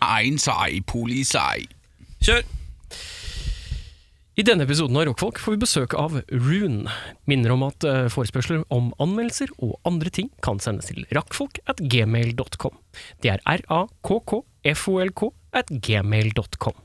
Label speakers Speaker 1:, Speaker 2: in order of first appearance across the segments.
Speaker 1: Einsei, polisei.
Speaker 2: Kjør!
Speaker 3: I denne episoden av Rockfolk får vi besøk av Rune. Minner om at eh, forespørsler om anmeldelser og andre ting kan sendes til rakkfolk at gmail.com. Det er r-a-k-k-f-o-l-k at gmail.com.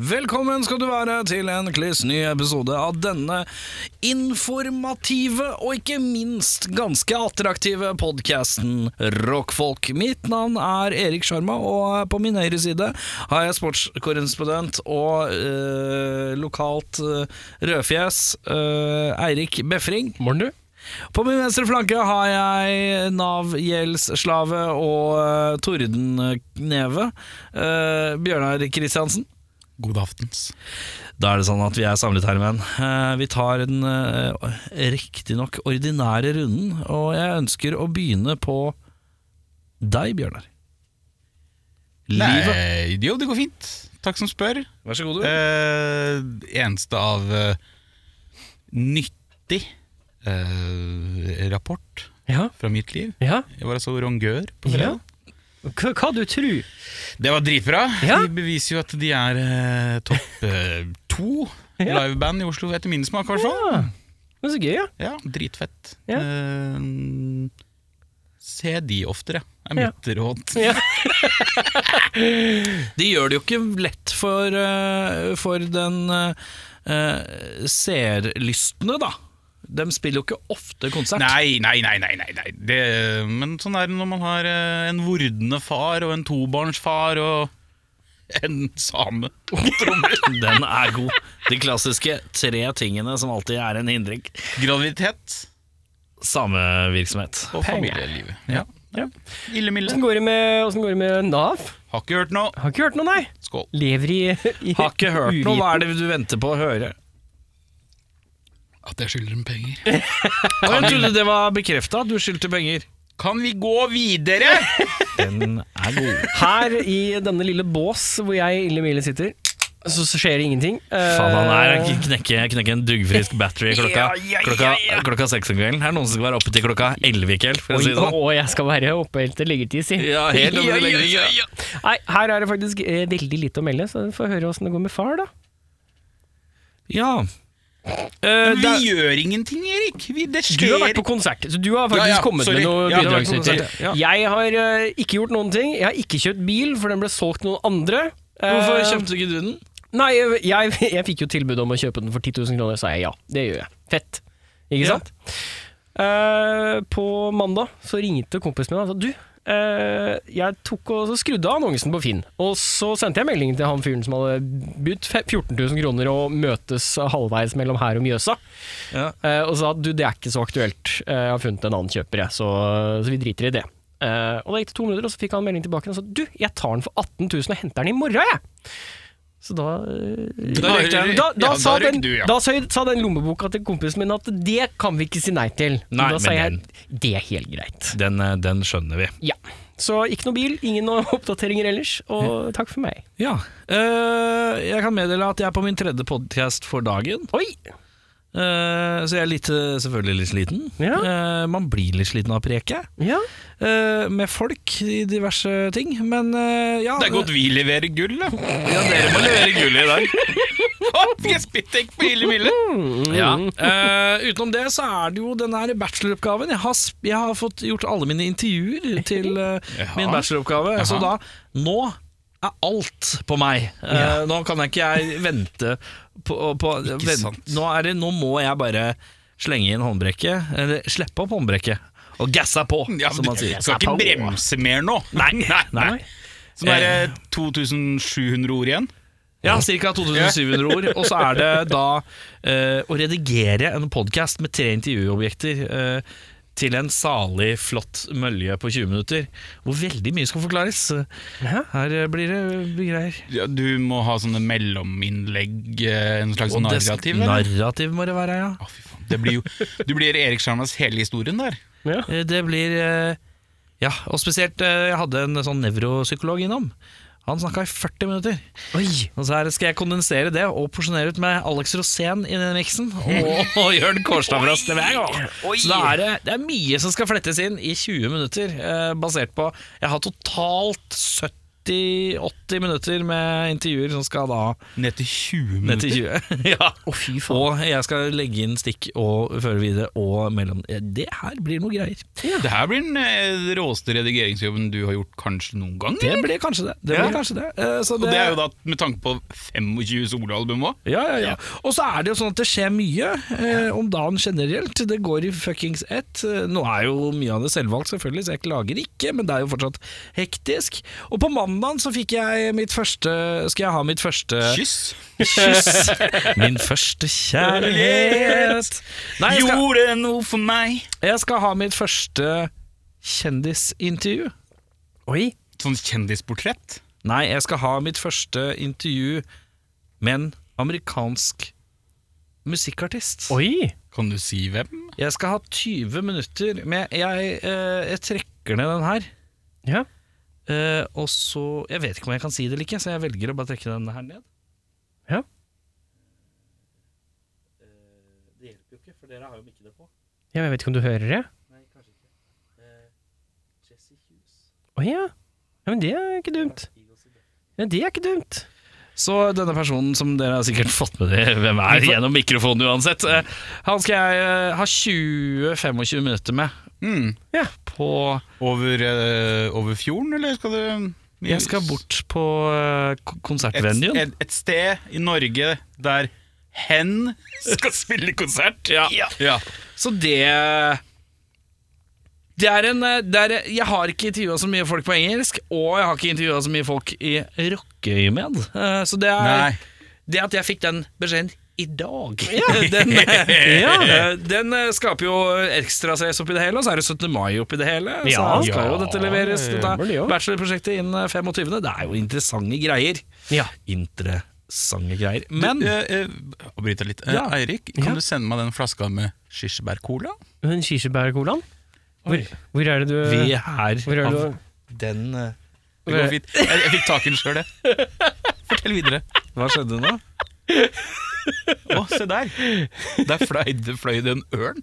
Speaker 1: Velkommen skal du være til en kliss ny episode av denne informative og ikke minst ganske attraktive podkasten Rockfolk. Mitt navn er Erik Sjarma, og på min høyre side har jeg sportskorrespondent og eh, lokalt eh, rødfjes eh, Eirik Befring.
Speaker 3: Morn, du.
Speaker 1: På min venstre flanke har jeg Nav-gjeldsslave og eh, tordengneve eh, Bjørnar Kristiansen.
Speaker 2: God aftens.
Speaker 1: Da er det sånn at vi er samlet her, menn. Eh, Vi tar den eh, riktignok ordinære runden, og jeg ønsker å begynne på deg, Bjørnar. Livet.
Speaker 2: Nei, Eh, jo, det går fint. Takk som spør.
Speaker 1: Vær så god,
Speaker 2: Eh, eneste av eh, nyttig eh, rapport
Speaker 3: Ja,
Speaker 2: fra mitt liv.
Speaker 3: ja,
Speaker 2: Jeg var altså rongør på
Speaker 3: ja.
Speaker 2: fredag.
Speaker 3: Hva, hva du tror?
Speaker 2: Det var dritbra.
Speaker 3: Ja.
Speaker 2: De beviser jo at de er eh, topp eh, to
Speaker 3: Ja.
Speaker 2: liveband i Oslo, etter min smak i hvert fall.
Speaker 3: Ja. Men så gøy, ja.
Speaker 2: Ja, dritfett.
Speaker 3: Ja.
Speaker 2: Eh, se de oftere, er
Speaker 3: Ja.
Speaker 2: mitt råd.
Speaker 3: ja.
Speaker 1: De gjør det jo ikke lett for, eh, for den eh, seerlystne, da. De spiller jo ikke ofte konsert.
Speaker 2: Nei, nei, nei, nei, nei, nei. Det, Men sånn er det når man har eh, en vordende far Og en tobarnsfar Og en same
Speaker 1: Den er god. De klassiske tre tingene som alltid er en hindring.
Speaker 2: Graviditet
Speaker 1: Samevirksomhet.
Speaker 2: og
Speaker 3: Penger.
Speaker 2: familielivet ja.
Speaker 3: Ja.
Speaker 2: Ille milde
Speaker 3: Åssen går, det med- hvordan går det med Nav?
Speaker 2: Har ikke hørt noe
Speaker 3: Har ikke hørt noe, nei.
Speaker 2: Skål
Speaker 3: Lever i, i
Speaker 1: Har ikke hørt noe.
Speaker 3: uviten.
Speaker 1: Hva er det du venter på å høre?
Speaker 2: At jeg skylder dem penger
Speaker 1: Å, jeg trodde det var bekrefta at du skyldte penger.
Speaker 2: Kan vi gå videre?
Speaker 1: Den er god.
Speaker 3: Her i denne lille bås hvor jeg ille mile sitter, så, så skjer det ingenting. Eh,
Speaker 1: Faen, han er knekke, knekke en duggfrisk battery klokka,
Speaker 2: Ja, ja, ja,
Speaker 1: klokka,
Speaker 2: ja.
Speaker 1: klokka seks om kvelden. Her er noen som skal være oppe til klokka elleve i kveld, for å si det
Speaker 3: Oi,
Speaker 1: sånn.
Speaker 3: og jeg skal være oppe helt til liggetid, si.
Speaker 1: Ja, helt oppe til
Speaker 3: Ja, ja,
Speaker 1: leggetid, ja.
Speaker 3: ja. Nei, her er det faktisk eh, veldig lite å melde, så vi får høre åssen det går med far, da.
Speaker 1: Ja. Eh,
Speaker 2: Vi
Speaker 1: det er-
Speaker 2: gjør ingenting, Erik vi, Det
Speaker 3: Du
Speaker 2: skjer
Speaker 3: har vært på konsert, så du har faktisk
Speaker 2: Ja, ja,
Speaker 3: kommet
Speaker 2: sorry.
Speaker 3: med noen
Speaker 2: Ja, du har vært på
Speaker 3: bidragsyter.
Speaker 1: konsert, ja.
Speaker 3: Jeg har eh, ikke gjort noen ting. Jeg har ikke kjøpt bil, for den ble solgt til noen andre. Eh,
Speaker 1: Hvorfor kjøpte ikke du den?
Speaker 3: Nei, jeg, jeg, jeg fikk jo tilbud om å kjøpe den for 10 000 kroner, sa jeg ja. Det gjør jeg. Fett. Ikke
Speaker 1: Ja.
Speaker 3: sant? Eh, på mandag så ringte kompisen min og sa du, eh, jeg tok og så skrudde av annonsen på Finn. Og så sendte jeg melding til han fyren som hadde budt fe- 14 000 kroner og møtes halvveis mellom her og Mjøsa.
Speaker 1: Ja.
Speaker 3: Eh, og sa at du, det er ikke så aktuelt, Eh, jeg har funnet en annen kjøper, jeg, så, så vi driter i det. Eh, og det gikk det to minutter, og så fikk han melding tilbake og sa du, jeg tar den for 18 000 og henter den i morgen, jeg. Så da eh,
Speaker 1: Da røyk den.
Speaker 3: da, da,
Speaker 2: Ja,
Speaker 3: sa,
Speaker 2: da røyk
Speaker 3: den,
Speaker 2: du, ja.
Speaker 3: da sa, sa den lommeboka til kompisen min at det kan vi ikke si nei til.
Speaker 1: Nei,
Speaker 3: da sa jeg
Speaker 1: men
Speaker 3: det er helt greit.
Speaker 1: Den, eh, den skjønner vi.
Speaker 3: Ja. Så ikke noe bil, ingen noe oppdateringer ellers, og takk for meg.
Speaker 1: Ja. Eh, jeg kan meddele at jeg er på min tredje podkast for dagen.
Speaker 3: Oi!
Speaker 1: Eh, så jeg er litt, eh, selvfølgelig litt sliten.
Speaker 3: Ja.
Speaker 1: Eh, man blir litt sliten av preket.
Speaker 3: Ja.
Speaker 1: eh, med folk i diverse ting, men eh, ja
Speaker 2: Det er godt vi leverer gull da
Speaker 1: Ja, dere må levere gullet i dag.
Speaker 2: Å, Jeg spytter ikke på ille milde
Speaker 1: Ja.
Speaker 2: Mm.
Speaker 1: Eh, utenom det så er det jo den her bacheloroppgaven. Jeg har, sp- jeg har fått gjort alle mine intervjuer til eh,
Speaker 2: Jaha.
Speaker 1: min bacheloroppgave, så da
Speaker 2: Jaha.
Speaker 1: Nå er alt på meg. Eh, Nå kan jeg ikke jeg vente på, på vent-
Speaker 2: sant.
Speaker 1: Nå, er det, nå må jeg bare slenge inn håndbrekket, eller slippe opp håndbrekket, og gassa på,
Speaker 2: ja,
Speaker 1: som man
Speaker 2: Du
Speaker 1: sier.
Speaker 2: skal ikke bremse mer nå Nei, nei,
Speaker 1: Nei.
Speaker 2: Så nå er
Speaker 1: Eh.
Speaker 2: det 2700 ord igjen
Speaker 1: Ja, ca. 2700 ord. Og så er det da eh, å redigere en podkast med tre intervjuobjekter. eh, til en salig, flott mølje på 20 minutter, hvor veldig mye skal forklares. Her eh, blir det greier.
Speaker 2: Ja, du må ha sånne mellominnlegg, eh, en slags
Speaker 1: Og det-
Speaker 2: narrativ? eller?
Speaker 1: narrativ må det være, ja.
Speaker 2: Å, fy faen. Det blir jo, du blir Erik Sjarmas hele historien der.
Speaker 3: Ja.
Speaker 1: Eh, Det blir eh, Ja, og spesielt eh, Jeg hadde en sånn nevropsykolog innom. Han snakka i 40 minutter.
Speaker 3: Oi!
Speaker 1: Og så her skal jeg kondensere det og porsjonere ut med Alex Rosén i den miksen. Og, og Jørn Kårstad fra Stavanger. Så da er det, det er mye som skal flettes inn i 20 minutter, eh, basert på Jeg har totalt 70-80 minutter med intervjuer som skal da
Speaker 2: Ned til 20
Speaker 1: ned
Speaker 2: minutter.
Speaker 1: til 20. ja.
Speaker 3: Å, fy faen.
Speaker 1: Og jeg skal legge inn stikk og føre videre og mellom Det her blir noe greier.
Speaker 2: Det her blir den eh, råeste redigeringsjobben du har gjort kanskje noen gang.
Speaker 1: Det
Speaker 2: eller?
Speaker 1: blir kanskje det. det,
Speaker 2: Ja.
Speaker 1: blir kanskje det. Eh, så
Speaker 2: Og det er jo da med tanke på 25 soloalbum òg.
Speaker 1: Ja, ja, ja. Og så er det jo sånn at det skjer mye eh, om dagen generelt. Det går i fuckings ett. Eh, Nå er jo mye av det selvvalgt, selvfølgelig, så jeg klager ikke, men det er jo fortsatt hektisk. Og på mandagen så fikk jeg mitt første Skal jeg ha mitt første
Speaker 2: Kyss!
Speaker 1: kyss? Min første kjærlighet. Nei, jeg skal,
Speaker 2: Gjorde noe for meg!
Speaker 1: jeg skal ha mitt første kjendisintervju.
Speaker 3: Oi!
Speaker 2: Sånn kjendisportrett.
Speaker 1: Nei, jeg skal ha mitt første intervju med en amerikansk musikkartist.
Speaker 3: Oi!
Speaker 2: Kan du si hvem?
Speaker 1: Jeg skal ha 20 minutter med Jeg, eh, jeg trekker ned den her.
Speaker 3: Ja.
Speaker 1: eh, og så Jeg vet ikke om jeg kan si det eller ikke, så jeg velger å bare trekke den her ned.
Speaker 3: Ja.
Speaker 1: Det hjelper jo ikke, for dere har jo mikkene på.
Speaker 3: Ja, Jeg vet ikke om du hører det?
Speaker 1: Nei, kanskje ikke. Eh, Jesse Hughes.
Speaker 3: Å ja. ja. Men det er ikke dumt. Ja, det er ikke dumt.
Speaker 1: Så denne personen som dere har sikkert fått med dere hvem er gjennom mikrofonen uansett, eh, han skal jeg eh, ha 20-25 minutter med
Speaker 2: Mm.
Speaker 1: på
Speaker 2: Over, eh, over fjorden, eller skal du
Speaker 1: Jeg skal bort på eh, ko-
Speaker 2: et,
Speaker 1: konsertvenuen.
Speaker 2: et, et sted i Norge der hen skal spille konsert.
Speaker 1: Ja. Så det det er en, eh, det er, jeg har ikke intervjua så mye folk på engelsk, og jeg har ikke intervjua så mye folk i rockeøyemed. Eh, Så det,
Speaker 2: Nei.
Speaker 1: er, det at jeg fikk den beskjeden i dag, den, eh,
Speaker 3: Ja.
Speaker 1: eh, den eh, skaper jo ekstrasess oppi det hele, og så er det 17. mai oppi det hele.
Speaker 3: Ja.
Speaker 1: så skal jo dette leveres.
Speaker 3: Ja, det
Speaker 1: Dette
Speaker 3: gjør det jo.
Speaker 1: bachelorprosjektet innen eh, 25. Det er jo interessante greier.
Speaker 3: Ja.
Speaker 1: Interessante greier. Men
Speaker 2: Eh, eh, Avbryter litt. Eh,
Speaker 1: Ja.
Speaker 2: Eirik, kan
Speaker 3: Ja.
Speaker 2: du sende meg den flaska med kirsebærcola?
Speaker 3: Men kirsebærcolaen? Hvor, hvor er det du
Speaker 1: vi er
Speaker 3: Hvor er det
Speaker 1: av
Speaker 3: du
Speaker 1: den eh,
Speaker 2: Det går fint. Jeg, jeg fikk tak i den sjøl, jeg. Fortell videre.
Speaker 1: Hva skjedde nå?
Speaker 2: Å, se der! Der fløy det fløy det en ørn.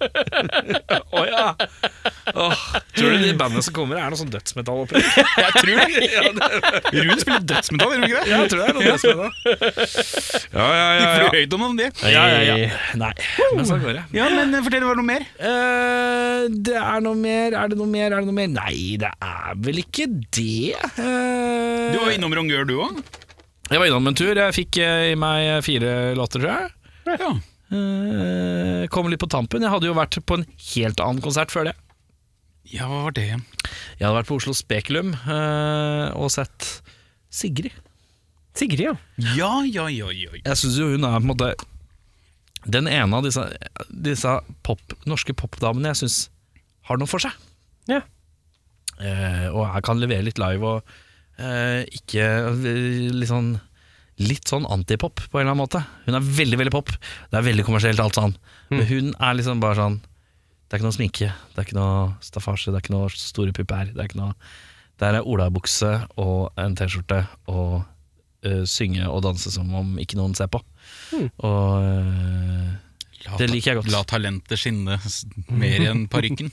Speaker 1: Å ja. Åh, tror du de bandene som kommer, er noe sånn dødsmetall oppi?
Speaker 2: Jeg tror det. Rune spiller dødsmetall, gjør han ikke det?
Speaker 1: Ja, jeg tror det er noe dødsmetall. Ja, ja,
Speaker 2: Ikke for høyt om han det.
Speaker 1: Nei, men sånn går det.
Speaker 2: Ja, men eh, fortell, var det noe mer?
Speaker 1: Eh, det er noe mer, er det noe mer, er det noe mer? Nei, det er vel ikke det. Eh,
Speaker 2: Du var innom Rongør, du òg?
Speaker 1: Jeg var innom en tur. Jeg fikk eh, i meg fire låter, tror jeg.
Speaker 2: Ja.
Speaker 1: Eh, kom litt på tampen. Jeg hadde jo vært på en helt annen konsert før det.
Speaker 2: ja, hva var det?
Speaker 1: Jeg hadde vært på Oslo Spekulum eh, og sett Sigrid.
Speaker 3: Sigrid, ja.
Speaker 2: Ja, ja, ja, ja.
Speaker 1: jeg syns jo hun er på en måte den ene av disse, disse pop, norske popdamene jeg syns har noe for seg.
Speaker 3: Ja.
Speaker 1: Eh, og jeg kan levere litt live og eh, ikke eh, litt sånn Litt sånn antipop på en eller annen måte. Hun er veldig veldig pop. Det er veldig kommersielt alt sånn. Men hun er liksom bare sånn Det er ikke noe sminke, det er ikke noe staffasje, det er ikke noe store pupper. Det er ikke noe Der er olabukse og en T-skjorte og eh, synge og danse som om ikke noen ser på. Og eh,
Speaker 2: La,
Speaker 1: Det liker jeg godt.
Speaker 2: La talentet skinne s- mer enn parykken.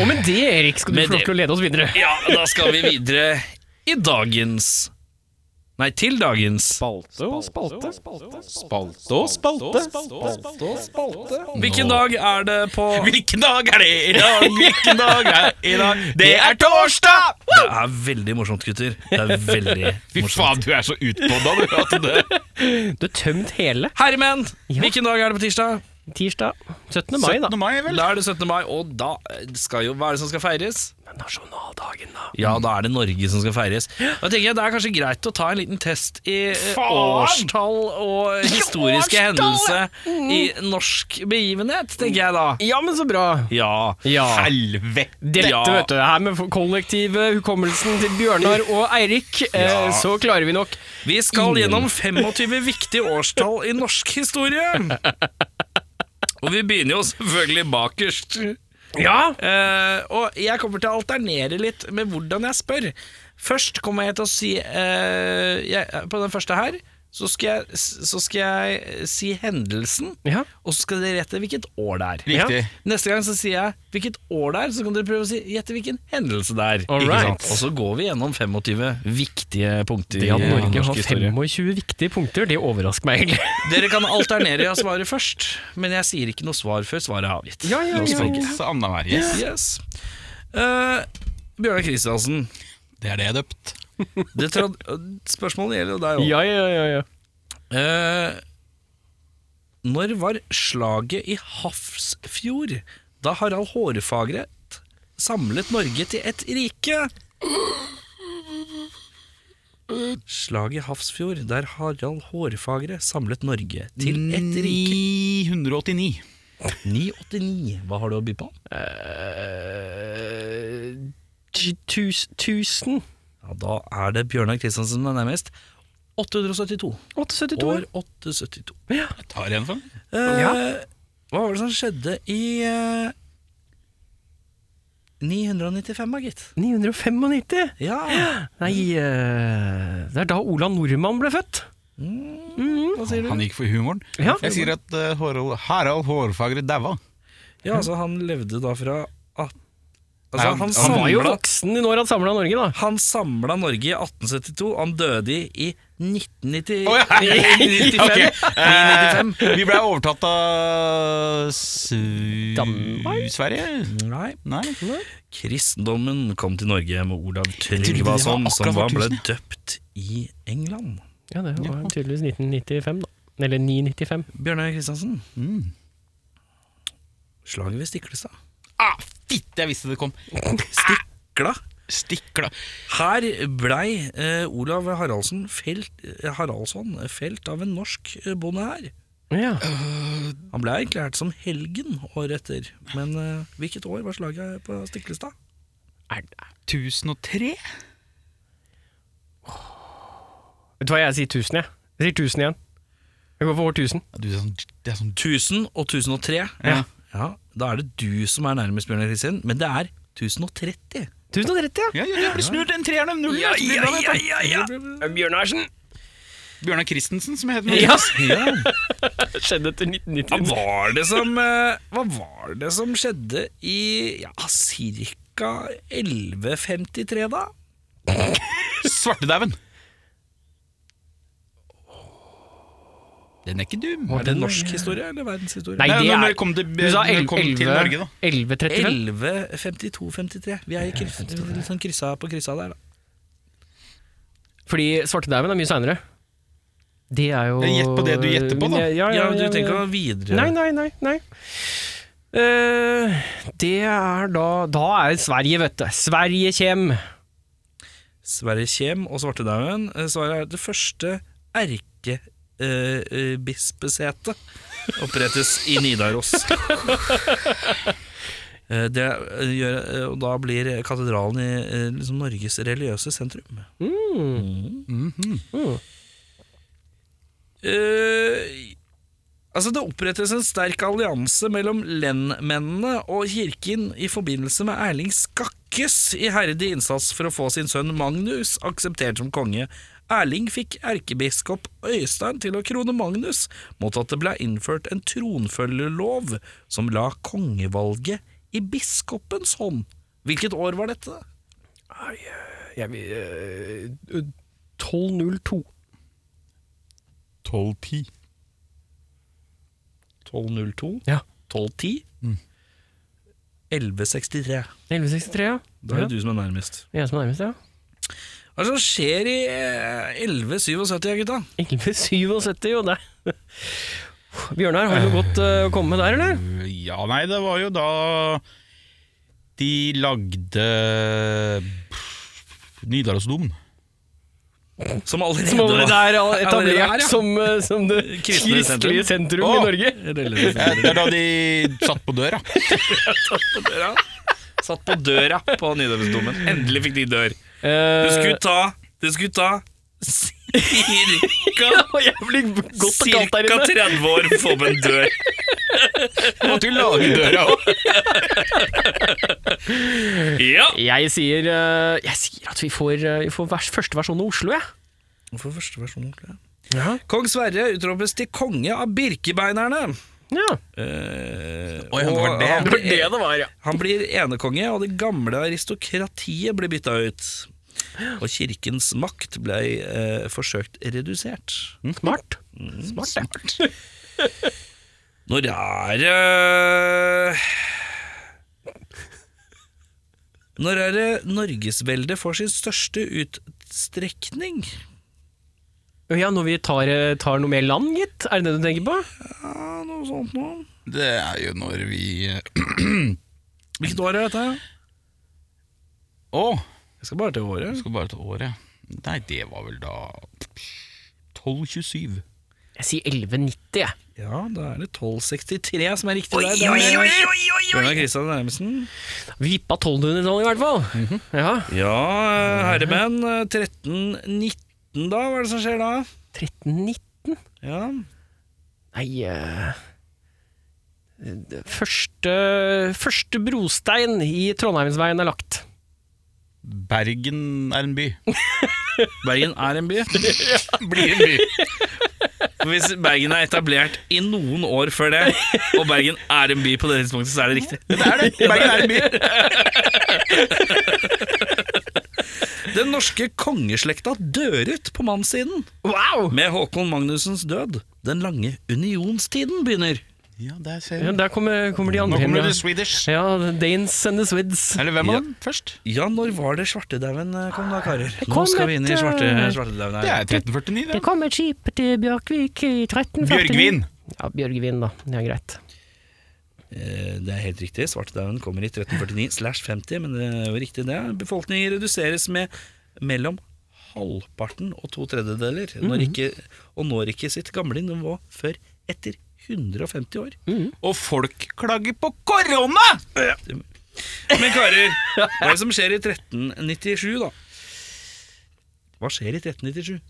Speaker 3: Og med det, Erik, skal du
Speaker 1: Med
Speaker 3: få lov
Speaker 1: det-
Speaker 3: til å lede oss videre.
Speaker 1: Ja, da skal vi videre i dagens Nei, til dagens
Speaker 3: Spalte og spalte.
Speaker 2: Spalte og spalte. spalte, og spalte.
Speaker 1: Hvilken dag er det på Det
Speaker 2: Hvilken dag er det i dag? Hvilken dag er det i dag? Det er torsdag!
Speaker 1: er veldig morsomt, gutter. Det er veldig
Speaker 2: Fy
Speaker 1: morsomt.
Speaker 2: faen, du er så utpodda, du. At det.
Speaker 3: Du har tømt hele.
Speaker 1: Herremenn,
Speaker 3: Ja.
Speaker 1: hvilken dag er det på tirsdag?
Speaker 3: Tirsdag 17. mai, da.
Speaker 2: 17. mai, vel?
Speaker 1: Da er det 17. mai, og da skal jo Hva er det som skal feires?
Speaker 3: Men nasjonaldagen, da.
Speaker 1: Ja, da er det Norge som skal feires. Da tenker jeg Det er kanskje greit å ta en liten test i eh,
Speaker 2: Faen!
Speaker 1: årstall og historiske
Speaker 3: Årstall!
Speaker 1: hendelser
Speaker 2: Mm.
Speaker 1: i norsk begivenhet, tenker jeg da.
Speaker 3: Ja, men så bra.
Speaker 1: Ja.
Speaker 3: Ja.
Speaker 2: Helvete!
Speaker 3: Dette,
Speaker 1: Ja.
Speaker 3: vet du, det her med kollektivet, hukommelsen til Bjørnar og Eirik, eh,
Speaker 1: Ja.
Speaker 3: så klarer vi nok.
Speaker 1: Vi skal gjennom 25 viktige årstall i norsk historie. Og vi begynner jo selvfølgelig bakerst.
Speaker 3: Ja!
Speaker 1: Eh, og jeg kommer til å alternere litt med hvordan jeg spør. Først kommer jeg til å si eh, jeg, På den første her så skal, jeg, så skal jeg si hendelsen,
Speaker 3: Ja.
Speaker 1: og så skal dere gjette hvilket år det er.
Speaker 2: Riktig.
Speaker 1: Neste gang så sier jeg hvilket år det er, så kan dere prøve å si gjette hvilken hendelse det er.
Speaker 3: All
Speaker 1: Ikke
Speaker 3: right.
Speaker 1: sant? Og så går vi gjennom 25 viktige punkter
Speaker 3: Det at
Speaker 1: i
Speaker 3: Norge
Speaker 1: norsk
Speaker 3: har
Speaker 1: historie.
Speaker 3: 25 viktige punkter, det overrasker meg egentlig.
Speaker 1: Dere kan alternere i å svare først, men jeg sier ikke noe svar før svaret er avgitt.
Speaker 3: Ja, ja,
Speaker 1: La oss
Speaker 3: ja,
Speaker 1: tenke.
Speaker 2: Så annenhver, yes.
Speaker 1: Yes. Eh, Bjørnar Kristiansen,
Speaker 2: Det er det jeg er døpt.
Speaker 1: det trad eh, spørsmålet gjelder jo deg òg.
Speaker 3: Ja, ja, ja, ja.
Speaker 1: når var slaget i Hafrsfjord da Harald Hårfagre samlet Norge til et rike? Slaget i Hafrsfjord der Harald Hårfagre samlet Norge til et rike.
Speaker 2: 989.
Speaker 1: 989, hva har du å by på?
Speaker 3: Eh, ti- tus- Tusen
Speaker 1: Ja, da er det Bjørnar Kristiansen som er nærmest. 872.
Speaker 3: 872
Speaker 1: År 872.
Speaker 3: Ja.
Speaker 2: Jeg tar en for den.
Speaker 1: Eh,
Speaker 3: Ja.
Speaker 1: Hva var det som skjedde i eh, 995, da, gitt?
Speaker 3: 995.
Speaker 1: Ja,
Speaker 3: Nei, eh, det er da Ola Nordmann ble født.
Speaker 1: hva sier du?
Speaker 2: Han gikk for humoren.
Speaker 3: Ja.
Speaker 2: Jeg sier at eh, Harald, Harald Hårfagre daua.
Speaker 1: Ja, altså, han levde da fra at,
Speaker 2: Nei,
Speaker 1: altså,
Speaker 2: han-
Speaker 1: han,
Speaker 2: han
Speaker 3: Han var jo
Speaker 1: samla,
Speaker 3: voksen når han samla Norge, da.
Speaker 1: han samla Norge i 1872. Han døde i, i 1990,
Speaker 2: Å, ja. Ok. Eh,
Speaker 1: 1995.
Speaker 2: vi ble overtatt av Sv-
Speaker 3: Danmark?
Speaker 2: Sverige?
Speaker 1: Nei.
Speaker 2: Nei.
Speaker 1: Kristendommen kom til Norge med Olav
Speaker 2: det
Speaker 1: Tryggvason,
Speaker 2: var
Speaker 1: som
Speaker 2: akkurat
Speaker 1: da ble
Speaker 2: årtusen,
Speaker 1: døpt i England.
Speaker 3: Ja, det var tydeligvis 1995, da. Eller 995.
Speaker 1: Bjørnar Kristiansen,
Speaker 2: Mm.
Speaker 1: slaget ved Stiklestad.
Speaker 2: Ah, fitte, jeg visste det kom.
Speaker 1: Stikla?
Speaker 2: Stikla.
Speaker 1: Her blei eh, Olav Haraldsen felt, eh, Haraldsson felt av en norsk eh, bonde her.
Speaker 3: Ja.
Speaker 1: Han blei erklært som helgen året etter. Men eh, hvilket år var slaget på Stiklestad?
Speaker 3: Er, er-
Speaker 2: 1003?
Speaker 3: vet du hva, jeg sier 1000, jeg. Jeg sier 1000 igjen. Jeg går for år 1000.
Speaker 2: Ja, Du, det er sånn, det er sånn
Speaker 1: 1000 og 1003.
Speaker 2: Ja.
Speaker 1: Ja, Da er det du som er nærmest, Bjørnar Kristiansen, men det er 1030.
Speaker 3: 1030,
Speaker 2: Ja, ja, det blir snurt en treer og en null. Ja, ja, ja, ja, ja.
Speaker 3: ja. Bjørnarsen.
Speaker 2: Bjørnar Christensen, som jeg heter.
Speaker 3: Ja,
Speaker 1: Ja.
Speaker 3: det skjedde etter
Speaker 1: Hva
Speaker 3: 1990.
Speaker 1: var det som eh, Hva var det som skjedde i ja, ca. 1153, da?
Speaker 2: Svartedauden. Den er ikke dum.
Speaker 1: Er det norsk historie eller verdenshistorie?
Speaker 3: Nei, det
Speaker 2: når
Speaker 3: er
Speaker 2: det kom til,
Speaker 3: Du sa
Speaker 2: når det kom til Norge, da.
Speaker 3: 1135.
Speaker 1: 11.52-53. Vi er i kryss- litt sånn kryssa på kryssa der, da.
Speaker 3: Fordi svartedauden er mye seinere. Det er jo
Speaker 2: Ja, gjett på det du gjetter på, da.
Speaker 3: Ja, ja, ja,
Speaker 1: Ja, du
Speaker 3: ja,
Speaker 1: tenker
Speaker 3: ja.
Speaker 1: å videre
Speaker 3: Nei, nei, nei. nei. Eh, det er da Da er Sverige, vet du. Sverige kjem.
Speaker 1: Sverre Kjem og Svartedauden. eh, Svaret er det første erkebispesetet opprettes i Nidaros. Eh, Det eh, gjør, eh, og da blir katedralen i eh, liksom Norges religiøse sentrum.
Speaker 3: Mm.
Speaker 1: Mm.
Speaker 2: Mhm.
Speaker 3: Mm-hmm.
Speaker 1: Eh, altså Det opprettes en sterk allianse mellom lendmennene og kirken i forbindelse med Erling Skakkes iherdig innsats for å få sin sønn Magnus akseptert som konge. Erling fikk erkebiskop Øystein til å krone Magnus mot at det ble innført en tronfølgerlov som la kongevalget i biskopens hånd. Hvilket år var dette?
Speaker 3: Jeg vil, eh, 1202.
Speaker 2: 1210.
Speaker 1: 1202?
Speaker 3: Ja.
Speaker 1: 1210? 1163.
Speaker 3: 1163, ja.
Speaker 1: Da er
Speaker 3: ja.
Speaker 1: det du som er nærmest.
Speaker 3: Jeg som er nærmest, ja.
Speaker 1: Hva er det som skjer i eh, 1177, gutta?
Speaker 3: 1177, jo det. Bjørnar, har du noe godt eh, å komme med der, eller?
Speaker 2: Ja, nei, det var jo da de lagde Nidarosdomen.
Speaker 1: Som allerede,
Speaker 3: Som allerede
Speaker 1: var-
Speaker 3: er
Speaker 1: allerede
Speaker 3: etablert
Speaker 1: er, ja.
Speaker 3: som, eh, som det
Speaker 1: Kristne
Speaker 3: kristelige sentrum,
Speaker 1: sentrum.
Speaker 2: Å.
Speaker 3: i Norge.
Speaker 1: Relativt
Speaker 2: Eh, Det er da de satt på døra.
Speaker 1: på døra. Satt på døra på Nidarosdomen. Endelig fikk de dør.
Speaker 3: Eh,
Speaker 1: Det skulle ta Det skulle ta cirka
Speaker 3: og jeg blir godt og kaldt
Speaker 1: Cirka
Speaker 3: der inne.
Speaker 1: 30 år for å få opp en dør.
Speaker 2: Måtte jo lage døra òg.
Speaker 1: Ja!
Speaker 3: Jeg sier, eh, jeg sier at vi får, eh, vi får vers, første versjon av Oslo, jeg.
Speaker 1: Hvorfor første versjon? egentlig?
Speaker 3: Ja.
Speaker 1: Kong Sverre utropes til konge av birkebeinerne.
Speaker 3: ja.
Speaker 1: Eh,
Speaker 2: Oi, han
Speaker 1: og
Speaker 2: var det.
Speaker 1: han
Speaker 3: Det
Speaker 1: blir-
Speaker 3: var det det var, ja.
Speaker 1: Han blir enekonge, og det gamle aristokratiet blir bytta ut. Og kirkens makt ble eh, forsøkt redusert.
Speaker 3: Mm, Smart. Smart, det.
Speaker 1: Når er eh, det Når er det Norgesveldet får sin største utstrekning?
Speaker 3: Å Ja, når vi tar, eh, tar noe mer land, gitt? Er det det du tenker på?
Speaker 1: Ja, noe sånt noe.
Speaker 2: Det er jo når vi Å!
Speaker 1: Hvilket år er dette? Jeg skal bare til
Speaker 2: jeg
Speaker 1: året.
Speaker 2: skal bare ta året. Nei, det var vel da 1227.
Speaker 3: Jeg sier 1190, jeg.
Speaker 1: Ja, da er det 1263 som er riktig der. Bjørnar Kristian Nærmesen.
Speaker 3: Vippa 1200-tallet, i hvert fall. Ja.
Speaker 1: Ja, herremenn. 13-19 da, hva er det som skjer da?
Speaker 3: 1319?
Speaker 1: Ja,
Speaker 3: Nei eh, det første, første brostein i Trondheimsveien er lagt.
Speaker 2: Bergen er en by.
Speaker 1: Bergen er en by.
Speaker 2: Blir en by.
Speaker 1: Hvis Bergen er etablert i noen år før det, og Bergen er en by på det tidspunktet, så er det riktig.
Speaker 2: Det er det. Bergen er en by.
Speaker 1: Den norske kongeslekta dør ut på mannssiden.
Speaker 3: Wow!
Speaker 1: Med Håkon Magnussens død. Den lange unionstiden begynner.
Speaker 2: Ja, der ser
Speaker 3: Ja,
Speaker 2: vi.
Speaker 3: der kommer, kommer de
Speaker 2: Nå
Speaker 3: andre hjem.
Speaker 2: kommer
Speaker 3: Ja.
Speaker 2: det Swedish.
Speaker 3: Ja, the Danes and the Swedes.
Speaker 2: Eller hvem
Speaker 1: Ja.
Speaker 2: av dem først?
Speaker 1: Ja, når var det svartedauden eh, kom da, karer? Nå
Speaker 3: kom
Speaker 1: skal vi inn i
Speaker 3: et,
Speaker 1: svarte,
Speaker 3: eh,
Speaker 1: svartedauden
Speaker 2: Det
Speaker 1: her.
Speaker 2: er 1349, det.
Speaker 3: kom et skip til Bjørkvik i 1349.
Speaker 2: Bjørgvin.
Speaker 3: Ja, Bjørgvin, da. Det er greit.
Speaker 1: Eh, Det er helt riktig. Svartedauden kommer i 1349 slash 50, men det er jo riktig det. Befolkningen reduseres med mellom halvparten og to tredjedeler,
Speaker 3: Mhm.
Speaker 1: når ikke, og når ikke sitt gamle nivå før etter 150 år.
Speaker 3: Mhm.
Speaker 2: Og folk klager på korona!
Speaker 1: Men karer, hva er det som skjer i 1397, da? Hva skjer i 1397?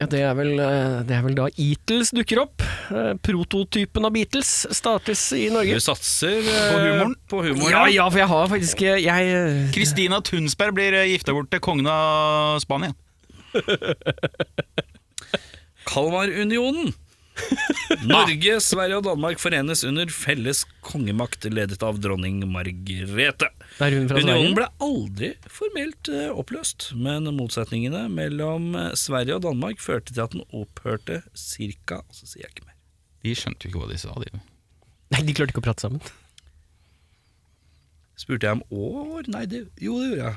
Speaker 3: Ja, det er, vel, eh, det er vel da Eatles dukker opp. Eh, Prototypen av Beatles startes i
Speaker 1: Du
Speaker 3: Norge.
Speaker 1: satser eh,
Speaker 2: På humoren?
Speaker 1: På humoren
Speaker 3: Ja, ja, for jeg har faktisk eh, Jeg eh,
Speaker 2: Kristina Tunsberg blir eh, gifta bort til kongen av Spania.
Speaker 1: Kalmarunionen. Norge, Sverige og Danmark forenes under felles kongemakt ledet av dronning Margrethe.
Speaker 3: Det er hun fra Sverige.
Speaker 1: Unionen ble aldri formelt eh, oppløst, men motsetningene mellom eh, Sverige og Danmark førte til at den opphørte cirka Så sier jeg ikke mer.
Speaker 2: De skjønte jo ikke hva de sa, de.
Speaker 3: Nei, de klarte ikke å prate sammen.
Speaker 1: Spurte jeg om år? Nei, det, jo, det gjorde jeg.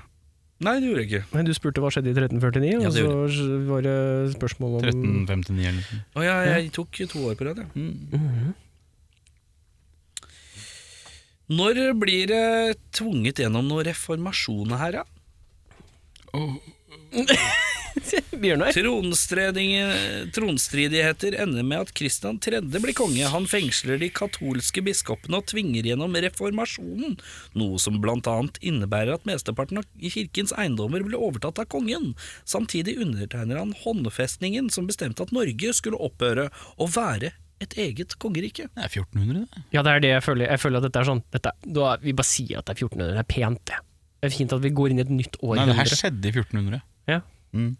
Speaker 1: Nei, det gjorde jeg ikke.
Speaker 3: Nei, Du spurte hva skjedde i 1349,
Speaker 1: Ja,
Speaker 3: og
Speaker 1: det gjorde
Speaker 3: så var det spørsmål om
Speaker 2: 1359 eller noe.
Speaker 1: Å, ja, jeg tok to år på rad, Mhm. jeg. Når blir det tvunget gjennom noen reformasjon her, da?
Speaker 3: Bjørnar.
Speaker 1: Tronstredingen- Tronstridigheter ender med at Kristian 3. blir konge. Han fengsler de katolske biskopene og tvinger gjennom reformasjonen, noe som blant annet innebærer at mesteparten av kirkens eiendommer ble overtatt av kongen. Samtidig undertegner han håndfestningen som bestemte at Norge skulle opphøre å være et eget kongerike.
Speaker 2: Det er 1400, det.
Speaker 3: Ja, det er det jeg føler. Jeg føler at dette er sånn dette, er- da, Vi bare sier at det er 1400. Det er pent, det. Det er fint at vi går inn i et nytt år.
Speaker 2: Nei, det her skjedde i 1400.
Speaker 3: Ja.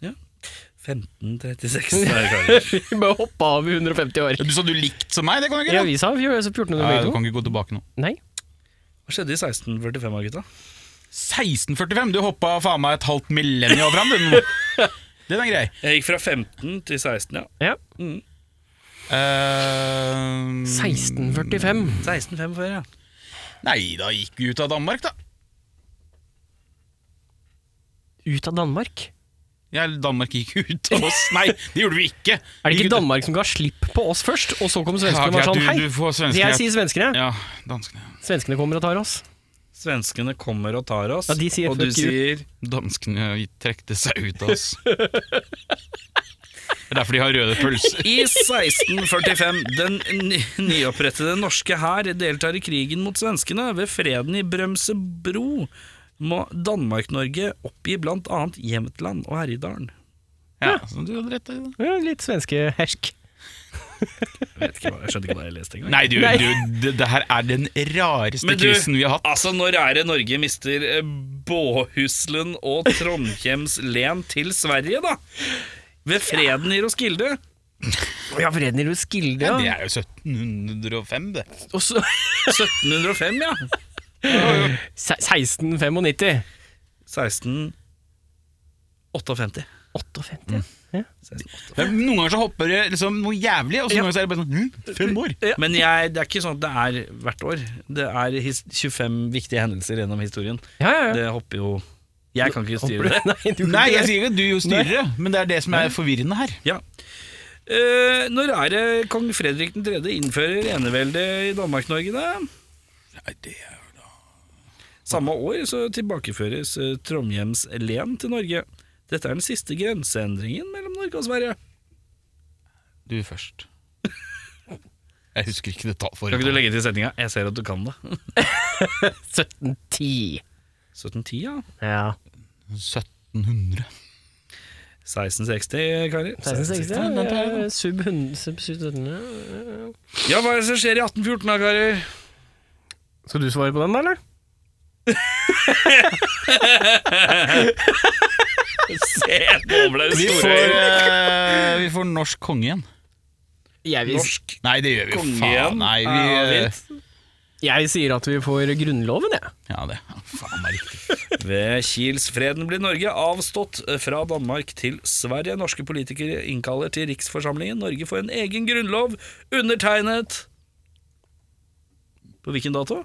Speaker 1: Ja. 1536 der, karer.
Speaker 3: Vi bare hoppa av i 150 år.
Speaker 2: Du sa du likte som meg, det kan du ikke? da?
Speaker 3: Ja, vi sa vi gjorde så 1400
Speaker 2: Nei, du
Speaker 3: begge to.
Speaker 2: kan ikke gå tilbake nå.
Speaker 3: Nei.
Speaker 1: Hva skjedde i 1645, da, gutta?
Speaker 2: 1645! Du hoppa faen meg et halvt millennium fram, du nå. Den er grei.
Speaker 1: Jeg gikk fra 15 til 16, ja.
Speaker 3: Ja.
Speaker 2: Eh,
Speaker 3: 1645.
Speaker 1: 1645, ja.
Speaker 2: Nei, da gikk vi ut av Danmark, da.
Speaker 3: Ut av Danmark.
Speaker 2: Jeg, Danmark gikk ut av oss. Nei, det gjorde vi ikke.
Speaker 3: Er det
Speaker 2: Vi gikk
Speaker 3: ikke
Speaker 2: ut-
Speaker 3: Danmark som ga slipp på oss først, og så kom
Speaker 2: Ja,
Speaker 3: svenskene og var sånn
Speaker 2: du,
Speaker 3: Hei,
Speaker 2: du får svenskene.
Speaker 3: jeg sier svenskene.
Speaker 2: Ja, danskene.
Speaker 3: Svenskene kommer og tar oss.
Speaker 1: Svenskene kommer og tar oss,
Speaker 3: Ja, de sier
Speaker 1: og du
Speaker 3: fuck you.
Speaker 1: sier
Speaker 2: Danskene trekte seg ut av oss. Det er derfor de har røde pølser.
Speaker 1: I 1645, den ny- nyopprettede norske hær deltar i krigen mot svenskene. Ved freden i Brømsebro må Danmark-Norge oppgi blant annet Jämtland og Herjedalen.
Speaker 2: Ja, så du hadde rett i det.
Speaker 3: Ja, litt svenske hersk.
Speaker 1: Jeg vet ikke hva- jeg skjønte ikke hva jeg leste engang.
Speaker 2: Nei, du,
Speaker 3: Nei.
Speaker 2: du det, det her er den rareste
Speaker 1: Men du-
Speaker 2: quizen vi har hatt.
Speaker 1: Altså, når er det Norge mister eh, Båhuslen og Trondhjems len til Sverige, da? Ved freden i Roskilde?
Speaker 3: Ja, freden i Roskilde,
Speaker 2: Ja. Det
Speaker 3: ja.
Speaker 2: er jo 1705, det.
Speaker 3: Og så
Speaker 1: 1705, ja.
Speaker 3: Se- 1695.
Speaker 1: 1658.
Speaker 3: 58.
Speaker 2: Mm. Men Noen ganger så hopper det liksom noe jævlig, og så noen ganger så er det bare sånn hm, Fem år?
Speaker 3: Ja.
Speaker 1: Men jeg, det er ikke sånn at det er hvert år. Det er his 25 viktige hendelser gjennom historien.
Speaker 3: Ja, ja, ja.
Speaker 1: Det hopper jo Jeg kan ikke
Speaker 3: Håper
Speaker 1: styre det.
Speaker 3: du- Nei, du kan
Speaker 2: Nei,
Speaker 3: ikke
Speaker 2: jeg
Speaker 3: det.
Speaker 2: sier ikke at du styrer det, men det er det som er forvirrende her.
Speaker 1: Ja. Eh, når er det kong Fredrik 3. innfører eneveldet i Danmark-Norge, da?
Speaker 2: Nei, det er
Speaker 1: Samme år så tilbakeføres eh, Trondheims len til Norge. Dette er den siste grenseendringen mellom Norge og Sverige.
Speaker 2: Du først. Jeg husker ikke det tallet
Speaker 1: Kan
Speaker 2: forrige.
Speaker 1: ikke du legge til setninga 'Jeg ser at du kan det'?
Speaker 3: 1710.
Speaker 1: 1710, ja.
Speaker 3: Ja.
Speaker 2: 1700.
Speaker 1: 1660, karer.
Speaker 3: 1660, ja, ja, ja. Sub 100 sub 1700. ja.
Speaker 1: Ja, hva er det som skjer i 1814 da, karer?
Speaker 3: Skal du svare på den, da, eller?
Speaker 1: Se, nå ble det
Speaker 2: Vi får, eh, vi får norsk konge igjen.
Speaker 3: Jeg, vil-
Speaker 1: Norsk
Speaker 2: Nei, det gjør vi
Speaker 1: konge
Speaker 2: faen.
Speaker 1: igjen.
Speaker 2: Nei, vi,
Speaker 1: Ja,
Speaker 2: eh,
Speaker 1: fint.
Speaker 3: jeg sier at vi får Grunnloven, jeg.
Speaker 2: ja, det. Ja, Faen meg riktig.
Speaker 1: Ved Kielsfreden blir Norge avstått eh, fra Danmark til Sverige. Norske politikere innkaller til riksforsamlingen. Norge får en egen grunnlov, undertegnet På hvilken dato?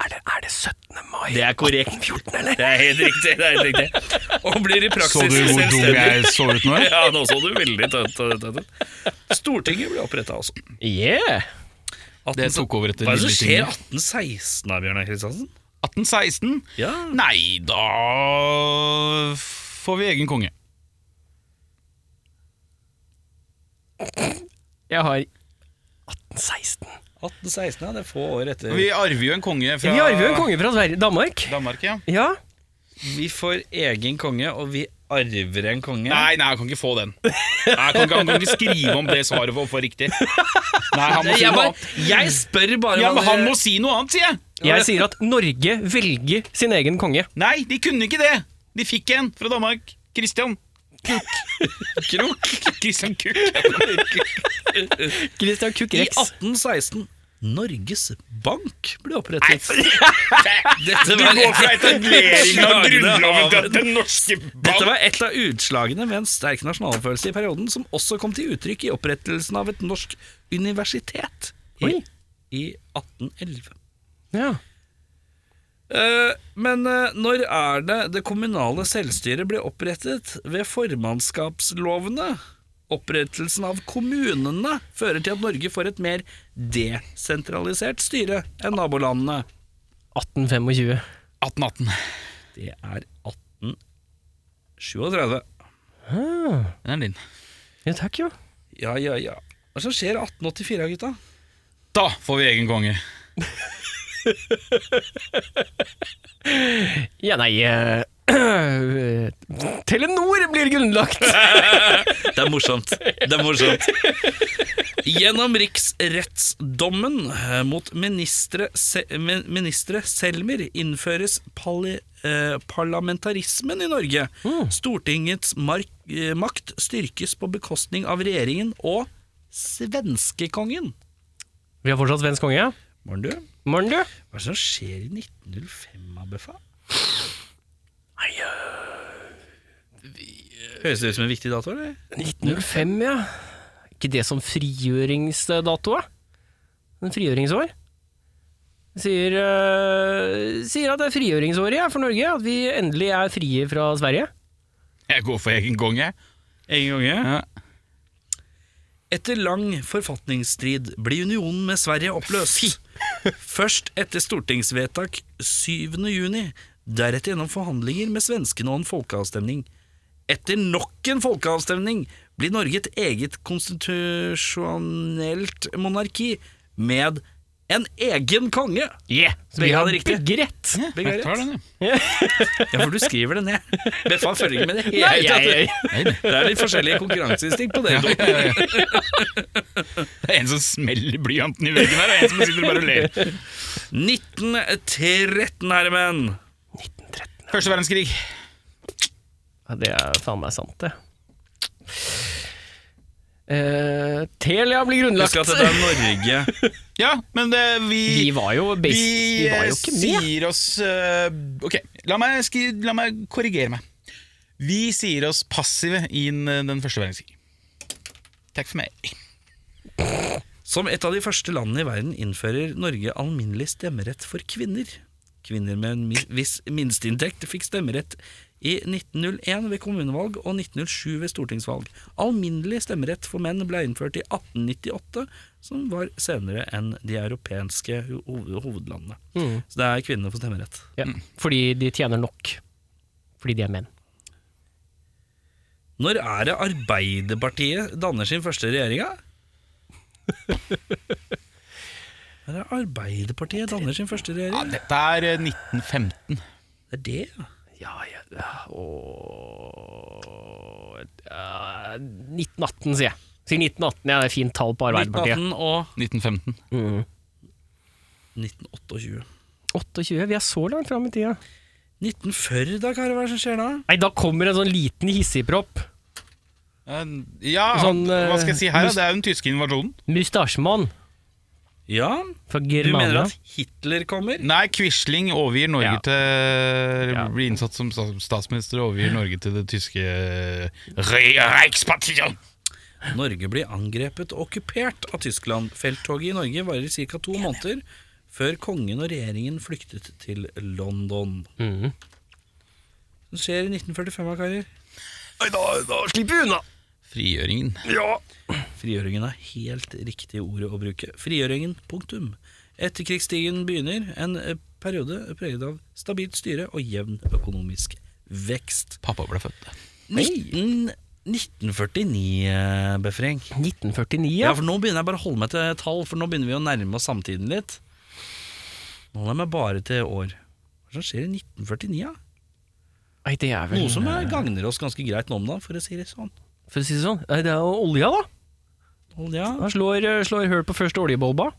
Speaker 3: Er det, er det 17. mai?
Speaker 1: Det er korrekt.
Speaker 3: 14, eller?
Speaker 1: Det er helt riktig. det er helt riktig Og blir i praksis
Speaker 2: Så du hvor dum
Speaker 1: selvstendig.
Speaker 2: jeg så ut nå?
Speaker 1: Ja, nå så du veldig tønt tønt ut. Stortinget ble oppretta også.
Speaker 3: Yeah!
Speaker 1: 18,
Speaker 2: Det tok over etter
Speaker 1: Hva er det
Speaker 2: lille
Speaker 1: som skjer
Speaker 2: tinget.
Speaker 1: 1816 da, Bjørnar Kristiansen?
Speaker 2: 1816?
Speaker 1: Ja.
Speaker 2: Nei, da får vi egen konge.
Speaker 3: Jeg har 1816.
Speaker 1: 1816, ja, det er få år etter.
Speaker 2: Vi arver jo en konge fra
Speaker 3: Vi arver jo en konge fra Sverige. Danmark.
Speaker 2: Danmark, ja.
Speaker 3: Ja.
Speaker 1: Vi får egen konge, og vi arver en konge.
Speaker 2: Nei, nei, han kan ikke få den. Nei, han, kan ikke, han kan ikke skrive om det svaret for å få riktig. Nei, han må si
Speaker 1: Jeg,
Speaker 2: noe
Speaker 1: bare,
Speaker 2: annet.
Speaker 1: jeg spør bare
Speaker 2: Ja,
Speaker 1: hva
Speaker 2: men han
Speaker 1: dere-
Speaker 2: må si noe annet, sier jeg!
Speaker 3: Jeg sier at Norge velger sin egen konge.
Speaker 2: Nei, de kunne ikke det! De fikk en fra Danmark. Christian. Kuk. Krok. Christian Kuk.
Speaker 3: Christian Kuk
Speaker 1: I
Speaker 3: Rex.
Speaker 1: 1816 Norges Bank ble opprettet. Dette var, et,
Speaker 2: Etableringen
Speaker 1: av grunnloven til
Speaker 2: den norske
Speaker 1: dette var et av utslagene ved en sterk nasjonalfølelse i perioden, som også kom til uttrykk i opprettelsen av et norsk universitet i,
Speaker 3: Oi.
Speaker 1: i 1811.
Speaker 3: Ja.
Speaker 1: Eh, Men eh, når er det det kommunale selvstyret ble opprettet? Ved formannskapslovene? Opprettelsen av kommunene fører til at Norge får et mer desentralisert styre enn nabolandene.
Speaker 3: 1825.
Speaker 2: 1818.
Speaker 1: Det er 1837.
Speaker 2: Den er din.
Speaker 3: Ja, takk, jo.
Speaker 1: Ja, ja, ja. Hva er det som skjer i 1884, gutta?
Speaker 2: Da får vi egen konge.
Speaker 3: Ja, nei eh, Telenor blir grunnlagt!
Speaker 1: Det er morsomt. Det er morsomt. Gjennom riksrettsdommen eh, mot ministre, se, men- ministre Selmer innføres pali, eh, parlamentarismen i Norge. Stortingets mark, eh, makt styrkes på bekostning av regjeringen og svenskekongen.
Speaker 3: Vi har fortsatt svensk konge. ja.
Speaker 1: Morn, du.
Speaker 3: Morn, du.
Speaker 1: Hva er det som skjer i 1905, Abbefa? Høres det ut som en viktig dato, eller?
Speaker 3: 1905, ja. Ikke det som frigjøringsdato, da? En frigjøringsår? Sier, eh, sier at det er frigjøringsåret ja, for Norge, at vi endelig er frie fra Sverige.
Speaker 2: Jeg går for egen gang, jeg.
Speaker 1: Egen gange.
Speaker 2: Ja.
Speaker 1: Etter lang forfatningsstrid ble unionen med Sverige oppløst. Først etter stortingsvedtak 7. juni, deretter gjennom forhandlinger med svenskene og en folkeavstemning. Etter nok en folkeavstemning blir Norge et eget konstitusjonelt monarki med en egen konge!
Speaker 3: Yeah, så vi
Speaker 1: Begge
Speaker 3: har
Speaker 1: hadde riktig.
Speaker 3: begge rett.
Speaker 2: Ja,
Speaker 1: Begge har
Speaker 2: jeg tar
Speaker 1: rett.
Speaker 2: den, jeg.
Speaker 1: Ja, for du skriver det ned. Beffa følger ikke med det hele
Speaker 3: Nei,
Speaker 1: tatt.
Speaker 3: nei,
Speaker 1: Det er litt forskjellige konkurranseinstinkt på dere to.
Speaker 2: Det er en som smeller blyanten i veggen her, og en som sitter og bare ler.
Speaker 1: 1913, herre menn!
Speaker 2: Første verdenskrig.
Speaker 3: Ja, Det er faen meg sant, det. Eh, Telia blir grunnlagt.
Speaker 1: Husk at dette er Norge.
Speaker 2: Ja, men det, vi
Speaker 3: Vi var jo, bas- vi var jo ikke
Speaker 2: Vi eh,
Speaker 3: med.
Speaker 2: sier oss eh, Ok, la meg, skri, la meg korrigere meg. Vi sier oss passive i den- den første verdenskrig. Takk for meg.
Speaker 1: Som et av de første landene i verden innfører Norge alminnelig stemmerett for kvinner. Kvinner med en mi- viss minsteinntekt fikk stemmerett i 1901 ved kommunevalg og 1907 ved stortingsvalg. Alminnelig stemmerett for menn ble innført i 1898, som var senere enn de europeiske ho- hovedlandene.
Speaker 3: Mm.
Speaker 1: Så det er kvinnene for stemmerett.
Speaker 3: Ja, fordi de tjener nok. Fordi de er menn.
Speaker 1: Når er det Arbeiderpartiet danner sin første regjering? da? Når er det Arbeiderpartiet danner sin første
Speaker 2: Ja,
Speaker 1: regjering?
Speaker 2: dette er eh, 1915.
Speaker 1: Det er det, ja.
Speaker 3: Ja, ja, ja og, eh, 1918, sier jeg. Sier 1918, ja, det er fint tall på Arbeiderpartiet.
Speaker 1: 1918 og
Speaker 2: 1915.
Speaker 3: Mm.
Speaker 1: 1928.
Speaker 3: 28, vi er så langt fram i tida.
Speaker 1: 1940, da, karer, hva er det som skjer da?
Speaker 3: Nei, da kommer en sånn liten hissigpropp.
Speaker 2: Eh, Ja,
Speaker 3: Sånn, eh,
Speaker 2: hva skal jeg si her? da?
Speaker 3: mus-
Speaker 2: Det er jo den tyske invasjonen.
Speaker 3: Mustasjemann
Speaker 1: Ja,
Speaker 3: fra
Speaker 1: du mener
Speaker 3: Germania.
Speaker 1: at Hitler kommer?
Speaker 2: Nei, Quisling overgir Norge
Speaker 3: Ja.
Speaker 2: til
Speaker 3: Ja.
Speaker 2: Blir innsatt som sta- statsminister og overgir Norge til det tyske eh, Re- Reichspartiet.
Speaker 1: Norge blir angrepet og okkupert av Tyskland. Felttoget i Norge varer i ca. to måneder, før kongen og regjeringen flyktet til London.
Speaker 3: Mhm.
Speaker 1: Det skjer i 1945, da, karer.
Speaker 3: Da, slipper vi unna!
Speaker 2: Frigjøringen.
Speaker 1: Frigjøringen er helt riktig ordet å bruke. Frigjøringen, punktum. Etterkrigstiden begynner, en eh, periode preget av stabilt styre og jevn økonomisk vekst.
Speaker 2: Pappa ble født.
Speaker 1: 19, 1949-befring.
Speaker 3: 1949,
Speaker 1: eh, Ja,
Speaker 3: ja.
Speaker 1: for nå begynner jeg bare å holde meg til tall, for nå begynner vi å nærme oss samtiden litt. Nå holder jeg meg bare til år. Hva er det som skjer i 1949? Ja?
Speaker 3: Nei, det er vel
Speaker 1: Noe som eh, gagner oss ganske greit nå om dagen, for å si det sånn.
Speaker 3: For å si det sånn, nei, det er jo olja, da.
Speaker 1: Olja
Speaker 3: Han slår, eh, slår høl på første oljebolba.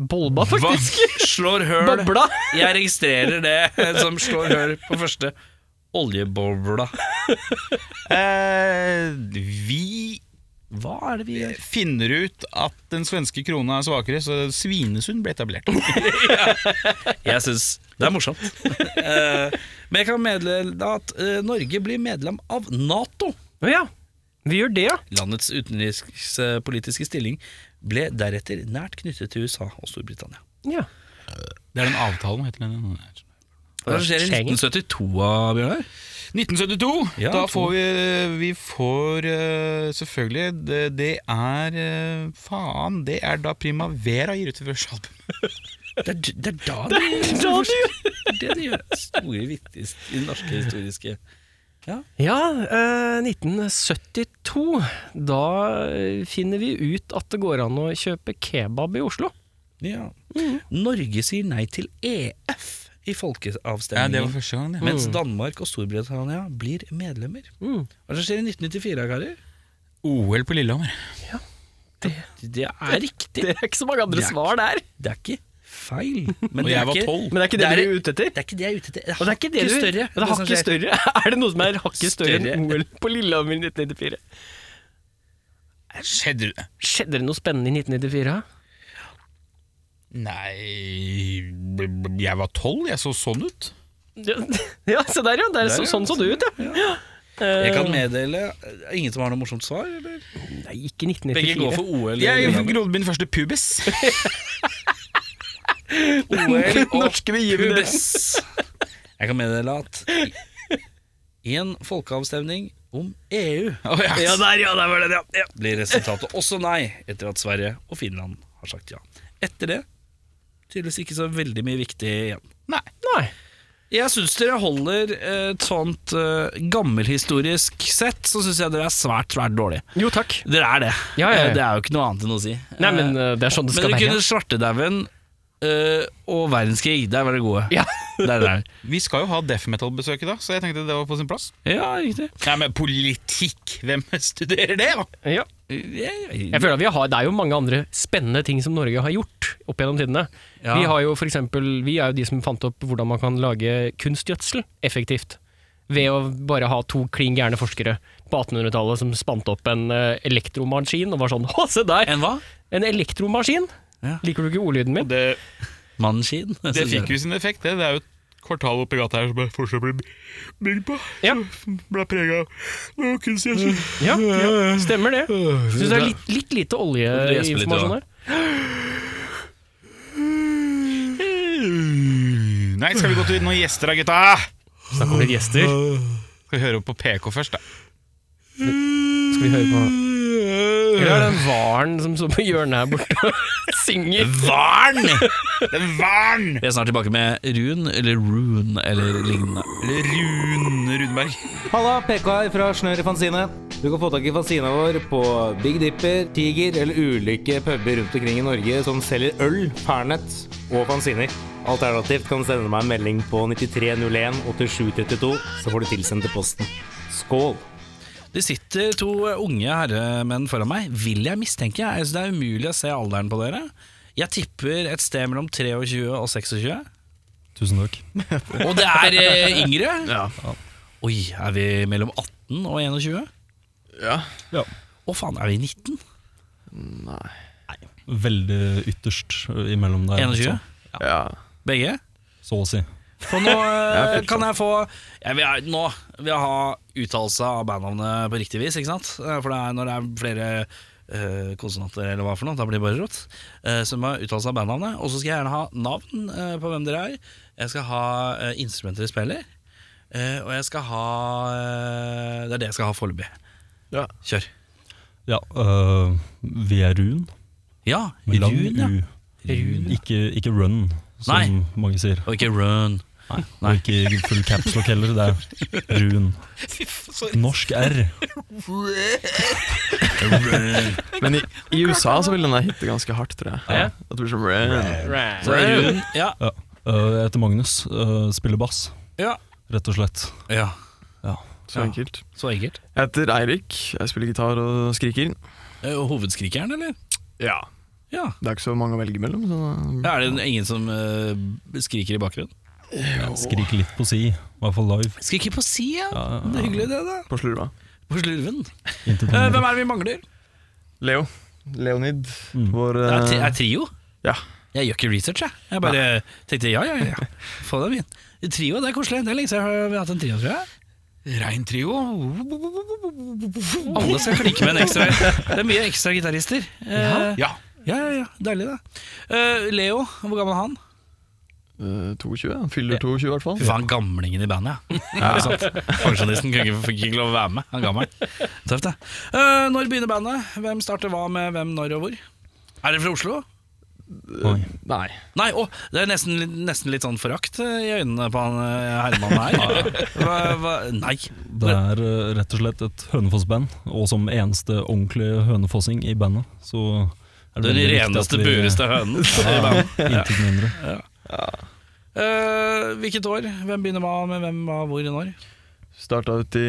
Speaker 3: Bolba, faktisk!
Speaker 1: slår høl.
Speaker 3: Bobla!
Speaker 1: Jeg registrerer det som slår høl på første oljebobla.
Speaker 2: Eh, vi
Speaker 1: Hva er det vi gjør?
Speaker 2: finner ut at den svenske krona er svakere, så Svinesund ble etablert.
Speaker 1: Jeg syns det er morsomt. Eh, Men jeg kan meddele at eh, Norge blir medlem av Nato.
Speaker 3: Å ja, vi gjør det, ja.
Speaker 1: Landets utenrikspolitiske stilling ble deretter nært knyttet til USA og Storbritannia.
Speaker 3: ja.
Speaker 2: Det er den avtalen, heter den.
Speaker 1: Hva skjer i
Speaker 3: Schengen.
Speaker 1: 1972, Bjørnar?
Speaker 2: 1972.
Speaker 1: Ja,
Speaker 2: da
Speaker 1: to.
Speaker 2: får vi Vi får eh, selvfølgelig Det, det er eh, Faen, det er da Primavera gir ut sitt første album.
Speaker 1: Det er, det er da
Speaker 3: da
Speaker 1: det
Speaker 3: de
Speaker 1: det de gjør. Store, viktigste i den norske historiske
Speaker 3: Ja, eh, 1972. Da eh, finner vi ut at det går an å kjøpe kebab i Oslo.
Speaker 1: Ja.
Speaker 2: Mm.
Speaker 1: Norge sier nei til EF
Speaker 2: Ja, det
Speaker 1: i folkeavstemningen,
Speaker 2: var første Mm. gang, det.
Speaker 1: mens Danmark og Storbritannia blir medlemmer.
Speaker 3: Mm.
Speaker 1: Hva er det som skjer i 1994, karer?
Speaker 2: OL på Lillehammer.
Speaker 1: Det er riktig.
Speaker 3: Det er ikke så mange
Speaker 1: Det
Speaker 3: andre
Speaker 1: er
Speaker 3: svar der.
Speaker 1: Det er ikke feil.
Speaker 2: Og
Speaker 1: Men det er
Speaker 2: jeg var
Speaker 1: ikke-
Speaker 2: tolv.
Speaker 3: Men det er ikke det,
Speaker 1: Det er-
Speaker 3: du er ute etter?
Speaker 1: Det er ikke det jeg er ute etter.
Speaker 3: Og det er ikke det du
Speaker 1: hakket
Speaker 3: Det er
Speaker 1: det som
Speaker 3: hakket
Speaker 1: skjer.
Speaker 3: større. Er det noe som er hakket større enn
Speaker 1: Større.
Speaker 3: OL på Lillehammer i 1994?
Speaker 2: Skjedde det?
Speaker 3: Skjedde det noe spennende i 1994?
Speaker 2: Nei b- b- Jeg var tolv, jeg så sånn ut.
Speaker 3: Ja, ja se der, ja. Der, så,
Speaker 1: ja,
Speaker 3: sånn så det ut, ja.
Speaker 1: Jeg kan
Speaker 3: Eh,
Speaker 1: meddele Ingen som har noe morsomt svar? Eller?
Speaker 3: Nei, ikke 1994.
Speaker 1: OL.
Speaker 2: Jeg grodde min første pubis.
Speaker 1: OL og
Speaker 3: Norske begivenheter.
Speaker 1: pubes. Jeg kan meddele at i en folkeavstemning om E EU.
Speaker 2: Å, ja.
Speaker 1: Ja, der, ja, der var det, ja. ja. Blir resultatet også nei, etter at Sverige og Finland har sagt ja. Etter det tydeligvis ikke så veldig mye viktig igjen.
Speaker 2: Nei.
Speaker 3: Nei.
Speaker 1: Jeg syns dere holder et sånt eh, gammelhistorisk sett, så syns jeg dere er svært, svært dårlige.
Speaker 3: Jo, takk.
Speaker 1: Dere er det.
Speaker 3: Ja, ja, ja.
Speaker 1: Eh, Det er jo ikke noe annet enn å si.
Speaker 3: Nei,
Speaker 1: Eh,
Speaker 3: men eh, det er sånn det
Speaker 1: men
Speaker 3: skal
Speaker 1: dere
Speaker 3: være.
Speaker 1: kunne svartedauden eh, og verdenskrig. Der var dere gode.
Speaker 3: Ja.
Speaker 1: Der, der.
Speaker 2: Vi skal jo ha death metal-besøk i dag, så jeg tenkte det var på sin plass.
Speaker 1: ja, riktig.
Speaker 2: Nei, men politikk, hvem studerer det, da?
Speaker 3: Ja.
Speaker 1: Eh, Jeg,
Speaker 3: Jeg føler at vi har, Det er jo mange andre spennende ting som Norge har gjort opp gjennom tidene.
Speaker 1: Ja.
Speaker 3: Vi, har jo for eksempel, vi er jo de som fant opp hvordan man kan lage kunstgjødsel effektivt. Ved å bare ha to klin gærne forskere på 1800-tallet som spant opp en eh, elektromaskin og var sånn Å, se der!
Speaker 1: En hva?
Speaker 3: En elektromaskin!
Speaker 1: Ja.
Speaker 3: Liker du ikke ordlyden min?
Speaker 2: Det,
Speaker 1: Mannskinn?
Speaker 2: det fikk jo sin effekt, det. Det er jo et kvartal oppi gata her som jeg fortsatt blir bygd på.
Speaker 3: Ja.
Speaker 2: Ble prega av kunstgjødsel.
Speaker 3: Ja, ja, stemmer det. Syns det er litt, litt lite
Speaker 1: Du gjesper litt,
Speaker 3: oljeinformasjon
Speaker 1: du,
Speaker 3: her.
Speaker 2: Nei, skal vi gå til noen gjester da, gutta?
Speaker 3: Snakk om litt gjester.
Speaker 2: Skal vi høre på PK først, da?
Speaker 3: Skal vi høre på Eller er det den hvalen som står på hjørnet her borte og synger?
Speaker 1: Varn!
Speaker 2: Den Varn!
Speaker 1: Vi er snart tilbake med Run, eller Rune, eller lignende.
Speaker 2: Rune Rudberg.
Speaker 4: Halla, PK her fra Snør i Fanzine. Du kan få tak i fanzina vår på Big Dipper, Tiger eller ulike puber rundt omkring i Norge som selger øl, pernett og fanziner. Alternativt kan du sende meg en melding på 9301 8732, så får du tilsendt til posten. Skål!
Speaker 1: Det sitter to unge herremenn foran meg, vil jeg mistenke. Jeg synes det er umulig å se alderen på dere. Jeg tipper et sted mellom 23 og 26.
Speaker 5: Tusen takk.
Speaker 1: Og det er eh, yngre. Oi, er vi mellom 18 og 21?
Speaker 6: Ja.
Speaker 5: Ja.
Speaker 1: Å faen, er vi 19?
Speaker 5: Veldig ytterst eh, imellom der. altså,
Speaker 1: 21?
Speaker 5: sånn.
Speaker 6: ja.
Speaker 1: Begge?
Speaker 5: Så å si.
Speaker 1: For nå eh,
Speaker 6: Jeg er
Speaker 1: kan jeg få jeg vil, Nå vil jeg ha uttalelse av bandnavnet på riktig vis, ikke sant? Eh, For det er når det er flere eh, konsonanter eller hva for noe, da blir det bare rot. Eh, så jeg må ha uttalelse av bandnavnet. Og så skal jeg gjerne ha navn eh, på hvem dere er. Jeg skal ha eh, instrumenter dere spiller. Eh, og jeg skal ha eh, Det er det jeg skal ha foreløpig.
Speaker 6: Ja.
Speaker 1: Kjør.
Speaker 5: Ja, øh, vi er Run.
Speaker 1: Ja,
Speaker 5: Med lang
Speaker 1: Rune, ja.
Speaker 5: U.
Speaker 1: Rune.
Speaker 5: Ikke, ikke Run, som
Speaker 1: Nei.
Speaker 5: mange sier.
Speaker 1: Og ikke Run. Nei.
Speaker 5: Og ikke full capslock heller, det er Run. Norsk R.
Speaker 6: Men i, i USA så vil den der hitte ganske hardt, tror jeg.
Speaker 3: Ja.
Speaker 6: Jeg tror som Ren.
Speaker 1: Så det er Rune. Ja.
Speaker 5: Ja. Øh, jeg heter Magnus, øh, spiller bass,
Speaker 1: Ja.
Speaker 5: rett og slett.
Speaker 1: ja.
Speaker 5: Ja.
Speaker 1: Ja.
Speaker 6: Så enkelt.
Speaker 1: Så enkelt.
Speaker 6: Jeg heter Eirik. Jeg spiller gitar og skriker.
Speaker 1: Eh, Og hovedskrikeren, eller?
Speaker 6: Ja.
Speaker 1: Ja.
Speaker 6: Det er ikke så mange å velge mellom, så
Speaker 1: Ja, Er det ingen som eh, skriker i bakgrunnen?
Speaker 5: Skriker litt på si, i hvert fall live.
Speaker 1: Skriker på si, ja.
Speaker 5: Ja, ja, ja.
Speaker 1: Det er hyggelig, det, da.
Speaker 6: på slurva.
Speaker 1: På slurven.
Speaker 5: Inntil
Speaker 1: Eh,
Speaker 5: den-
Speaker 1: hvem er det vi mangler?
Speaker 6: Leo. Leonid.
Speaker 5: Mm.
Speaker 6: Vår
Speaker 1: Det er, tri
Speaker 6: eh,
Speaker 1: er trio.
Speaker 6: Ja.
Speaker 1: Jeg gjør ikke research, jeg. Jeg bare tenkte ja, ja, ja. ja. Få dem inn. Trio, det er koselig. Det er lenge siden jeg har- vi har hatt en trio, tror jeg.
Speaker 2: Rein trio.
Speaker 1: Alle skal klikke med en ekstra. Det er mye ekstra gitarister. Eh,
Speaker 2: Ja.
Speaker 1: ja, ja, ja. Deilig, det. Eh, Leo, hvor gammel er han?
Speaker 6: eh, 22. Han fyller 22, i hvert fall.
Speaker 1: Fy faen, gamlingen i bandet, ja. Ikke sant? Pensjonisten kunne ikke- fikk ikke lov å være med. Han er gammel. Tøft, det. Eh, når begynner bandet? Hvem starter hva med hvem, når og hvor? Er dere fra Oslo?
Speaker 5: Oi.
Speaker 6: Nei.
Speaker 1: Nei, å, det er nesten, litt- nesten litt sånn forakt eh, i øynene på han eh, Herman her. Hva, hva, nei.
Speaker 5: Det er eh, rett og slett et Hønefoss-band, og som eneste ordentlige hønefossing i bandet, så er
Speaker 1: Den
Speaker 5: veldig viktig at
Speaker 1: reneste,
Speaker 5: vi-
Speaker 1: bureste hønen i bandet.
Speaker 5: Intet mindre.
Speaker 1: Eh, hvilket år? Hvem begynner hva med hvem, hva, hvor, når?
Speaker 6: Starta ut i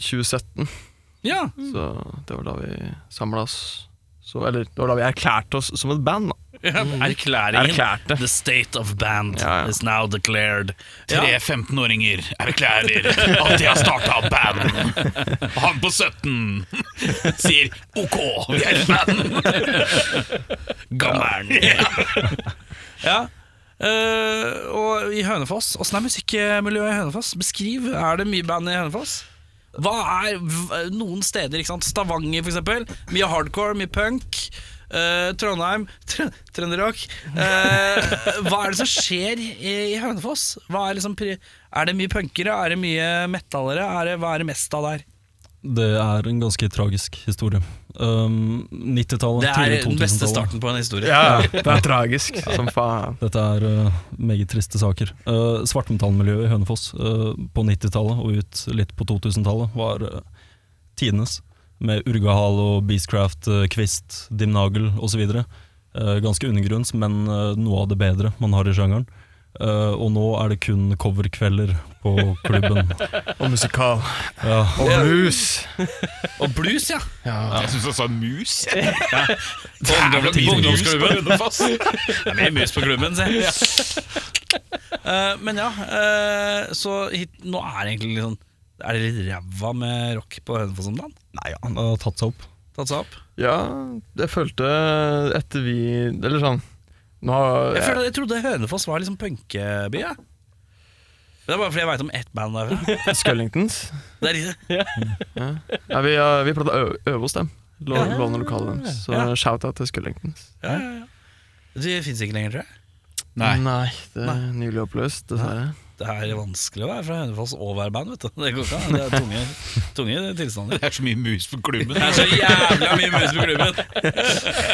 Speaker 6: 2017,
Speaker 1: Ja,
Speaker 6: så det var da vi samla oss. Så, eller det var da vi erklærte oss som et band. da.
Speaker 1: erklæringen.
Speaker 6: Erklærte.
Speaker 1: The state of band
Speaker 6: Ja, ja.
Speaker 1: is now declared.
Speaker 2: Tre
Speaker 1: Ja.
Speaker 2: 15-åringer erklærer at de har starta band. Han på 17 sier OK, vi er et band.
Speaker 1: Gammelen. ja. Eh, og i Hønefoss, åssen er musikkmiljøet i Hønefoss? Beskriv. Er det mye band i Hønefoss? Hva er v- noen steder? ikke sant? Stavanger, for eksempel. Mye hardcore, mye punk. Eh, Trondheim, tr trønderrock. Eh, hva er det som skjer i, i Hønefoss? Hva er, liksom, pri- er det mye punkere? Er det mye metallere? Er det, hva er det mest av der?
Speaker 5: Det er en ganske tragisk historie. Um, 90-tallet,
Speaker 1: Det er
Speaker 5: tidlig
Speaker 1: den beste
Speaker 5: 2000-tallet.
Speaker 1: starten på en historie.
Speaker 6: Ja, det er tragisk som faen.
Speaker 5: Dette er uh, meget triste saker. Uh, Svartmetallmiljøet i Hønefoss uh, på 90-tallet og ut litt på 2000-tallet var uh, tidenes. Med Urgahal og Beastcraft, uh, Kvist, Dimnagel osv. Uh, ganske undergrunns, men uh, noe av det bedre man har i sjangeren. Uh, og nå er det kun coverkvelder på klubben.
Speaker 6: Og musikal.
Speaker 5: Ja,
Speaker 6: Og blues.
Speaker 1: Og blues, ja.
Speaker 2: Jeg syns jeg sa mus.
Speaker 1: På ungdom- på ungdomsklubben.
Speaker 2: Ungdomsklubben.
Speaker 1: Det er mer mus på klubben, se. Eh, men ja, eh, så hit, nå er det egentlig litt sånn Er det litt ræva med rock på Hønefoss om dagen?
Speaker 5: Nei, han har tatt seg opp.
Speaker 1: Tatt seg opp?
Speaker 6: Ja, jeg følte etter vi Eller sånn Nå har
Speaker 1: Jeg, føler, jeg trodde Hønefoss var liksom punkeby. Ja. Det er bare fordi jeg veit om ett band derfra.
Speaker 6: Scullingtons.
Speaker 1: Det er litt,
Speaker 6: Ja, vi, uh, vi prøvde å ø- øve hos dem. Lå- Låne lokalet deres. Så
Speaker 1: Ja.
Speaker 6: shout-out til Scullingtons.
Speaker 1: ja, ja, ja. Det fins ikke lenger, tror jeg.
Speaker 2: Nei.
Speaker 6: det er nylig oppløst, dessverre.
Speaker 1: Det er vanskelig å være fra Hønefoss og være band, vet du. Det går ikke an. Det er tunge, tunge tilstander.
Speaker 2: Det er så mye mus på klubben.
Speaker 1: Det er så jævla mye mus på klubben!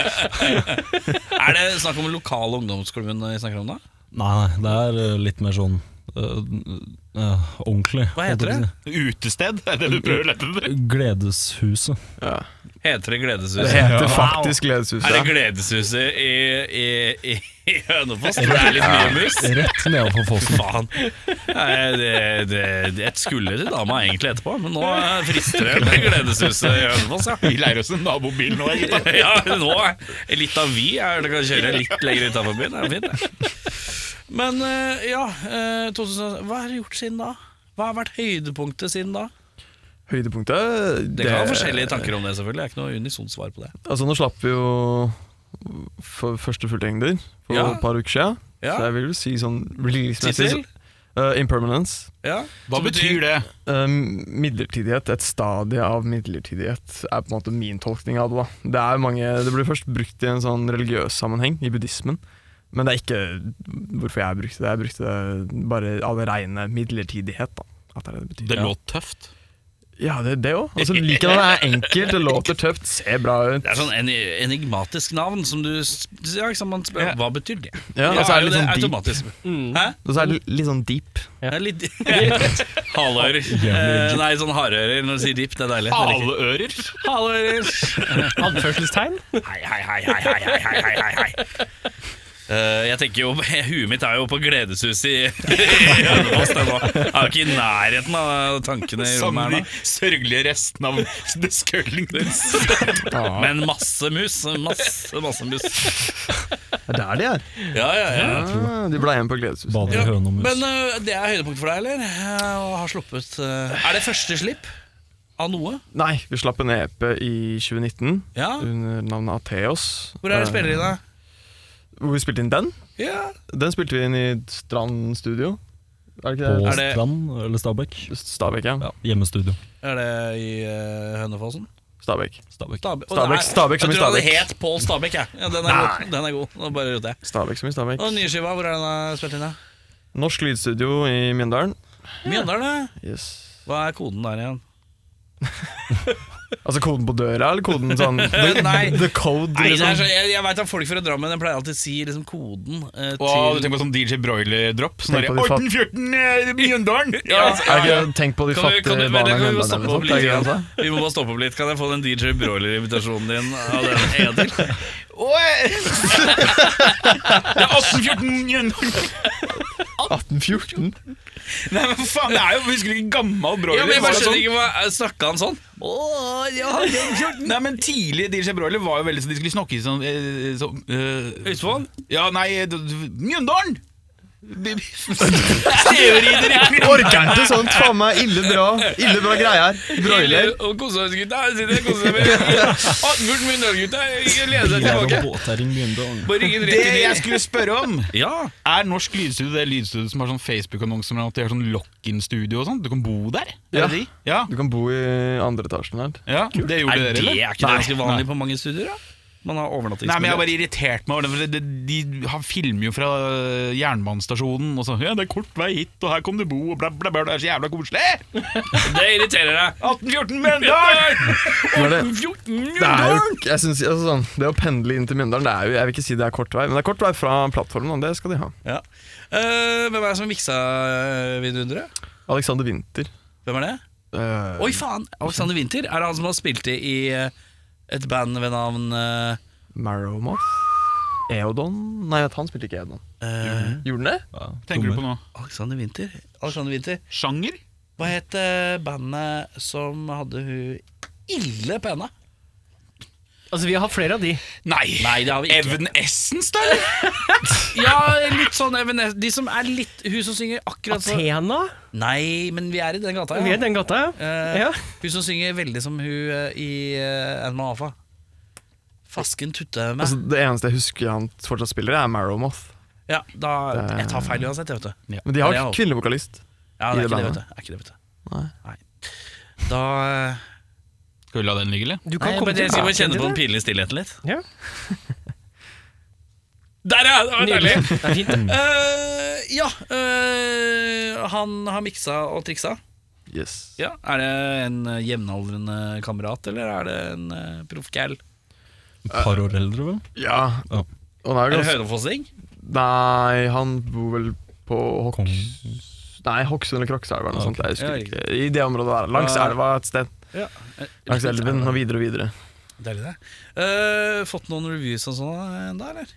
Speaker 1: er det snakk om lokale ungdomsklubben vi snakker om da?
Speaker 5: Nei, nei, det er uh, litt mer sånn uh, uh, ordentlig.
Speaker 1: Hva heter
Speaker 5: holdt jeg på å
Speaker 1: det?
Speaker 2: Utested? Er det du prøver å lette etter?
Speaker 5: si. Gledeshuset.
Speaker 6: Ja.
Speaker 1: Heter det
Speaker 6: Det
Speaker 1: Gledeshuset?
Speaker 6: heter faktisk Gledeshuset.
Speaker 1: Er det Gledeshuset i, i, i, i Hønefoss? Det er litt mye mus?
Speaker 5: Rett nedenfor fossen.
Speaker 1: Faen. Nei, det, det, det, jeg skulle til dama egentlig etterpå, men nå eh, frister det med Gledeshuset i Hønefoss, ja.
Speaker 2: Vi leier oss en nabobil nå, gutta.
Speaker 1: Ja, nå er litt av vi er det kan kjøre litt lenger utenfor byen. Det er fint, det. Men eh, ja, eh, 2000, hva er det gjort siden da? Hva har vært høydepunktet siden da?
Speaker 6: Høydepunktet
Speaker 1: Det kan være forskjellige tanker om det, selvfølgelig. Det er ikke noe unisont svar på det.
Speaker 6: Altså, nå slapp vi jo for første fulltegner for
Speaker 1: Ja.
Speaker 6: et par uker siden.
Speaker 1: Ja.
Speaker 6: Så jeg vil jo si sånn releasemessig
Speaker 1: Tittel?
Speaker 6: uh, Impermanence.
Speaker 1: Ja.
Speaker 2: Hva betyr det?
Speaker 6: Eh, midlertidighet, et stadie av midlertidighet, er på en måte min tolkning av det. da. Det, er mange, det blir først brukt i en sånn religiøs sammenheng, i buddhismen. Men det er ikke hvorfor jeg brukte det. Jeg brukte det bare av det rene midlertidighet. da. At det er det det betyr.
Speaker 2: Det låt tøft.
Speaker 6: Ja, det, det òg. Altså, liker det er enkelt, det låter tøft, ser bra ut.
Speaker 1: Det er sånn en, enigmatisk navn som du s- ja, ikke sant, man spør,
Speaker 2: Ja.
Speaker 1: Hva betyr det?
Speaker 6: Ja, og så er det litt
Speaker 1: jo
Speaker 6: sånn deep.
Speaker 1: automatisk.
Speaker 3: Mm.
Speaker 1: Hæ?
Speaker 6: Og så er det litt sånn deep.
Speaker 1: Det er litt Haleører. Eh, nei, sånn hareører når du sier dip. Det er deilig. Det liker jeg.
Speaker 2: Haleører.
Speaker 1: Haleører.
Speaker 3: Anførselstegn?
Speaker 1: Hei, hei, hei, hei, hei, hei, hei, hei, hei, hei. Eh, jeg tenker jo, Huet mitt er jo på gledeshuset i i Hønefoss. det nå. Jeg er jo ikke i nærheten av tankene i
Speaker 2: Sammen
Speaker 1: rommet
Speaker 2: med
Speaker 1: her nå.
Speaker 2: de sørgelige restene av The Scullingtons.
Speaker 1: Men masse mus. Masse, masse mus.
Speaker 6: Det er der de er.
Speaker 1: Ja, ja, ja.
Speaker 6: Ah, de ble igjen på Gledeshuset.
Speaker 5: Bader i
Speaker 1: Ja,
Speaker 5: hønemus.
Speaker 1: Men ø, det er høydepunkt for deg, eller? Eh, Å ha sluppet ø, Er det første slipp av noe?
Speaker 6: Nei, vi slapp en EP i 2019
Speaker 1: Ja.
Speaker 6: under navnet Atheos.
Speaker 1: Ah. Hvor er det spiller i
Speaker 6: Eh,
Speaker 1: da?
Speaker 6: Hvor vi spilte inn den?
Speaker 1: Ja.
Speaker 6: Den spilte vi inn i Strand studio. Er det
Speaker 5: På
Speaker 6: ikke
Speaker 1: det-
Speaker 5: Strand eller Stabekk?
Speaker 6: det? Stabekk, ja.
Speaker 5: Ja, hjemmestudio.
Speaker 1: Er det i ø, Hønefossen?
Speaker 6: Stabekk.
Speaker 5: Stabekk.
Speaker 1: Stabæk.
Speaker 6: Stabæk- Stabæk som i
Speaker 1: Jeg tror det
Speaker 6: Stabæk.
Speaker 1: het Pål Stabæk, jeg. Ja, den, er god. den er god. Nå bare roter jeg.
Speaker 6: Stabekk som i Stabekk.
Speaker 1: Og den nye skiva, hvor er den ø, spilt inn? da?
Speaker 6: Norsk lydstudio i Mjøndalen.
Speaker 1: Mjøndalen, ja.
Speaker 6: Yes.
Speaker 1: Hva er koden der igjen?
Speaker 6: Altså koden på døra, eller koden sånn The,
Speaker 1: Nei.
Speaker 6: the code,
Speaker 1: Nei, sånn- det er så,
Speaker 6: liksom?
Speaker 1: jeg jeg vvet at folk fra Drammen jeg pleier alltid å si liksom, koden
Speaker 2: Å,
Speaker 1: ø,
Speaker 2: du
Speaker 1: til
Speaker 2: tenker på sånn DJ Broiler-dropp? Sånn
Speaker 6: Tenk
Speaker 2: der,
Speaker 6: på de fat-
Speaker 2: 1814 eh, Mjøndalen! Ja.
Speaker 6: Er det ikke tenk på de
Speaker 1: Kan vi- kan
Speaker 6: fattige
Speaker 1: du- men
Speaker 6: barna
Speaker 1: det
Speaker 6: i
Speaker 1: kan vi jo
Speaker 6: Mjøndalen? liksom. sånn,
Speaker 1: stoppe
Speaker 6: eller
Speaker 1: opp litt igjen.
Speaker 6: noe sånt, er det ikke det han sa?
Speaker 1: Vi må bare stoppe opp litt. Kan jeg få den DJ Broiler-invitasjonen din eh, av den edel?
Speaker 2: Oi! Det er 1814 Mjøndalen!
Speaker 6: 1814?
Speaker 2: Nei, men faen, det er jo Husker du ikke gammel Broiler?
Speaker 1: Ja, men jeg
Speaker 2: var
Speaker 1: bare
Speaker 2: jo
Speaker 1: skjønner
Speaker 2: sånn-
Speaker 1: ikke hva Snakka han sånn? Åh, ja,
Speaker 2: Nei, men Tidlig DJ Broiler var jo veldig sånn de skulle snakke sånn eh, så, eh,
Speaker 1: Østfold?
Speaker 2: Ja, nei d- d- Mjøndalen! Steveridder i
Speaker 6: Orker ikke sånt, faen meg. Ille bra Ille bra greier. Broiler.
Speaker 1: Og Kosåsgutta sitter og koser seg med 18-14 Mjøndalen-gutta. Jeg lener seg tilbake. Bare ingen
Speaker 2: Det
Speaker 1: dritt i
Speaker 2: jeg skulle spørre om,
Speaker 1: Ja.
Speaker 2: er norsk lydstudio det lydstudio som har sånn Facebook-annonser med at de har sånn lock-in-studio og sånn? Du kan bo der?
Speaker 6: Ja.
Speaker 2: Er det de? ja.
Speaker 6: Du kan bo i andre etasjen her.
Speaker 2: ja. Det gjorde
Speaker 1: Er
Speaker 2: dere,
Speaker 1: det
Speaker 2: eller?
Speaker 1: er ikke det ganske vanlig på mange studier? da? Man har overnattingsmulighet.
Speaker 2: Nei, men jeg har bare irritert meg over det. For det, det de har filmer jo fra øh, jernbanestasjonen. Og så, ja, 'Det er kort vei hit, og her kan du bo', og bla, bla, bla. Det er så jævla koselig!
Speaker 1: Det irriterer deg.
Speaker 2: 1814 Mjøndalen!
Speaker 6: Men det,
Speaker 2: 14
Speaker 6: det er jo
Speaker 2: Mjøndalen!
Speaker 6: jeg synes, altså, sånn, Det å pendle inn til Mjøndalen, det er jo, jeg vil ikke si det er kort vei, men det er kort vei fra plattformen, og det skal de ha.
Speaker 1: Ja. Eh, hvem er det som miksa eh, vidunderet?
Speaker 6: Alexander Winther.
Speaker 1: Hvem er det?
Speaker 6: eh,
Speaker 1: Oi, faen! Alexander Winther. Er det han som har spilt i i eh, et band ved navn eh,
Speaker 6: Marrowmoth? Eodon? Nei, vet, du, han spilte ikke Eodon.
Speaker 1: eh,
Speaker 6: Gjorde han det?
Speaker 5: Ja,
Speaker 2: Tenker du
Speaker 5: dummer.
Speaker 2: på nå?
Speaker 1: Alexander Winther? Alexander Winther.
Speaker 2: Sjanger?
Speaker 1: Hva het eh, bandet som hadde hun ille pene?
Speaker 3: Altså, vi har flere av de.
Speaker 2: Nei.
Speaker 1: Nei, det har vi ikke.
Speaker 2: Even Essence, da? eller?
Speaker 1: Ja, litt sånn Evanes- De som er litt Hun som synger akkurat sånn
Speaker 3: Athena?
Speaker 1: Nei, men vi er i den gata.
Speaker 3: Altså, Vi er i den gata, ja.
Speaker 1: Eh,
Speaker 3: ja.
Speaker 1: Hun som synger veldig som hun eh, i uh, Animal Alpha. Fasken tutte meg.
Speaker 6: Altså, det eneste jeg husker han fortsatt spiller, er Marrowmoth.
Speaker 1: ja, da,
Speaker 6: det-
Speaker 1: jeg tar feil uansett, jeg, vet du.
Speaker 6: Men de har
Speaker 1: Ja,
Speaker 6: ikke kvinnelig vokalist.
Speaker 1: Ja, det er
Speaker 6: I det
Speaker 1: ikke det, vet
Speaker 6: bandet.
Speaker 1: du. Er ikke det, vet du.
Speaker 6: Nei.
Speaker 1: Da eh,
Speaker 2: Skal vi la den ligge, eller?
Speaker 3: Du
Speaker 1: Nei,
Speaker 3: kan komme
Speaker 1: men jeg skal
Speaker 3: tilbake
Speaker 1: bare kjenne
Speaker 3: til
Speaker 1: på den
Speaker 3: det.
Speaker 1: pinlige stillheten litt.
Speaker 3: Ja.
Speaker 1: Der, ja! Det var deilig.
Speaker 3: Nydelig. Det er fint. det.
Speaker 1: Eh, ja, eh, han har miksa og triksa.
Speaker 6: Yes.
Speaker 1: Ja, Er det en eh, jevnaldrende kamerat, eller er det en uh, proffgæl?
Speaker 5: Et par år eldre, vel?
Speaker 6: Ja.
Speaker 5: Ja.
Speaker 6: Og han er
Speaker 1: Er
Speaker 6: jo
Speaker 1: det
Speaker 6: ganske
Speaker 1: Hønefossing?
Speaker 6: Nei, han bor vel på Hok...
Speaker 5: Kong.
Speaker 6: Nei, Hokksund eller Krokselva eller
Speaker 5: Ah,
Speaker 6: noe
Speaker 5: ok.
Speaker 6: sånt. Jeg husker
Speaker 1: Ja, Ah.
Speaker 6: ikke. I det området der. Langs
Speaker 1: Ja.
Speaker 6: elva et sted.
Speaker 1: Ja. Eh,
Speaker 6: Langs elven og videre og videre.
Speaker 1: Deilig, det. Eh, fått noen reviews og sånn ennå, eller?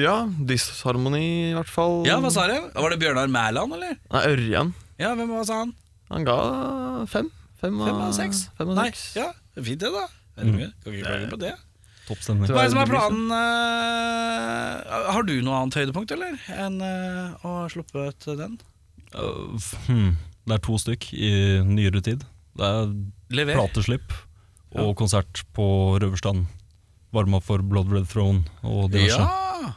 Speaker 6: Ja, disharmoni i hvert fall.
Speaker 1: Ja, hva sa du? Var det Bjørnar Mæland, eller?
Speaker 6: Nei, Ørjan.
Speaker 1: Ja, hvem var sa han?
Speaker 6: Han ga fem. Fem
Speaker 1: Fem av seks?
Speaker 6: Fem av
Speaker 1: Nei,
Speaker 6: seks.
Speaker 1: ja, fint det, da. Er det mye? Kan ikke klage på det.
Speaker 5: Topp stemning.
Speaker 1: Hva er det som er
Speaker 6: Det blir
Speaker 1: planen? eh, har du noe annet høydepunkt, eller? Enn eh, å ha sluppet den?
Speaker 5: Øh, f- hmm. Det er to stykk i nyere tid. Det er
Speaker 1: Lever.
Speaker 5: plateslipp og konsert på Røverstrand. Varma for Blood Red Throne og
Speaker 1: Ja!
Speaker 5: diverse.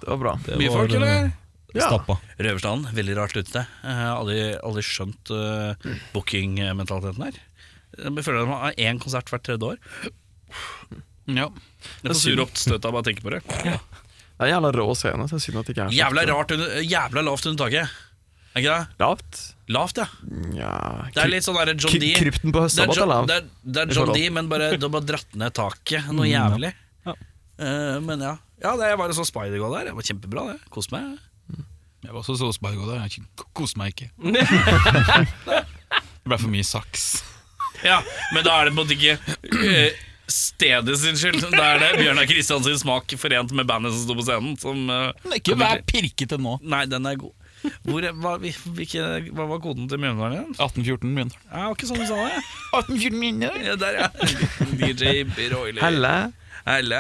Speaker 6: Det var bra.
Speaker 5: Det
Speaker 1: Mye
Speaker 5: var,
Speaker 1: folk,
Speaker 5: øh,
Speaker 1: eller?
Speaker 6: Ja.
Speaker 5: Stappa.
Speaker 1: Røverstaden, veldig rart utested. Jeg har aldri, aldri skjønt uh, bookingmentaliteten her. Jeg føler at man har én konsert hvert tredje år.
Speaker 2: Ja.
Speaker 1: Jeg får sur oppstøt av å bare tenke på det.
Speaker 6: Det er en jævla rå scene, så det er synd at det ikke er så
Speaker 1: Jævla, rart under, jævla lavt under taket. Er ikke det?
Speaker 6: lavt.
Speaker 1: Lavt, ja.
Speaker 6: Ja
Speaker 1: Det er litt sånn der John
Speaker 6: Kry-
Speaker 1: D.
Speaker 6: Krypten på
Speaker 1: Det er
Speaker 6: høstsabat er
Speaker 1: John,
Speaker 6: lav.
Speaker 1: det er, det er
Speaker 6: I
Speaker 1: John
Speaker 6: forhold.
Speaker 1: D, men bare, de har bare dratt ned taket noe jævlig.
Speaker 5: Ja.
Speaker 1: Eh, men ja. ja det, jeg var og så Spider-Go der. Det var kjempebra, det. Koste meg.
Speaker 2: Jeg var også så spark, og det koste meg ikke. Det ble for mye saks.
Speaker 1: Ja, Men da er det på en måte ikke eh, stedet sin skyld. Da er det Bjørnar Kristiansens smak forent med bandet som sto på scenen. Som, eh,
Speaker 2: Ikke vær pirkete nå.
Speaker 1: nei, den er god. Hvor, hva, hvilke, hva var koden til Mjøndalen igjen?
Speaker 2: 1814 begynner.
Speaker 1: Ja, det var ikke sånn du sa det.
Speaker 2: 1814 begynner.
Speaker 1: Ja, der, ja. DJ Broiler.
Speaker 6: Helle.
Speaker 1: Helle.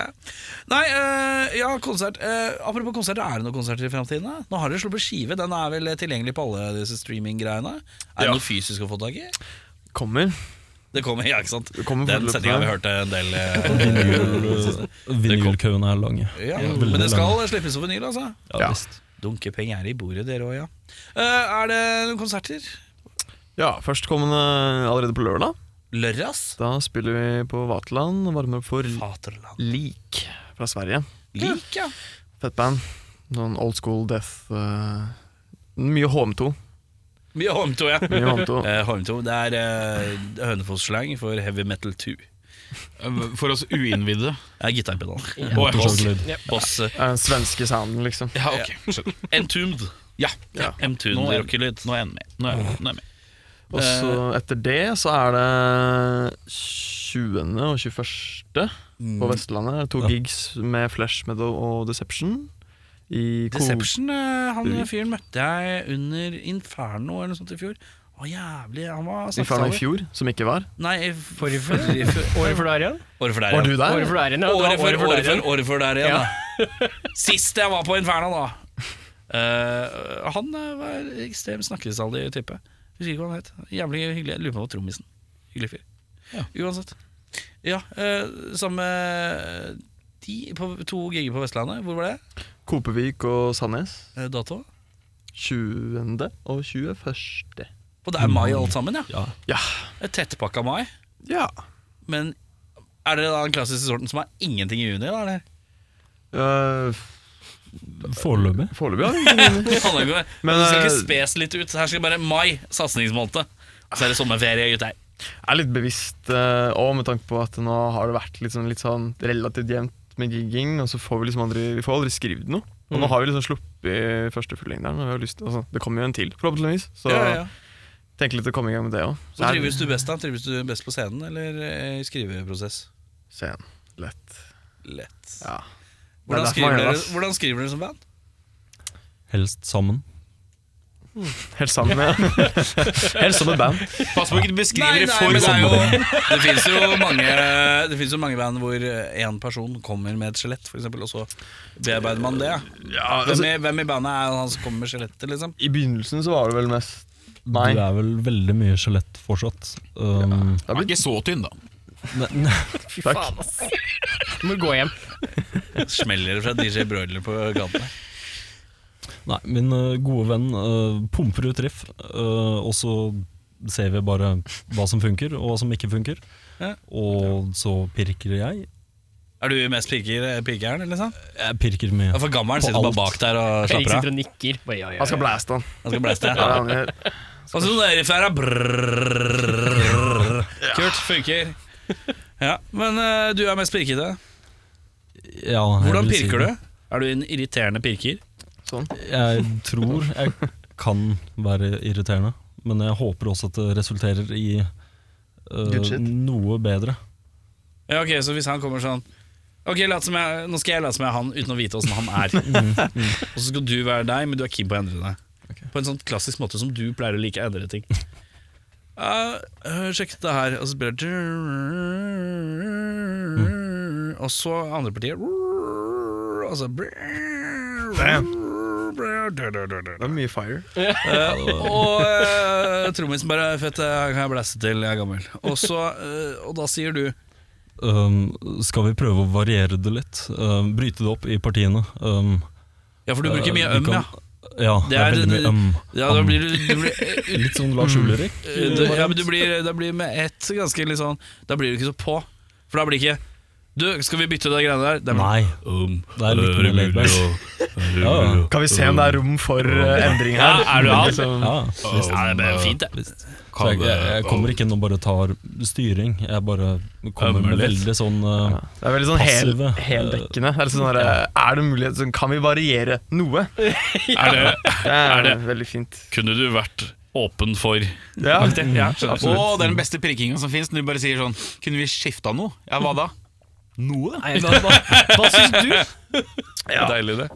Speaker 1: Nei, eh, ja, konsert. Eh, apropos konserter, er det noen konserter i fremtiden? da? Nå har dere sluppet skive. Den er vel tilgjengelig på alle disse streaminggreiene. Er det
Speaker 6: Ja.
Speaker 1: noe fysisk å få tak i?
Speaker 6: Kommer.
Speaker 1: Det kommer, ja, ikke sant?
Speaker 6: Det kommer
Speaker 1: Den
Speaker 6: fortløpende.
Speaker 1: setninga har vi hørt en del. eh,
Speaker 5: Vinyl, vinylkøene er lange.
Speaker 1: ja.
Speaker 5: Ja,
Speaker 1: Men det
Speaker 5: veldig
Speaker 1: skal slippes over vinyl, altså.
Speaker 5: Ja,
Speaker 6: Ja.
Speaker 5: visst.
Speaker 1: Dunke penger i bordet, dere òg, ja. Eh, er det noen konserter?
Speaker 6: Ja, førstkommende allerede på lørdag.
Speaker 1: Lørras?
Speaker 6: Da spiller vi på Vaterland og varmer opp for
Speaker 1: Faterland.
Speaker 6: Lik fra Sverige.
Speaker 1: Lik, ja.
Speaker 6: Fett band. Noen old school death eh, Mye HM2.
Speaker 1: Mye Holmto, ja.
Speaker 6: Mye HM2.
Speaker 1: Eh, Holmto, det er eh, Hønefoss-slang for Heavy Metal 2.
Speaker 2: For oss uinnvidde.
Speaker 1: Det er gitarpedal.
Speaker 2: Og en boss.
Speaker 5: Motorsaglyd.
Speaker 1: Boss eh,
Speaker 6: Eh, Den svenske sounden, liksom.
Speaker 2: Ja, ok. Skjønner.
Speaker 1: Entombed.
Speaker 2: Ja.
Speaker 6: Ja.
Speaker 1: Entombed
Speaker 2: Nå er-
Speaker 1: rockelyd.
Speaker 2: Nå er jeg med. Nå er jeg, nå er jeg med.
Speaker 6: Og så etter det så er det 20. og 21. på Vestlandet. To
Speaker 5: Ja.
Speaker 6: gigs med Flash Meadow og Deception. I Ko-
Speaker 1: Deception, eh, han
Speaker 2: Mm.
Speaker 1: fyren møtte jeg under Inferno eller noe sånt i fjor. Å, jævlig. Han var
Speaker 6: I Farna i fjor, som ikke var.
Speaker 1: Nei, i f-
Speaker 3: Forrige for, året for der igjen?
Speaker 1: Året før der,
Speaker 6: Var du
Speaker 1: ja.
Speaker 6: der?
Speaker 3: Året for der igjen, ja. Det var
Speaker 1: Året før, året
Speaker 3: der igjen.
Speaker 1: før, året før der igjen, da. Sist jeg var på Inferno, da. Eh, han eh, var ekstremt snakkesalig type. Husker ikke hva han het. Jævlig hyggelig. Jeg Lurer på om det var trommisen. Hyggelig fyr. Uansett. Ja, uh, samme de på to gigger på Vestlandet. Hvor var det?
Speaker 6: Kopervik og Sandnes.
Speaker 1: Eh, dato?
Speaker 6: 20. og 21.
Speaker 1: Og det er mai alt sammen, ja.
Speaker 6: Ja.
Speaker 1: Et tettpakka mai.
Speaker 6: Ja.
Speaker 1: Men er det da den klassiske sorten som har ingenting i juni? da, eller?
Speaker 6: Eh,
Speaker 5: Foreløpig.
Speaker 6: Foreløpig har jeg ingen
Speaker 1: Men,
Speaker 6: Men,
Speaker 1: det skal ikke
Speaker 6: eh,
Speaker 1: spes litt ut. Her skal bare mai, satsingsmåned. Så er det sommerferie, gutter.
Speaker 6: Jeg er litt bevisst eh, Og med tanke på at nå har det vært litt sånn, litt sånn relativt jevnt med gigging, og så får vi liksom aldri Vi får aldri skrevet noe. Og nå har vi liksom sluppet første fullengderen. og vi har lyst til- Altså, det kommer jo en til, forhåpentligvis. Så
Speaker 1: Ja, ja, ja.
Speaker 6: tenk litt å komme i gang med det òg.
Speaker 1: Så trives du best da? Trives du best på scenen eller eh, i skriveprosess?
Speaker 6: Sen. Lett.
Speaker 1: Lett.
Speaker 6: Ja. Det er
Speaker 1: Hvordan
Speaker 6: derfor
Speaker 1: skriver,
Speaker 6: man gjør det,
Speaker 1: dere,
Speaker 6: ass.
Speaker 1: hvordan skriver dere som band?
Speaker 5: Helst sammen.
Speaker 6: Helt sammen, ja. Helt som et band.
Speaker 2: Pass på ikke du beskriver det
Speaker 1: men
Speaker 2: for
Speaker 1: det, er
Speaker 2: sånn.
Speaker 1: jo, det finnes jo mange Det finnes jo mange band hvor én person kommer med et skjelett, for eksempel, og så bearbeider man det.
Speaker 6: Ja,
Speaker 1: Hvem
Speaker 6: altså,
Speaker 1: i, hvem i bandet er han som kommer med skjelettet, liksom?
Speaker 6: I begynnelsen så var det vel mest meg.
Speaker 5: Du er vel veldig mye skjelett fortsatt. Um,
Speaker 6: Det har
Speaker 2: Han er
Speaker 6: blitt
Speaker 2: ikke så tynn, da.
Speaker 3: Fy
Speaker 6: Takk.
Speaker 3: faen, ass. Du må gå hjem.
Speaker 1: Smeller det fra DJ Broiler på gaten?
Speaker 5: Nei, min eh, gode venn eh, pumper ut riff, eh, og så ser vi bare hva som funker, og hva som ikke funker.
Speaker 1: Ja.
Speaker 5: Og så pirker jeg.
Speaker 1: Er du mest pirker, pirkeren, liksom?
Speaker 5: Jeg pirker mye.
Speaker 1: Ja, for gammelen
Speaker 5: På
Speaker 1: sitter bare
Speaker 5: alt.
Speaker 1: bak der
Speaker 3: Erik
Speaker 1: og slapper av.
Speaker 3: sitter og nikker. Bare, ja, ja,
Speaker 6: Han skal
Speaker 3: ja.
Speaker 6: blæste han.
Speaker 1: Han skal blæste.
Speaker 6: Ja, han gjør.
Speaker 1: Og så det riffet her er brrrr. Kult, funker. Ja, Men eh, du er mest pirkete.
Speaker 5: Ja, jeg
Speaker 1: Hvordan
Speaker 5: vil si
Speaker 1: pirker
Speaker 5: det.
Speaker 1: du? Er du en irriterende pirker?
Speaker 6: Sånn.
Speaker 5: Jeg tror jeg kan være irriterende, men jeg håper også at det resulterer i eh,
Speaker 6: Good shit.
Speaker 5: noe bedre.
Speaker 1: Ja, ok, Så hvis han kommer sånn Ok, lat som jeg, Nå skal jeg late som jeg er han uten å vite åssen han er.
Speaker 6: Mm,
Speaker 1: Og så skal du være deg, men du er keen på å endre deg. På en sånn klassisk måte som du pleier å like å endre ting. Uh, sjekk det her, og så spiller jeg
Speaker 6: Mm.
Speaker 1: Og så andre partiet Og så
Speaker 6: Det er mye fire.
Speaker 1: Eh, og uh, trommisen bare Fett, jeg kan jeg blæste til, jeg er gammel. Og, så, eh, og da sier du
Speaker 5: Um, skal vi prøve å variere det litt? Um, bryte det opp i partiene? Um,
Speaker 1: Ja, for du bruker mye
Speaker 5: eh, vi
Speaker 1: øm,
Speaker 5: kan-
Speaker 1: ja.
Speaker 5: Ja,
Speaker 1: Det
Speaker 5: det er,
Speaker 1: er-
Speaker 5: veldig mye
Speaker 1: det-
Speaker 5: øm.
Speaker 1: Ja, da
Speaker 5: øm.
Speaker 1: blir du, du blir,
Speaker 5: Litt sånn Lars Ulrik.
Speaker 1: Eh, det, ja, men du blir, da blir med ett ganske litt sånn Da blir du ikke så på. For da blir det ikke Du, skal vi bytte de greiene der? Det er bare,
Speaker 5: Nei,
Speaker 1: um,
Speaker 5: det er litt mer laid back. Ja, ja.
Speaker 6: Kan vi se om det er rom for eh, endring her?
Speaker 1: Ja, er du han?
Speaker 6: Liksom-
Speaker 5: ja.
Speaker 1: Ja, det er bare fint, det.
Speaker 5: Så jeg, jeg, jeg kommer ikke inn og bare tar styring. Jeg bare kommer med veldig sånn uh,
Speaker 6: Det er veldig sånn hel,
Speaker 5: Passive.
Speaker 6: heldekkende. Det Er, litt sånn der, er det mulighet sånn, Kan vi variere noe?
Speaker 1: Er det
Speaker 6: Det er,
Speaker 1: Er det-
Speaker 6: veldig fint.
Speaker 1: Kunne du vært åpen for
Speaker 6: Ja,
Speaker 1: Ja,
Speaker 6: Mm.
Speaker 2: Å, det er den beste prikkinga som fins, når du bare sier sånn Kunne vi skifta noe? Ja, hva da? Noe, da?
Speaker 3: Nei, hva, hva, hva syns du?
Speaker 1: Deilig, det.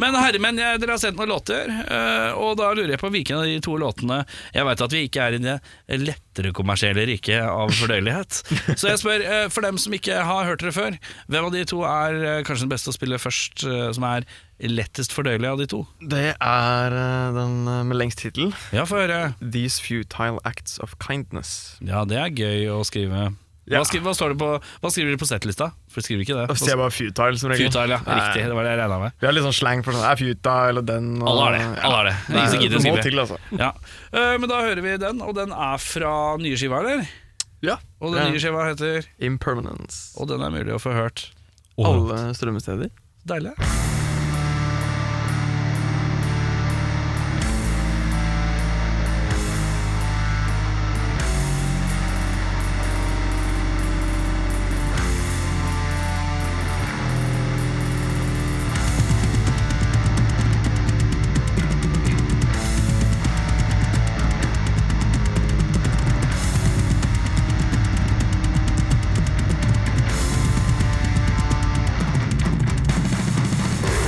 Speaker 1: Men herremenn, jeg- dere har sendt noen låter, eh, og da lurer jeg på hvilken av de to låtene Jeg veit at vi ikke er i det lettere kommersielle riket av fordøyelighet, så jeg spør, eh, for dem som ikke har hørt dere før, hvem av de to er eh, kanskje den beste å spille først, eh, som er lettest fordøyelig av de to?
Speaker 6: det er eh, den eh, med lengst tittel.
Speaker 1: Ja, få høre.
Speaker 6: These futile acts of kindness.
Speaker 1: Ja, det er gøy å skrive.
Speaker 6: Ja.
Speaker 1: Hva, skri, hva, står det på, hva skriver dere på settlista? For dere skriver ikke
Speaker 6: Og
Speaker 1: det.
Speaker 6: så sier jeg bare futile, som regel.
Speaker 1: Futile, ja. Riktig, det var det jeg regna med.
Speaker 6: Vi har litt sånn slang for sånn er futile og den og
Speaker 1: Alle har det. Alle har det. Det er ingen som
Speaker 6: Nei,
Speaker 1: gidder å
Speaker 6: det må
Speaker 1: skrive.
Speaker 6: til, altså.
Speaker 1: Ja. Eh, men da hører vi den, og den er fra nye skiva, eller?
Speaker 6: Ja.
Speaker 1: Og den
Speaker 6: Ja.
Speaker 1: nye skiva heter
Speaker 6: Impermanence.
Speaker 1: Og den er mulig å få hørt.
Speaker 5: overalt.
Speaker 6: Alle strømmesteder.
Speaker 1: Deilig.
Speaker 7: Impermanence.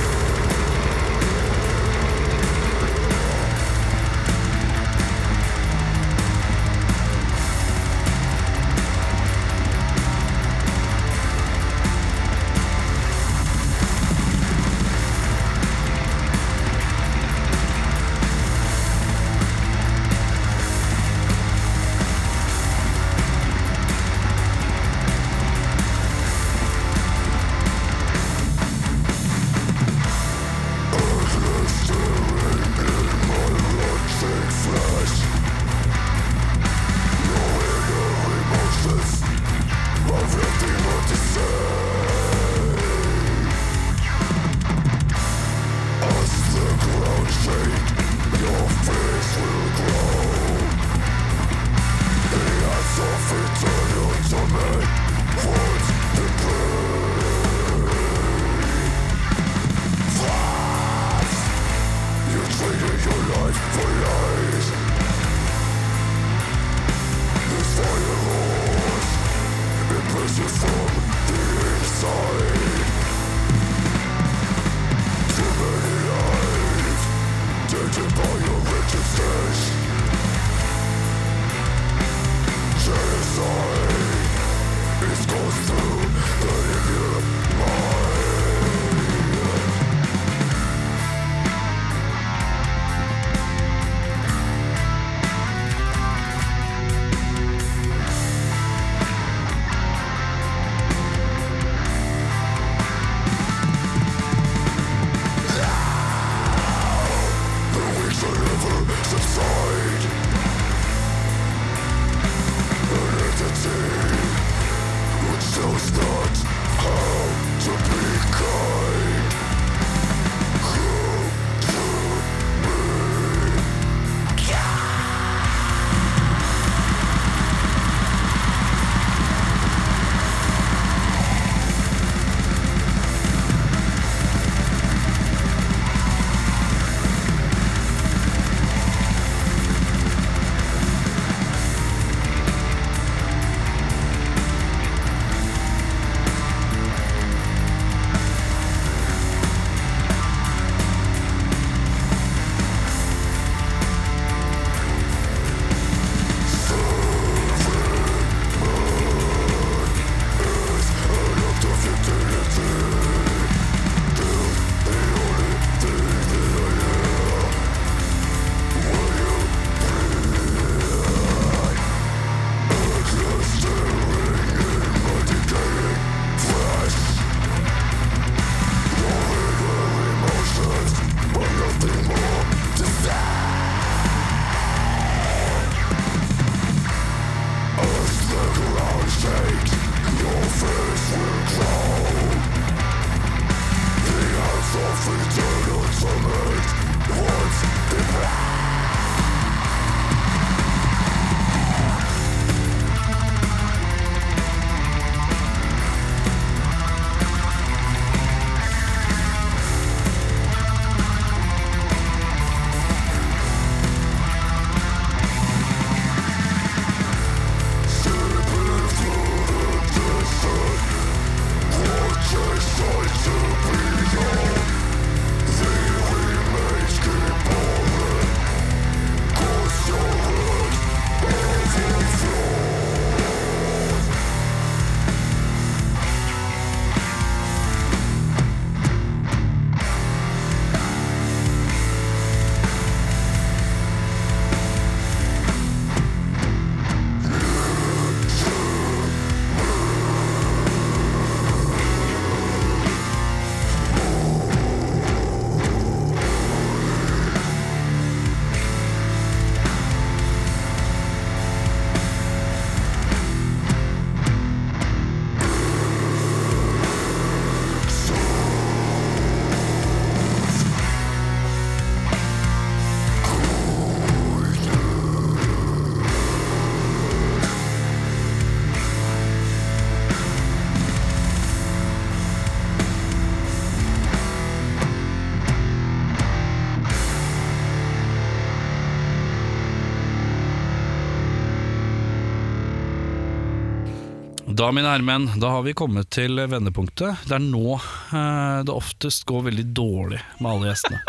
Speaker 1: Da, mine herremenn, da har vi kommet til vendepunktet. Det er nå eh, det oftest går veldig dårlig med alle gjestene.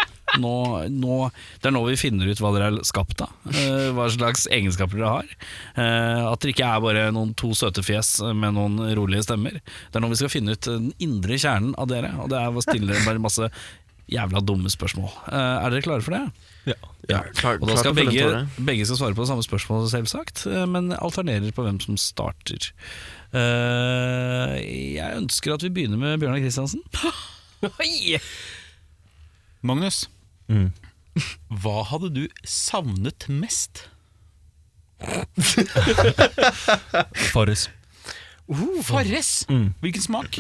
Speaker 1: Nå, nå, det er nå vi finner ut hva dere er skapt av, eh, hva slags egenskaper dere har. Eh, at dere ikke er bare noen to søte fjes med noen rolige stemmer. Det er nå vi skal finne ut den indre kjernen av dere, og det er å stille dere bare masse jævla dumme spørsmål. Eh, er dere klare for det?
Speaker 5: Ja.
Speaker 1: Ja,
Speaker 6: Klar-
Speaker 1: og da
Speaker 6: klart
Speaker 1: skal
Speaker 6: å følge
Speaker 1: begge,
Speaker 6: en tåre.
Speaker 1: begge skal svare på det samme spørsmålet, selvsagt, eh, men alternerer på hvem som starter. Eh, jeg ønsker at vi begynner med Bjørnar Kristiansen.
Speaker 3: Oi!
Speaker 2: Magnus,
Speaker 5: Mm.
Speaker 2: hva hadde du savnet mest?
Speaker 5: Farris.
Speaker 2: Uh, Farris!
Speaker 5: Mm.
Speaker 2: Hvilken smak?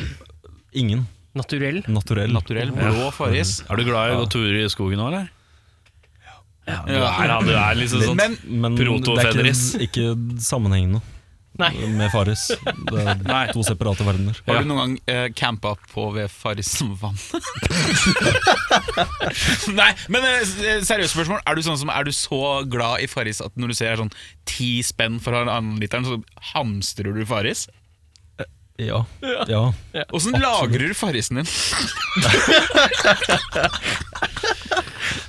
Speaker 5: Ingen.
Speaker 3: Naturell.
Speaker 5: Naturell.
Speaker 2: Naturell, blå Farris.
Speaker 1: Er du glad i å gå turer i skogen nå, eller? Ja, du er, ja, du er liksom sånn
Speaker 2: Men
Speaker 5: Men det er
Speaker 1: Proto-Fenris.
Speaker 5: ikke, ikke sammenhengende
Speaker 3: Nei.
Speaker 5: med Farris. Det
Speaker 1: Nei.
Speaker 5: er to separate verdener.
Speaker 2: har du noen gang eh, campa på ved Farrisvannet? Nei, men eh, s- seriøst spørsmål. Er du, sånn som, er du så glad i Farris at når du ser sånn ti spenn for halvannen literen, så hamstrer du Farris?
Speaker 5: Ja. ja.
Speaker 2: Åssen lagrer du Farrisen din?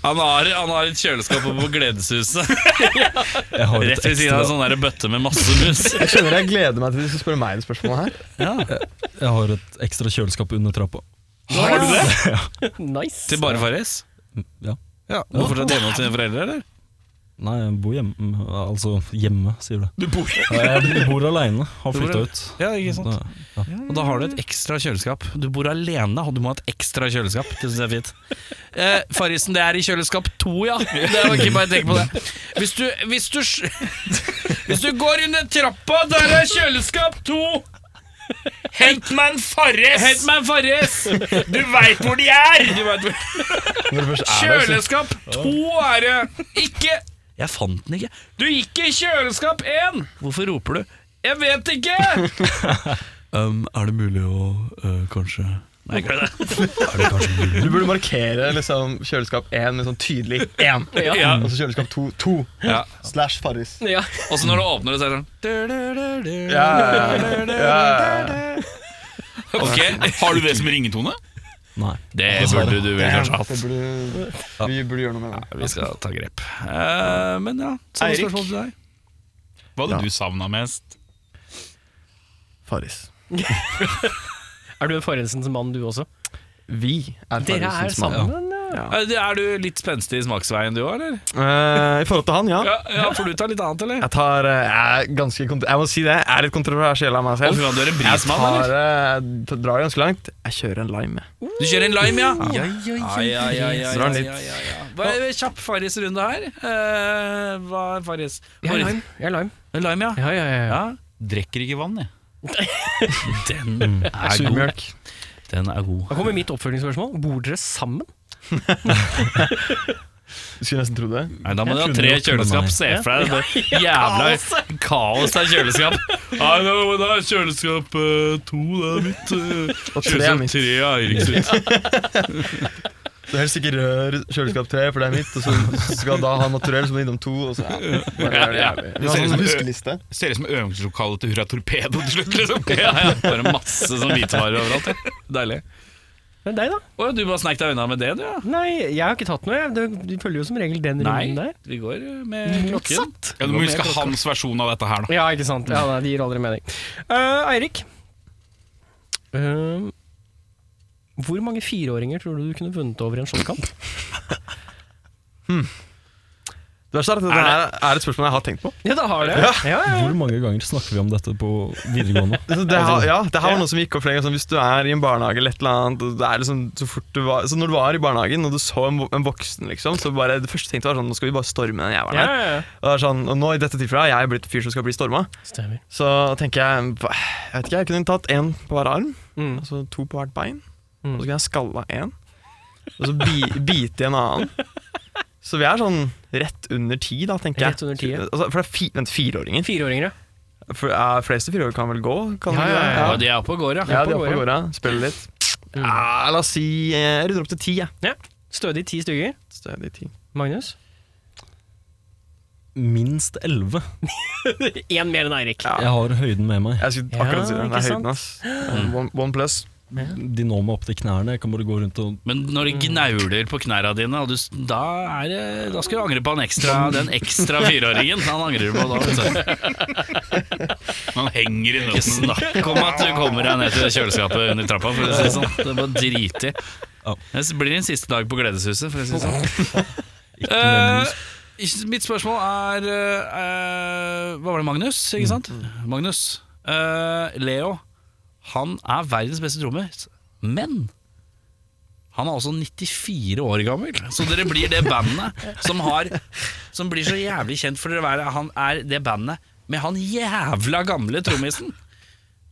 Speaker 1: Han har, han har et kjøleskap oppe på Gledeshuset,
Speaker 5: Jeg har
Speaker 1: rett
Speaker 5: et
Speaker 1: ved siden av en
Speaker 5: ekstra,
Speaker 1: sånn der bøtte med masse mus.
Speaker 6: Jeg skjønner jeg gleder meg til de skal spørre meg det spørsmålet her.
Speaker 5: jeg har et ekstra kjøleskap under trappa.
Speaker 1: Har du det?
Speaker 3: Nice.
Speaker 1: Til bare Farris?
Speaker 5: Ja.
Speaker 1: Ja. Du er fortsatt hjemme hos dine foreldre, eller?
Speaker 5: Nei, jeg bor hjemme. Altså hjemme, sier du.
Speaker 2: Du bor
Speaker 5: Jeg bor aleine. Har
Speaker 1: Du bor-
Speaker 5: flytta ut.
Speaker 1: Ja, ikke
Speaker 5: Da, ja.
Speaker 1: Og da har du et ekstra kjøleskap. Du bor alene, og du må ha et ekstra kjøleskap. Det synes jeg er fint. Eh, Farrisen, det er i kjøleskap to, ja. Det var ikke bare å tenke på det. Hvis du, hvis du sj- Hvis du går under trappa, der er kjøleskap to! Hent meg en Farris! Hent meg en Farris! Du veit hvor de er!
Speaker 6: Når du først er der, så-
Speaker 1: Kjøleskap to er det! Ikke Jeg fant den ikke. Du gikk i kjøleskap én! Hvorfor roper du? Jeg vet ikke! er det mulig å eh, kanskje Nei, ikke det.
Speaker 6: Du burde markere liksom, kjøleskap 1 med sånn tydelig 1.
Speaker 1: Ja.
Speaker 6: Og så kjøleskap 2. 2
Speaker 1: Ja.
Speaker 6: slash Farris.
Speaker 3: Ja.
Speaker 1: Og så når du åpner det, sånn. så er det sånn
Speaker 6: Ja, ja, ja.
Speaker 1: Ok,
Speaker 2: Har du det som ringetone?
Speaker 5: Nei.
Speaker 1: det burde du vel kanskje hatt.
Speaker 6: Det burde, vi burde gjøre noe med det.
Speaker 1: Vi skal ta grep. Eh, men ja, samme
Speaker 2: Eirik?
Speaker 1: spørsmål til deg.
Speaker 2: Hva hadde
Speaker 6: Ja.
Speaker 2: du savna mest?
Speaker 6: Farris.
Speaker 3: Er du en Farrisens mann, du også?
Speaker 6: Vi er
Speaker 3: Dere er
Speaker 6: Farrisens mann.
Speaker 3: sammen, ja.
Speaker 1: Eh, Er du litt spenstig i smaksveien du òg, eller?
Speaker 6: Eh, I forhold til han, ja.
Speaker 1: Ja, ja, For du tar litt annet, eller?
Speaker 6: Jeg, tar, eh, jeg, er ganske, kont- jeg må si det, jeg er litt kontroversiell av meg
Speaker 1: Å,
Speaker 6: selv.
Speaker 1: fy faen, du er en
Speaker 6: Jeg,
Speaker 1: brismann,
Speaker 6: tar,
Speaker 1: eller?
Speaker 6: eh, jeg t- drar ganske langt. Jeg kjører en lime. jeg.
Speaker 1: Du kjører en lime, ja? Ai, ai, ai, ai,
Speaker 6: Drar
Speaker 1: ai,
Speaker 6: litt.
Speaker 1: ai, ai, ai. Hva er Kjapp Farris-runde her. Eh, hva er Farris?
Speaker 3: Jeg er lime. Jeg er lime.
Speaker 1: Lime, ja.
Speaker 3: Ja, ja, ja. ja.
Speaker 1: ja.
Speaker 2: Drikker ikke vann, jeg.
Speaker 1: Den
Speaker 2: Mm.
Speaker 1: er god.
Speaker 6: Surmjølk.
Speaker 1: Den er god.
Speaker 3: Da kommer mitt oppfølgingsspørsmål. Bor dere sammen?
Speaker 6: Du skulle nesten tro det.
Speaker 1: Nei, da må du ha
Speaker 5: skjønner
Speaker 1: tre
Speaker 5: godt med
Speaker 1: kjøleskap.
Speaker 5: meg.
Speaker 1: Se for deg det jævla kaos av kjøleskap. Nei, det var- det er kjøleskap eh, to, det er mitt. eh,
Speaker 6: Og tre er
Speaker 1: Kjøleskap
Speaker 6: mitt.
Speaker 1: tre er Eirik sitt.
Speaker 6: Så helst ikke rør kjøleskap tre, for det er mitt. Og så skal da ha naturell, så må du innom to. Og så, ja, bare gjør det jævlig. Vi har sånn huskeliste.
Speaker 2: Ser ut som øvingslokalet til Hurra Torpedo til slutt, liksom.
Speaker 1: Ja, ja, bare masse sånn hvitvarer overalt. ja. Deilig.
Speaker 3: Men deg, da?
Speaker 1: Å, du bare snek deg unna med det, du, ja.
Speaker 3: Nei, jeg har ikke tatt noe. jeg. Det- Du følger jo som regel den runden
Speaker 1: Nei,
Speaker 3: der.
Speaker 1: vi går eh, med klokken.
Speaker 3: Motsatt.
Speaker 2: Ja, Du må huske hans versjon av dette her, da.
Speaker 3: Ja, ikke sant. Ja, nei, Det gir aldri mening. Eh, Eirik. Eh, hvor mange fireåringer tror du du kunne vunnet over i en shotkamp?
Speaker 6: Det verste er sånn at dette her er et spørsmål jeg har tenkt på.
Speaker 3: Ja, det har det. Ja. Ja,
Speaker 5: Hvor mange ganger snakker vi om dette på videregående?
Speaker 6: Det, det, har- ja, det her var noe som gikk opp flere ganger. Sånn, hvis du er i en barnehage eller et eller annet og det er liksom, så fort du var, så Når du var i barnehagen og du så en, vo- en voksen, liksom, så bare det første jeg tenkte var sånn Nå skal vi bare storme den jævelen her.
Speaker 3: ja, ja.
Speaker 6: Og, det er sånn, og nå i dette tilfellet har jeg blitt fyr som skal bli storma.
Speaker 3: Stemmer.
Speaker 6: Så tenker jeg hva- Jeg vet ikke, jeg kunne tatt én på hver arm,
Speaker 3: Mm.
Speaker 6: og så to på hvert bein.
Speaker 3: Mm.
Speaker 6: Og så kunne jeg skalla én, og så bi, bite i en annen. Så vi er sånn rett under ti, da, tenker jeg.
Speaker 3: Rett under ti, ja.
Speaker 6: altså, for det er fi, vent, fireåringer.
Speaker 3: Fireåringer, ja.
Speaker 6: For, eh, fleste fireåringer kan vel gå? Kan
Speaker 3: Ja,
Speaker 6: de
Speaker 3: ja,
Speaker 6: det?
Speaker 3: ja.
Speaker 1: Ja, de er oppe og går, ja.
Speaker 6: Ja, de er oppe og går, ja. Spiller litt.
Speaker 3: Mm.
Speaker 6: Ja, la oss si eh, Jeg runder opp til ti, jeg.
Speaker 3: Stødig ti stykker.
Speaker 6: Stødig ti.
Speaker 3: Magnus?
Speaker 5: minst 11.
Speaker 3: Én mer enn Eirik.
Speaker 6: Ja.
Speaker 5: Jeg har høyden med meg.
Speaker 6: Jeg skulle
Speaker 3: Ja,
Speaker 6: akkurat si det. Det
Speaker 3: ikke
Speaker 6: er
Speaker 3: sant?
Speaker 6: høyden, ass. Mm. One, one plus.
Speaker 5: De når meg opp til knærne. Jeg kan bare gå rundt og
Speaker 1: Men når det gnauler på knærne dine, og du, s- da, er det, da skal du angre på han ekstra, den ekstra fireåringen. Han angrer du på da. vet du.
Speaker 2: Man henger i
Speaker 1: Ikke
Speaker 2: nøtten.
Speaker 1: snakk om at du kommer deg ned til kjøleskapet under trappa, for å si det sånn. Det er bare drit i.
Speaker 5: Ja.
Speaker 1: Det blir din siste dag på Gledeshuset, for å si det sånn.
Speaker 5: ikke
Speaker 1: Eh,
Speaker 5: nødvendigvis.
Speaker 1: mitt spørsmål er eh, Hva var det, Magnus? Ikke sant?
Speaker 5: Mm.
Speaker 1: Magnus. Eh, Leo, han er verdens beste trommer, men han er også 94 år gammel. Så dere blir det bandet som, har, som blir så jævlig kjent for dere å være Han er det bandet med han jævla gamle trommisen.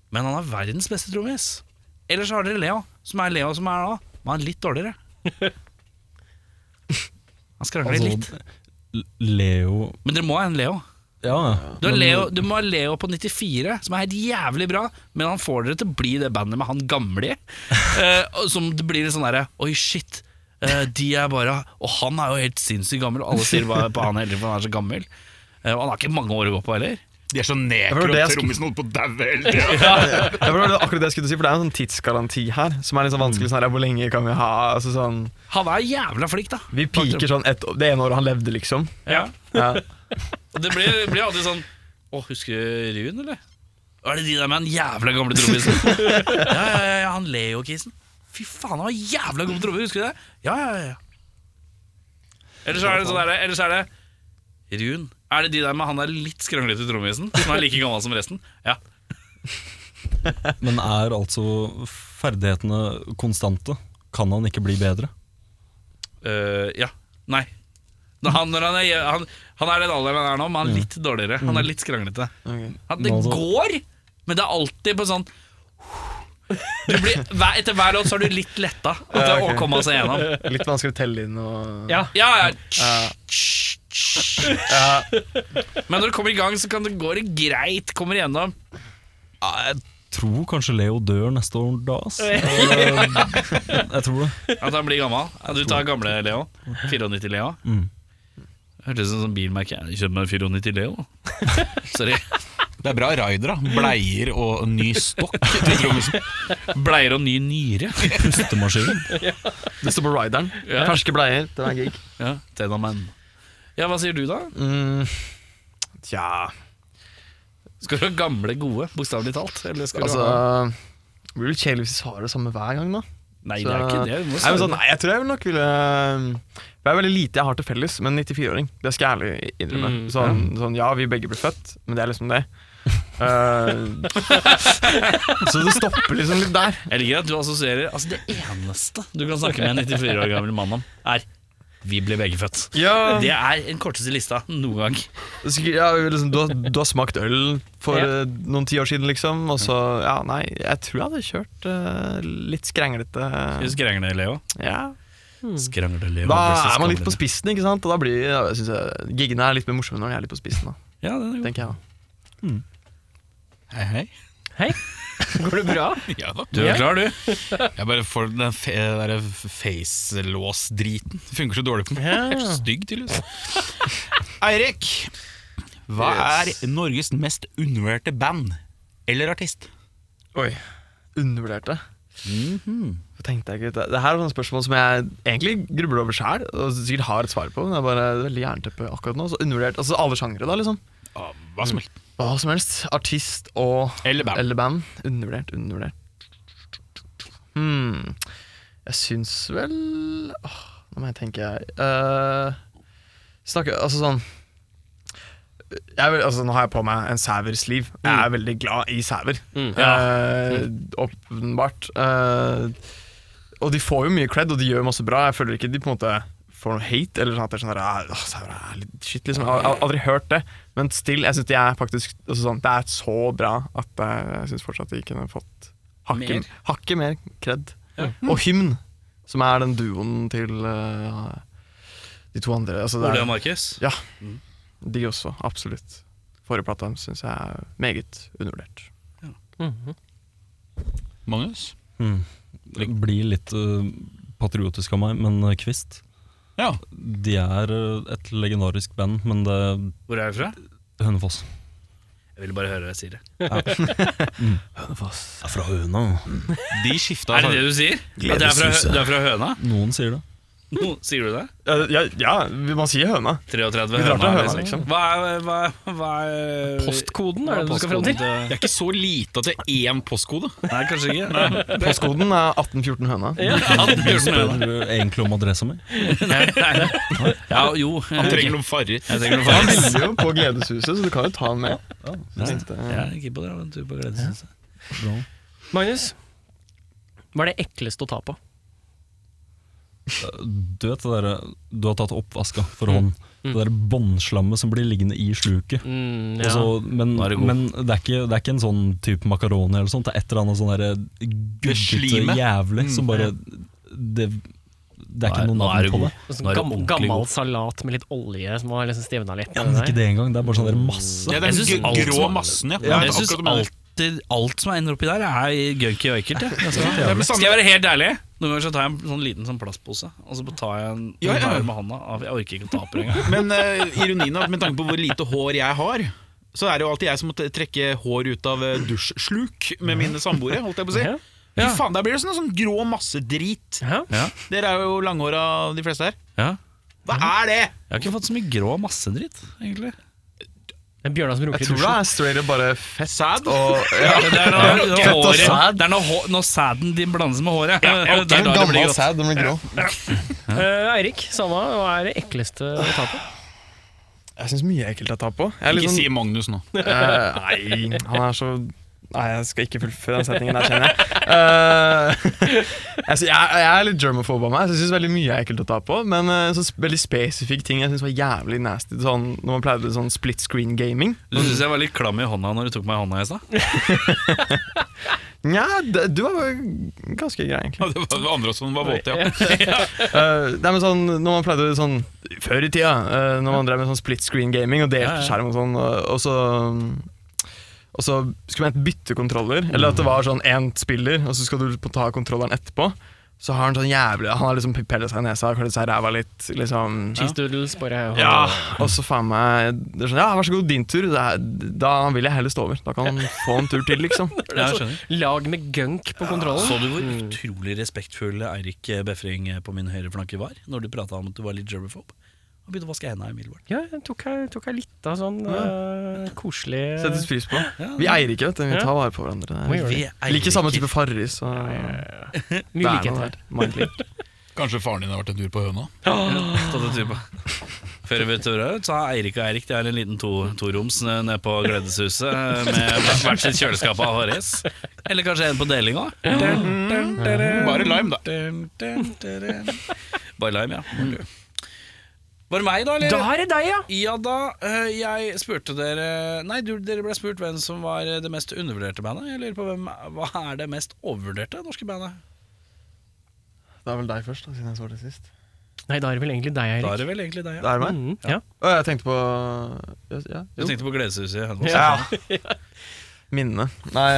Speaker 1: Men han er verdens beste trommis. Ellers har dere Leo, som er Leo som er da, men han er litt dårligere. Han skrangler
Speaker 5: Altså,
Speaker 1: litt.
Speaker 5: L- Leo
Speaker 1: Men dere må ha en Leo.
Speaker 5: Ja,
Speaker 1: Du, har Leo. du må ha Leo på 94, som er helt jævlig bra, men han får dere til å bli det bandet med han gamle i. Eh, og som det blir en sånn derre Oi, shit. eh, de er bare Og han er jo helt sinnssykt gammel, og alle sier bare på han heller, for han er så gammel. Eh, og han har ikke mange år å gå på heller.
Speaker 2: De er så
Speaker 6: var
Speaker 2: nekro
Speaker 6: det jeg
Speaker 2: at
Speaker 6: skulle-
Speaker 2: trommisen holdt på å daue hele tida.
Speaker 6: Jeg tror det var akkurat det jeg skulle si, for det er en sånn tidsgaranti her som er litt sånn
Speaker 3: Mm.
Speaker 6: vanskelig. Sånn her, hvor lenge kan vi ha altså sånn,
Speaker 1: Han er jævla flink, da.
Speaker 6: Vi piker sånn et, det ene året han levde, liksom.
Speaker 1: Ja.
Speaker 6: Ja.
Speaker 1: Og det blir, blir alltid sånn Å, husker du Rune, eller? Er det de der med den jævla gamle trommisen? ja, ja, ja, ja, han Leo-kisen. Fy faen, han var jævla god trommer, husker du det? Ja, ja, ja, ja. Eller så er det sånn der, eller så er det Rune. Er det de der med han der litt skranglete trommisen, som er like gammel som resten? Ja.
Speaker 5: men er altså ferdighetene konstante? Kan han ikke bli bedre?
Speaker 1: Øh, ja. Nei. Når Han, når han, er, han, han er den alderen han er nå, men han er litt dårligere. Han er litt skranglete. Han, det
Speaker 5: Men altså-
Speaker 1: går, men det er alltid på sånn du blir, hver- Etter hver låt så er du litt letta at det
Speaker 6: Ja, ok.
Speaker 1: å komme seg gjennom.
Speaker 6: Litt vanskelig å telle inn og
Speaker 3: Ja.
Speaker 1: Ja, ja. Men når du kommer i gang, så kan det gå greit. Kommer igjennom.
Speaker 5: Tror kanskje Leo dør neste år da, ass. Eh, Jeg tror det.
Speaker 1: At han blir gammel. Ja, Du tar gamle Leo. 94 Leo.
Speaker 5: Mm.
Speaker 1: Hørtes ut som sånn bilmerke. Kjøp meg en 94 Leo. Sorry.
Speaker 2: Det er bra raidere. Bleier og ny stokk til trommisen.
Speaker 1: Bleier og ny nyre.
Speaker 5: Pustemaskinen.
Speaker 6: Det står på rideren.
Speaker 1: Ja.
Speaker 6: Ferske bleier. Den er gig.
Speaker 1: Ja, Tenaman. Ja, hva sier du da?
Speaker 6: Mm. Tja
Speaker 1: Skal du ha gamle gode, bokstavelig talt? Eller skal
Speaker 6: Altså
Speaker 1: du ha...
Speaker 6: Det blir litt kjedelig hvis vi svarer det samme hver gang, da.
Speaker 1: Nei,
Speaker 6: så-
Speaker 1: det er ikke det. Du må
Speaker 6: Nei, men sånn,
Speaker 1: svare.
Speaker 6: nei, jeg tror jeg vil nok ville um, Det er veldig lite jeg har til felles med en 94-åring. Det skal jeg ærlig innrømme.
Speaker 3: Mm,
Speaker 6: sånn, ja. sånn, ja, vi begge ble født, men det er liksom det. Eh, så det stopper liksom litt der.
Speaker 1: Jeg liker at du assosierer Altså, det eneste du kan snakke med en 94 år gammel mann om, er vi ble begge født.
Speaker 6: Ja,
Speaker 1: Det er den korteste lista noen gang.
Speaker 6: Sikkert- ja liksom, du, har, du har smakt øl for
Speaker 3: Ja.
Speaker 6: eh, noen tiår siden, liksom. Og så, ja, nei, jeg tror jeg hadde kjørt eh, litt skrenglete.
Speaker 1: Du skrangler, Leo.
Speaker 6: Ja.
Speaker 1: Skrangler, Leo.
Speaker 6: Da
Speaker 1: versus
Speaker 6: er man litt
Speaker 1: gamle
Speaker 6: på spissen, ikke sant? Og da blir ja, jeg synes jeg, giggene er litt mer morsomme når de er litt på spissen, da,
Speaker 1: Leo. Ja, den er god.
Speaker 6: tenker jeg. da.
Speaker 2: Hei, hei.
Speaker 3: Går det bra?
Speaker 2: Ja da.
Speaker 1: Du er klar, du.
Speaker 2: Jeg bare får den fe der face-lås-driten. Funker så dårlig på meg. Jeg er så stygg, tydeligvis. Eirik, hva
Speaker 6: Yes.
Speaker 2: er Norges mest undervurderte band eller artist?
Speaker 6: Oi. Undervurderte.
Speaker 2: Mhm.
Speaker 6: Det tenkte jeg ikke ut. Det her er sånne spørsmål som jeg egentlig grubler over sjæl, og sikkert har et svar på. Men det er bare veldig jernteppe akkurat nå. Så undervurdert, altså Alle sjangere, da, liksom.
Speaker 2: Ah, Hva som helst.
Speaker 6: Hva som helst. Artist og
Speaker 2: Eller band.
Speaker 6: Eller band. Undervurdert, undervurdert. Hmm. Jeg syns vel åh, Nå må jeg tenke uh, Snakke Altså sånn jeg vil, altså, Nå har jeg på meg en sævers liv. Jeg er veldig glad i sæver. Eh, åpenbart. Eh, og de får jo mye cred, og de gjør masse bra. Jeg føler ikke de på en måte får noe hate. Eller sånn at det er sånn der, «Ah, åh, Sauer er litt shit, liksom. Jeg har aldri hørt det. Men still, jeg synes de er faktisk altså sånn, Det er så bra at eh, jeg syns fortsatt de kunne fått hakket
Speaker 1: Mer?
Speaker 6: mer, hakke mer cred. Og Hymn, som er den duoen til eh, de to andre. Altså, det
Speaker 1: Ole
Speaker 6: er
Speaker 1: og Markus.
Speaker 6: Mm. de også, absolutt. Forrige plate deres syns jeg er meget undervurdert.
Speaker 2: Magnus?
Speaker 5: Mm. Blir litt eh, patriotisk av meg, men eh, Kvist
Speaker 2: Ja.
Speaker 5: De er eh, et legendarisk band, men det er
Speaker 1: Hvor er du fra?
Speaker 5: Hønefoss.
Speaker 1: Jeg ville bare høre deg si det.
Speaker 5: Hønefoss er fra Høna.
Speaker 2: De altså. skifta
Speaker 1: Er det det du sier? At det er fra, hø- det er fra høna?
Speaker 5: Noen sier det.
Speaker 1: Nå, sier du det?
Speaker 6: Eh, Ja, ja man sier høna.
Speaker 1: 33
Speaker 6: Vi klarte
Speaker 1: høna,
Speaker 6: høna, liksom.
Speaker 1: Hva er, hva, hva er
Speaker 3: Postkoden
Speaker 1: hva
Speaker 3: er det du skal fram til?
Speaker 1: postkoden
Speaker 2: Det er ikke så lite at det er én postkode.
Speaker 1: Nei, kanskje ikke. Nei,
Speaker 6: Postkoden er 1814 høna.
Speaker 5: Du spør eh, egentlig om adressa mi.
Speaker 1: nei, nei. Ja, jo.
Speaker 2: Han
Speaker 1: jeg-
Speaker 2: trenger noen farger.
Speaker 1: Jeg trenger noe faen.
Speaker 6: Han melder jo på Gledeshuset, så du kan jo ta den med. Jeg tenkte,
Speaker 1: Jeg er keen på det. En tur på gledeshuset.
Speaker 5: Bra.
Speaker 3: Magnus, hva er det ekleste å ta på?
Speaker 5: Du vet det der, eh, du har tatt oppvaska for hånd.
Speaker 2: Mm.
Speaker 5: Det der båndslammet som blir liggende i sluket.
Speaker 3: Mm,
Speaker 5: Og så- men
Speaker 1: Da er det god.
Speaker 5: men det, er ikke, det er ikke en sånn type makaroni eller sånt. Det er et eller annet sånn derre
Speaker 2: slimet. Mm,
Speaker 5: gubbete jævlig som bare Det, det er ikke
Speaker 1: Nå er-
Speaker 5: noe
Speaker 1: nå er det
Speaker 5: navn
Speaker 1: god.
Speaker 5: på det.
Speaker 3: Sånn
Speaker 1: Nå er det
Speaker 3: gam-
Speaker 1: ordentlig
Speaker 3: Gammel
Speaker 1: god.
Speaker 3: salat med litt olje som var liksom stivna litt.
Speaker 5: Ja, men ikke det engang. Det er bare sånn der masse.
Speaker 2: Ja, den
Speaker 1: Jeg synes
Speaker 2: gr-
Speaker 1: alt
Speaker 2: grå
Speaker 1: som-
Speaker 2: massen, ja.
Speaker 1: Ja,
Speaker 2: Det er
Speaker 1: jeg syns
Speaker 2: akkurat det mener.
Speaker 1: alltid alt som ender oppi der, er gunky og ekkelt. jeg. Jeg skal-
Speaker 2: Ja, men samme-
Speaker 1: Skal jeg være helt ærlig? Noen ganger så tar jeg en sånn liten sånn plastpose, og så tar jeg en
Speaker 2: Ja, ja, ja.
Speaker 1: tar jeg med hånda. av- Jeg orker ikke å ta på det engang.
Speaker 2: Men eh, ironien er at med tanke på hvor lite hår jeg har så er det jo alltid jeg som måtte trekke hår ut av eh, dusjsluk med mine samboere. holdt jeg på å si
Speaker 3: Ja.
Speaker 2: Fy faen, Der blir det sånn, sånn grå massedrit.
Speaker 3: Hæ?
Speaker 2: Dere er jo langhåra, de fleste her.
Speaker 1: Ja.
Speaker 2: Hva er det?!
Speaker 1: Jeg har ikke fått så mye grå massedritt, egentlig.
Speaker 3: Det er Bjørnar som runker
Speaker 6: Jeg
Speaker 3: i
Speaker 6: tror det
Speaker 3: dusjen.
Speaker 6: er straight up bare fett
Speaker 2: Sad?
Speaker 6: og ja.
Speaker 1: Det er når, når,
Speaker 6: Fett og
Speaker 1: håret,
Speaker 6: sad.
Speaker 1: det er når, hå- når sæden din blandes med håret. Ja,
Speaker 6: Det er en gammel sæd, den blir grå.
Speaker 3: Eh, Eirik, samme, hva er det ekleste å ta på?
Speaker 6: Jeg syns mye er ekkelt å ta på. Jeg er litt
Speaker 2: Ikke
Speaker 6: sånn-
Speaker 2: si Magnus nå.
Speaker 6: Eh, nei, han er så Nei, jeg skal ikke fullføre den setningen der, kjenner jeg. Eh, altså, jeg. Jeg er litt germophobe av meg, så jeg syns veldig mye er ekkelt å ta på. Men eh, så sp- veldig spesifikke ting jeg syns var jævlig nasty. Sånn, når man pleide sånn split screen gaming.
Speaker 1: Du syns jeg var litt klam i hånda når du tok meg i hånda i stad?
Speaker 6: Nja, d- du var jo ganske grei, egentlig.
Speaker 2: Ja, Det var andre også som var våte, ja.
Speaker 6: Eh, nei, men sånn, når man pleide sånn Før i tida, eh, når man drev med sånn split screen gaming og
Speaker 1: Ja,
Speaker 6: delte
Speaker 1: ja.
Speaker 6: skjerm og sånn, og, og så og så skulle man enten bytte kontroller, eller at det var sånn én spiller, og så skal du på- ta kontrolleren etterpå. Så har han sånn jævlig Han har liksom pipella seg i nesa og klødd seg i ræva litt. liksom
Speaker 3: Cheese doodles, bare
Speaker 6: Ja, Og så faen meg det er sånn, Ja, vær så god, din tur. Det er, da vil jeg heller stå over. Da kan han få en tur til, liksom.
Speaker 1: Ja, jeg skjønner.
Speaker 3: Lag med gunk på kontrollen.
Speaker 1: Så du hvor utrolig respektfull Eirik Befring på min høyre flanke var når du prata om at du var litt germophobe? Han begynte å vaske hendene umiddelbart.
Speaker 3: Ja, jeg tok jeg, tok jeg litt av sånn eh, koselig
Speaker 6: Settes pris på.
Speaker 1: Ja,
Speaker 6: Vi eier ikke, vet du. Vi
Speaker 3: Ja.
Speaker 6: tar vare på hverandre.
Speaker 3: gjør det.
Speaker 6: Liker samme type farger, så Det
Speaker 3: Mye
Speaker 6: er noe
Speaker 3: likhet her.
Speaker 6: der. Mindlink.
Speaker 2: Kanskje faren din har vært en tur på høna?
Speaker 1: Før vi vet ordet av det, så har Eirik og Eirik Det er en liten to- toroms to nede på Gledeshuset med hvert sitt kjøleskap av HRS. Eller kanskje en på deling òg.
Speaker 2: Bare lime, da.
Speaker 1: Bare lime, ja.
Speaker 2: Mm.
Speaker 1: Var det meg, da? eller?
Speaker 3: Da er det deg, ja!
Speaker 1: Ja da, eh, jeg spurte dere Nei, du, dere ble spurt hvem som var det mest undervurderte bandet. Jeg lurer på hvem, Hva er det mest overvurderte norske bandet?
Speaker 6: Det er vel deg først, da, siden jeg svarte sist.
Speaker 3: Nei, da er det vel egentlig deg,
Speaker 1: Da
Speaker 3: Eirik.
Speaker 1: er det vel egentlig deg.
Speaker 6: Det
Speaker 1: Ja.
Speaker 6: er meg?
Speaker 3: Mm, ja.
Speaker 6: Å, jeg tenkte på ja, ja,
Speaker 1: Du
Speaker 6: jo.
Speaker 1: tenkte på Gledeshuset i Hønefoss?
Speaker 6: Ja. Minnene. Nei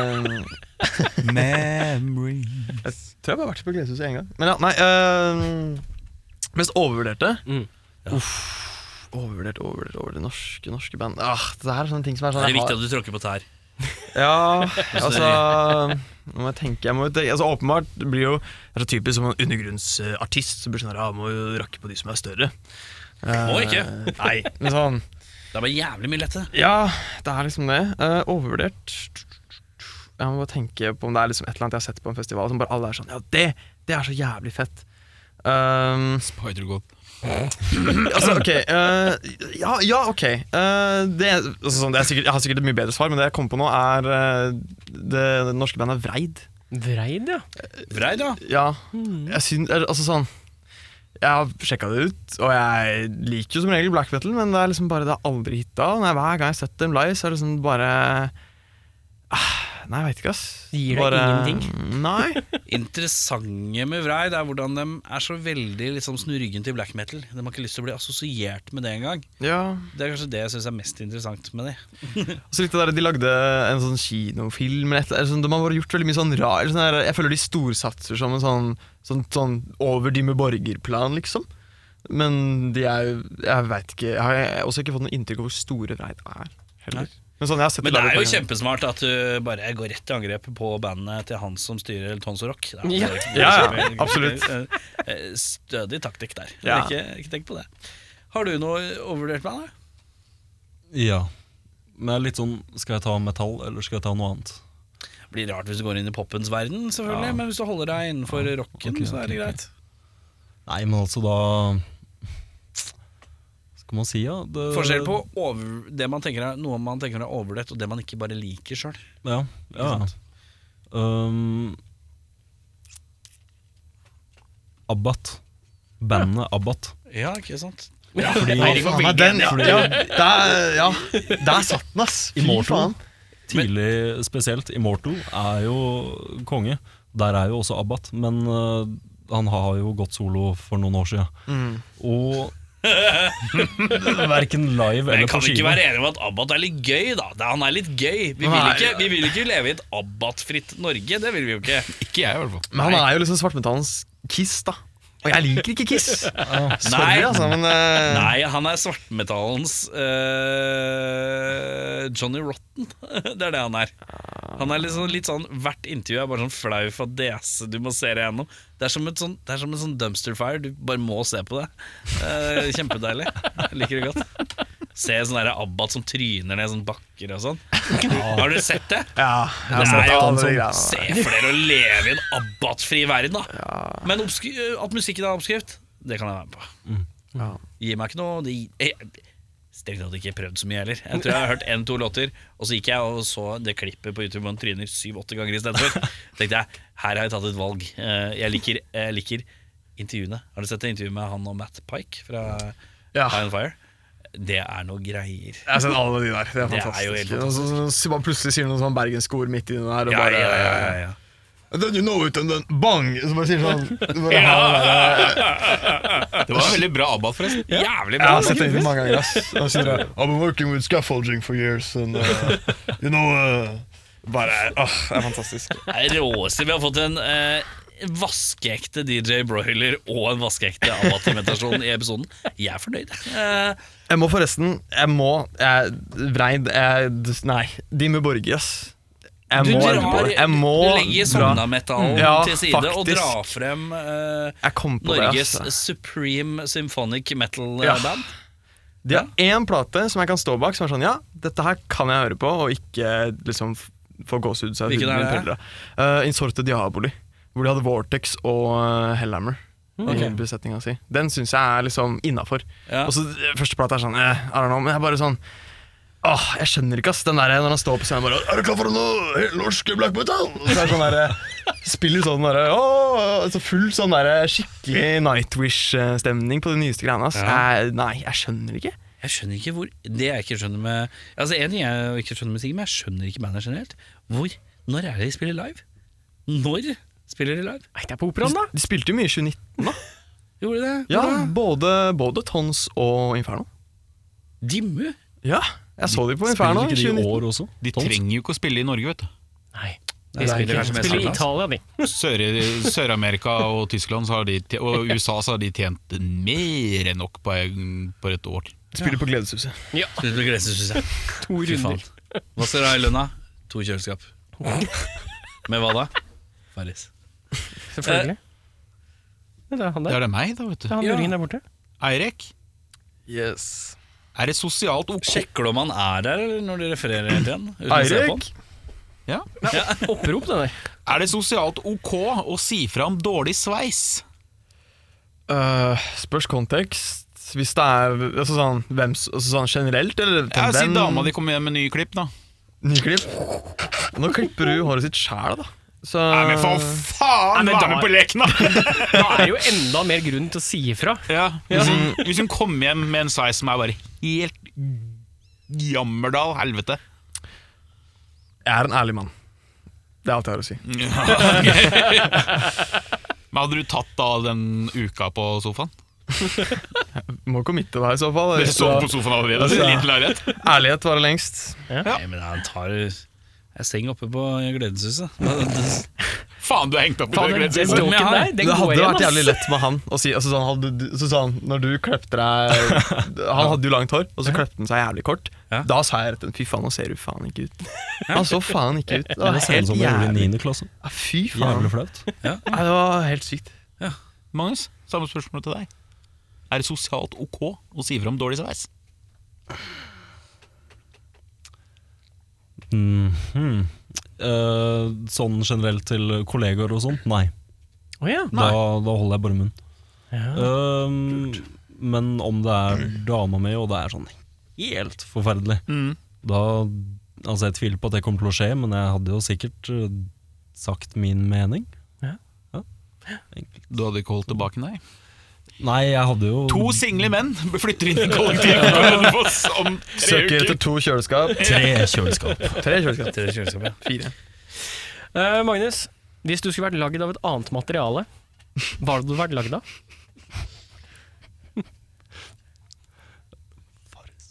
Speaker 6: eh, Jeg tror jeg bare har vært på Gleshuset én gang. Men ja, nei eh, Mest overvurderte?
Speaker 3: Mm.
Speaker 6: Uff. Overvurdert, overvurdert, overvurdert. Norske, norske band. Ah, det her er sånne ting som er sånn
Speaker 1: Det er
Speaker 6: jeg har-
Speaker 1: viktig at du tråkker på tær.
Speaker 6: Ja, altså Nå må jeg tenke jeg må, jo tenke- altså, Åpenbart blir jo Det er så typisk som en undergrunnsartist Så blir det sånn her, ja, må jo rakke på de som er større
Speaker 1: Må
Speaker 6: Eh,
Speaker 1: ikke.
Speaker 6: Nei, men sånn
Speaker 1: Det er bare jævlig mye lette.
Speaker 6: Ja, det er liksom det Eh, Overvurdert Jeg må bare tenke på om det er liksom et eller annet jeg har sett på en festival Som bare alle er sånn, ja det, det er så jævlig fett Um,
Speaker 2: Spider-God.
Speaker 6: altså, ok eh, ja, ja, ok Eh, det, altså, sånn, det er sikkert, Jeg har sikkert et mye bedre svar Men det jeg kom på nå er eh, det, det norske bandet Vreid
Speaker 3: Vreid, ja.
Speaker 1: Vrei, da.
Speaker 6: Ja,
Speaker 3: Mm.
Speaker 6: jeg syns eller, Altså sånn Jeg har sjekka det ut, og jeg liker jo som regel black metal, men det er liksom bare det har aldri hitta. Nei, Hver gang jeg har sett dem live, så er det liksom bare ah, Nei, jeg veit ikke, ass.
Speaker 3: Gir deg
Speaker 6: bare,
Speaker 3: ingenting?
Speaker 6: Nei.
Speaker 1: Interessante med Vrei Det er hvordan de er så veldig liksom, snurryggen til black metal. De har ikke lyst til å bli assosiert med det engang.
Speaker 6: Ja.
Speaker 1: Det er kanskje det jeg syns er mest interessant med det.
Speaker 6: Og så likte jeg det der de lagde en sånn kinofilm eller et eller annet. sånn, De har bare gjort veldig mye sånn rar sånn der, Jeg føler de storsatser som en sånn, sånn, sånn over de med borgerplan, liksom. men de er jo Jeg veit ikke Jeg har jeg- også ikke fått noe inntrykk av hvor store Vreit er. Heller. Men sånn jeg har sett
Speaker 1: Men det
Speaker 6: live
Speaker 1: er jo
Speaker 6: på-
Speaker 1: kjempesmart at du bare går rett til angrep på bandet til han som styrer Tons og Rock. Det er
Speaker 3: Ja.
Speaker 1: jo-
Speaker 6: Ja, ja, absolutt.
Speaker 1: Eh, Stødig taktikk der.
Speaker 6: Ja.
Speaker 1: Ikke, ikke tenk på det. Har du noe overvurdert band? da?
Speaker 5: Ja. Men jeg er litt sånn Skal jeg ta metall, eller skal jeg ta noe annet?
Speaker 1: Blir rart hvis du går inn i poppens verden, selvfølgelig,
Speaker 5: Ja.
Speaker 1: men hvis du holder deg innenfor rocken,
Speaker 5: ok,
Speaker 1: så er det
Speaker 5: ok, ok.
Speaker 1: greit.
Speaker 5: Nei, men altså, da Skal man si, ja? Det,
Speaker 1: Forskjell på over, det man tenker er, noe man tenker er overvurdert, og det man ikke bare liker sjøl.
Speaker 5: Ja. ja.
Speaker 1: sant?
Speaker 5: Um, Abbat. Bandet Abbat.
Speaker 1: Ja, ikke sant?
Speaker 5: Fordi
Speaker 2: Eirik var
Speaker 6: Faen,
Speaker 2: veldig
Speaker 6: den,
Speaker 2: enig.
Speaker 6: ja, ja, der, ja, der satt den, ass! Fy
Speaker 5: Immortal.
Speaker 6: faen.
Speaker 5: tidlig spesielt, Immortal, er jo konge. Der er jo også Abbat, men øh, han har jo gått solo for noen år siden.
Speaker 1: Mm.
Speaker 5: Og verken live
Speaker 1: Men
Speaker 5: eller
Speaker 1: kan
Speaker 5: på
Speaker 1: vi ikke
Speaker 5: skive.
Speaker 1: være enige om at Abbat er litt gøy, da? Det- Han er litt gøy. Vi vil
Speaker 6: Nei.
Speaker 1: ikke, vi vil ikke leve i et Abbat-fritt Norge, det vil vi jo ikke.
Speaker 2: Ikke jeg, i hvert fall.
Speaker 6: Men han er jo liksom svartmetallens Kiss, da. Og jeg liker ikke Kiss. Sorry,
Speaker 1: Nei.
Speaker 6: altså, men eh,
Speaker 1: Nei, han er svartmetallens eh, Johnny Rotten. det er det han er. Han er litt sånn, litt sånn Hvert intervju er bare sånn flau fadese du må se det gjennom. Det er som, et sånn, det er som en sånn dumpster fire, du bare må se på det. Eh, kjempedeilig. Jeg liker det godt. Se sånn der Abbat som tryner ned sånn bakker og sånn. Har du sett det?
Speaker 6: Ja, jeg
Speaker 1: Det
Speaker 6: har
Speaker 1: er
Speaker 6: sett
Speaker 1: jo
Speaker 6: alle
Speaker 1: sånn,
Speaker 6: de greiene.
Speaker 1: Se for dere å leve i en abbatfri verden, da. Men obsku- at musikken er oppskrift, det kan jeg være med på.
Speaker 6: Mm. Ja.
Speaker 1: Gi meg ikke noe det, jeg, Strengt tatt ikke prøvd så mye heller. Jeg tror jeg har hørt én-to låter, og så gikk jeg og så det klippet på YouTube hvor han tryner syv-åtte ganger istedenfor. tenkte jeg her har jeg tatt et valg. Eh, Jeg liker, jeg liker intervjuene. Har du sett det intervjuet med han og Matt Pike fra
Speaker 6: Ja.
Speaker 1: High on Fire? Det er noe greier.
Speaker 6: Jeg har sett alle de der. Det er
Speaker 1: Det er jo helt
Speaker 6: fantastisk. Og så- så- så bare plutselig sier han noen sånn bergenske ord midt i den der, og
Speaker 1: Ja,
Speaker 6: bare
Speaker 1: ja, ja, ja, ja.
Speaker 6: Then you know it, and then bang! Så bare sier han sånn du bare,
Speaker 2: Det var en veldig bra Abba, forresten.
Speaker 1: Jævlig
Speaker 6: Jeg
Speaker 1: bra!
Speaker 6: har sett det mange ganger, ass. Han sier det, I've been working with scaffolding for years, and uh, you know uh, Bare åh, Det er fantastisk.
Speaker 1: Det er råeste. Vi har fått en eh, vaskeekte DJ Broiler og en vaskeekte Abbat-invitasjon i episoden. Jeg er fornøyd. Eh,
Speaker 6: Jeg må forresten Jeg må jeg, Vreid jeg, Nei, Dimmu Borge, ass. Jeg
Speaker 1: du
Speaker 6: må,
Speaker 1: drar,
Speaker 6: jeg må
Speaker 1: du legger sånn
Speaker 6: dra.
Speaker 1: Sognametallen
Speaker 6: Ja,
Speaker 1: til side og
Speaker 6: faktisk.
Speaker 1: drar frem eh,
Speaker 6: Jeg kom på
Speaker 1: Norges
Speaker 6: det. ass.
Speaker 1: Supreme Symphonic Metal
Speaker 6: Ja.
Speaker 1: eh, Band.
Speaker 6: De har én plate som jeg kan stå bak, som er sånn Ja, dette her kan jeg høre på, og ikke eh, liksom f- få gåsehud så jeg
Speaker 1: Hvilken
Speaker 6: huden min
Speaker 1: er det?
Speaker 6: peller av. Eh, Insorte Diaboli, hvor de hadde Vortex og eh, Hellhammer. I besetninga si. Den syns jeg er liksom innafor.
Speaker 1: Ja.
Speaker 6: Og så eh, første plate er sånn eh, I don't know, men jeg er bare sånn Åh, jeg skjønner ikke, ass. Den der når han står på scenen bare Er du klar for noe helt norsk black metal? Og så er det sånn der, eh, Spiller sånn derre åh, altså Full sånn derre skikkelig Nightwish-stemning på de nyeste greiene, ass. Jeg, nei, jeg skjønner ikke.
Speaker 1: Jeg skjønner ikke hvor Det jeg ikke skjønner med Altså En ting er jeg ikke skjønner med musikk, men jeg skjønner ikke bandet generelt. Hvor Når er det de spiller live? Når spiller de live?
Speaker 3: Nei, det er på operaen, da!
Speaker 6: De spilte jo mye i 2019, da.
Speaker 1: Gjorde de det?
Speaker 6: Ja,
Speaker 1: Hvor da?
Speaker 6: både, både Tons og Inferno.
Speaker 1: Dimmu?
Speaker 6: Ja, jeg så de på Inferno
Speaker 5: Spiller
Speaker 6: i
Speaker 5: ikke de i
Speaker 6: 2019.
Speaker 5: år også?
Speaker 2: De
Speaker 5: Tons?
Speaker 2: trenger jo ikke å spille i Norge, vet du.
Speaker 3: Nei.
Speaker 1: Nei,
Speaker 3: De
Speaker 1: det er
Speaker 3: spiller,
Speaker 1: kanskje mest
Speaker 3: spiller i
Speaker 1: Irland.
Speaker 3: Italia, de.
Speaker 2: Sør- Sør-Amerika og Tyskland så har de, tje- og USA så har de tjent mer enn nok på, en- på et år.
Speaker 6: De Spiller på Gledeshuset.
Speaker 1: Slutt med grenser, syns jeg.
Speaker 3: To
Speaker 1: Fy faen.
Speaker 3: runder.
Speaker 1: Hva står det i lønna? To kjøleskap. Med hva da? Farris. Eh.
Speaker 3: Selvfølgelig. Ja, det er han
Speaker 2: Det
Speaker 3: der.
Speaker 2: er det meg, da, vet
Speaker 3: Det
Speaker 2: du.
Speaker 3: er han
Speaker 1: Ja.
Speaker 3: luringen der borte.
Speaker 2: Eirik,
Speaker 6: Yes.
Speaker 2: er det sosialt ok?
Speaker 1: Sjekker du om han er der eller når de refererer hele tiden? uten å se på han?
Speaker 6: Eirik!
Speaker 2: Ja.
Speaker 3: Opprop, det der.
Speaker 2: Er det sosialt ok å si fra om dårlig sveis?
Speaker 6: Øh, spørs kontekst. Hvis det er altså sånn, hvem, s- altså sånn generelt, eller til
Speaker 2: Jeg vil si
Speaker 6: hvem-
Speaker 2: dama di kommer hjem med nye klipp, da.
Speaker 6: Nyklipp. Nå klipper du håret sitt sjæl, da. Så
Speaker 2: faen!
Speaker 3: Nei, men da-
Speaker 2: leken, da!
Speaker 3: Da er det jo enda mer grunn til å si ifra.
Speaker 2: Ja, hvis, hun, hvis hun kommer hjem med en sveis som er bare helt jammerdal helvete
Speaker 6: Jeg er en ærlig mann. Det er alt jeg har å si.
Speaker 2: Mm. Men hadde du tatt da den uka på sofaen?
Speaker 6: Må committe deg i så fall.
Speaker 2: Dere sov på sofaen allerede? Altså,
Speaker 6: Altså-
Speaker 2: liten leilighet?
Speaker 6: Ærlighet varer lengst.
Speaker 1: Nei, men han tar ei seng oppe på Gledeshuset. Da- da-
Speaker 2: Faen, du er hengt opp i
Speaker 3: Faen,
Speaker 2: det
Speaker 3: den, den
Speaker 2: grensehistorien.
Speaker 3: joken
Speaker 1: har-
Speaker 3: der, den
Speaker 6: det
Speaker 3: går
Speaker 6: hadde
Speaker 3: igjen,
Speaker 6: vært jævlig
Speaker 3: ass.
Speaker 6: lett med han å si altså, sånn, hadde, du- så sa han, Når du klepte deg Han hadde jo langt hår, og så klepte han seg jævlig kort.
Speaker 1: Ja.
Speaker 6: Da sa jeg rett og slett fy faen, nå ser du faen ikke ut. Han så faen ikke ut. Det var
Speaker 5: Det ser ut
Speaker 6: helt
Speaker 5: som jeg gjorde i
Speaker 6: jævlig.
Speaker 5: 9. klasse.
Speaker 6: Ja, Fy faen.
Speaker 5: Jævlig flaut.
Speaker 6: Nei, Det var helt sykt.
Speaker 2: Magnus, samme spørsmål til deg. Er det sosialt ok å si fra om dårlig sveis?
Speaker 5: Mhm. Eh, sånn generelt til kollegaer og sånn? Nei.
Speaker 3: Å ja.
Speaker 5: Da, da holder jeg bare munn.
Speaker 3: Ja.
Speaker 5: Ehm, men om det er dama mi, og det er sånn helt forferdelig, da Altså, jeg tviler på at det kommer til å skje, men jeg hadde jo sikkert eh, sagt min mening.
Speaker 3: Ja.
Speaker 5: Enkelt.
Speaker 2: Du hadde ikke holdt tilbake, nei?
Speaker 5: Nei, jeg hadde jo
Speaker 2: To single menn flytter inn i kollektivet på Hønefoss om tre
Speaker 6: Søker
Speaker 2: uker.
Speaker 6: etter to kjøleskap.
Speaker 5: tre kjøleskap.
Speaker 6: Tre kjøleskap. Fire.
Speaker 3: Eh, Magnus, hvis du skulle vært lagd av et annet materiale, hva hadde du vært lagd av?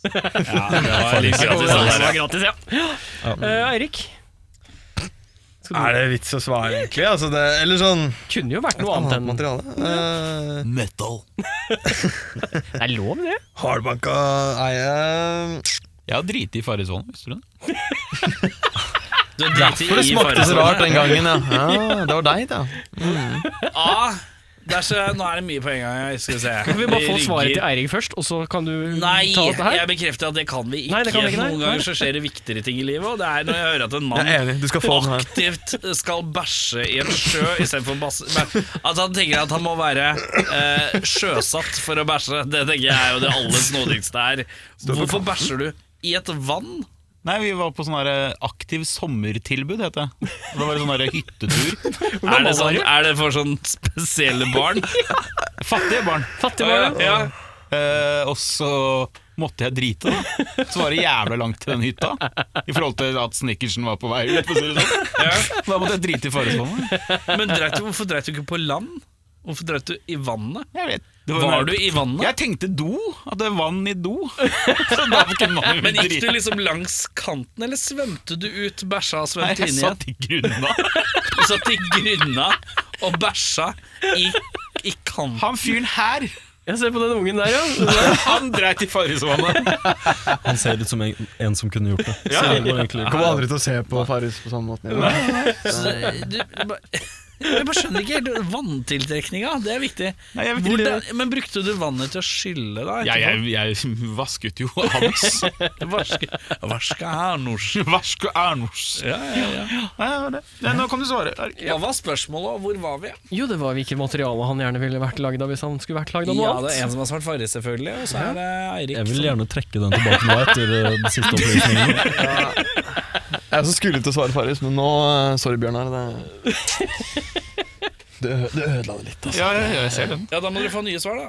Speaker 3: Det var gratis, ja. Eh, Eirik? Skal du-
Speaker 6: Er det vits å svare, egentlig? Altså, det, eller sånn
Speaker 3: kunne jo vært noe annet enn Det
Speaker 6: Annet materiale. Eh,
Speaker 2: Metal.
Speaker 3: er lov, det.
Speaker 6: hardbanka eie
Speaker 2: Jeg har driti i faresonen, visste du det?
Speaker 1: Du driter
Speaker 6: For det
Speaker 1: i
Speaker 6: smakte så
Speaker 1: faresonen.
Speaker 6: rart den gangen, ja. ja det var deg, da.
Speaker 1: Ah, det er så, nå er det mye på en gang. Jeg skal se.
Speaker 3: Kan vi bare få svaret til
Speaker 1: rigger-
Speaker 3: Eirik først, og så kan du
Speaker 1: Nei,
Speaker 3: ta dette her?
Speaker 1: jeg bekrefter at det kan vi ikke.
Speaker 3: Nei, det kan vi ikke, nei.
Speaker 1: Noen ganger så skjer det viktigere ting i livet, og det er når jeg hører at en mann
Speaker 6: Jeg er enig. Du skal få den her.
Speaker 1: aktivt skal bæsje i en sjø istedenfor basse... bæ- At han tenker at han må være eh, sjøsatt for å bæsje, det tenker jeg er jo det aller snodigste her. Hvorfor bæsjer du i et vann?
Speaker 2: Nei, vi var på sånn her aktiv sommertilbud, het det. Det var en sånn her hyttetur.
Speaker 1: Er det, sånn, er det for sånn spesielle barn?
Speaker 2: Fattige barn.
Speaker 3: Fattig var det.
Speaker 1: ja.
Speaker 2: Eh, og så måtte jeg drite, da. Så var det jævla langt til den hytta. I forhold til at snickersen var på vei ut. for å si det sånn. Da måtte jeg drite i faresonen.
Speaker 1: Men dreit du, hvorfor dreit du ikke på land? Hvorfor dreit du i vannet?
Speaker 2: Jeg vet. Det var
Speaker 1: Var
Speaker 2: en-
Speaker 1: du i vannet?
Speaker 2: Jeg tenkte do. At det er vann i do. Så da kunne man jo
Speaker 1: Men gikk du
Speaker 2: drite.
Speaker 1: liksom langs kanten, eller svømte du ut, bæsja og
Speaker 2: Nei,
Speaker 1: svømte
Speaker 2: jeg
Speaker 1: inn igjen?
Speaker 2: satt i grunna.
Speaker 1: Du satt i grunna og bæsja i, i kanten.
Speaker 2: Han fyren her,
Speaker 3: Jeg ser på den ungen der, ja.
Speaker 2: han dreit i faresonen.
Speaker 5: Han ser ut som en, en som kunne gjort det. Så det var egentlig
Speaker 6: Kommer aldri til å se på Farris på samme måten. igjen.
Speaker 1: Så du, du ba- jeg bare skjønner ikke helt vanntiltrekninga, det er viktig.
Speaker 2: Nei, jeg vet ikke.
Speaker 1: Hvordan, men brukte du vannet til å skylle deg?
Speaker 2: Ja, jeg, jeg vasket jo hans.
Speaker 1: Varske, varske her, nors.
Speaker 2: Vask og ærnos.
Speaker 1: Ja, ja, ja.
Speaker 2: Nei, det var det. Nei, nå kan du svare.
Speaker 1: Hva var spørsmålet, og hvor var vi?
Speaker 3: Jo, det var hvilket materiale han gjerne ville vært lagd av hvis han skulle vært lagd av noe
Speaker 1: Ja, det
Speaker 3: annet.
Speaker 1: er en som har svart Farris, selvfølgelig, og så er det Eirik.
Speaker 5: Jeg vil gjerne trekke den tilbake nå etter eh, de siste opplysningene.
Speaker 6: Jeg også skulle til å svare Farris, men nå eh, Sorry, Bjørnar. Det, det, ø- det ødela det litt, altså.
Speaker 2: Ja, ja, ja, jeg ser den.
Speaker 1: Ja, da må dere få nye svar, da.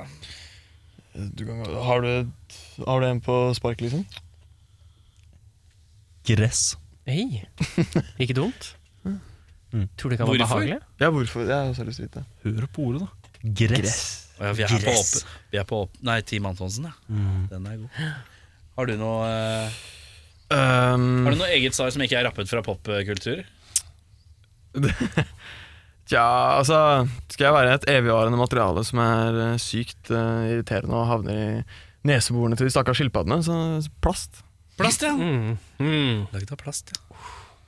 Speaker 6: Du kan, gå- har, du, et- har du en på spark, liksom?
Speaker 5: Gress.
Speaker 3: Hei, ikke dumt. Tror du det kan være
Speaker 1: Mm. Hvorfor?
Speaker 3: behagelig?
Speaker 6: Ja, hvorfor? Jeg har også lyst til å vite.
Speaker 5: Hør på ordet, da. Gress.
Speaker 1: Ja, vi er på
Speaker 5: Gress. Mm.
Speaker 1: åpen. Vi er på åpen. Nei, Team Antonsen, ja. Den er god. Har du noe eh,
Speaker 6: Um,
Speaker 1: Har du noe eget svar som ikke er rappet fra popkultur?
Speaker 6: Tja, altså Skal jeg være et evigvarende materiale som er eh, sykt eh, irriterende og havner i neseborene til de stakkars skilpaddene, så plast.
Speaker 1: Plast, ja.
Speaker 3: Mm. Mm.
Speaker 1: Laget av plast, ja.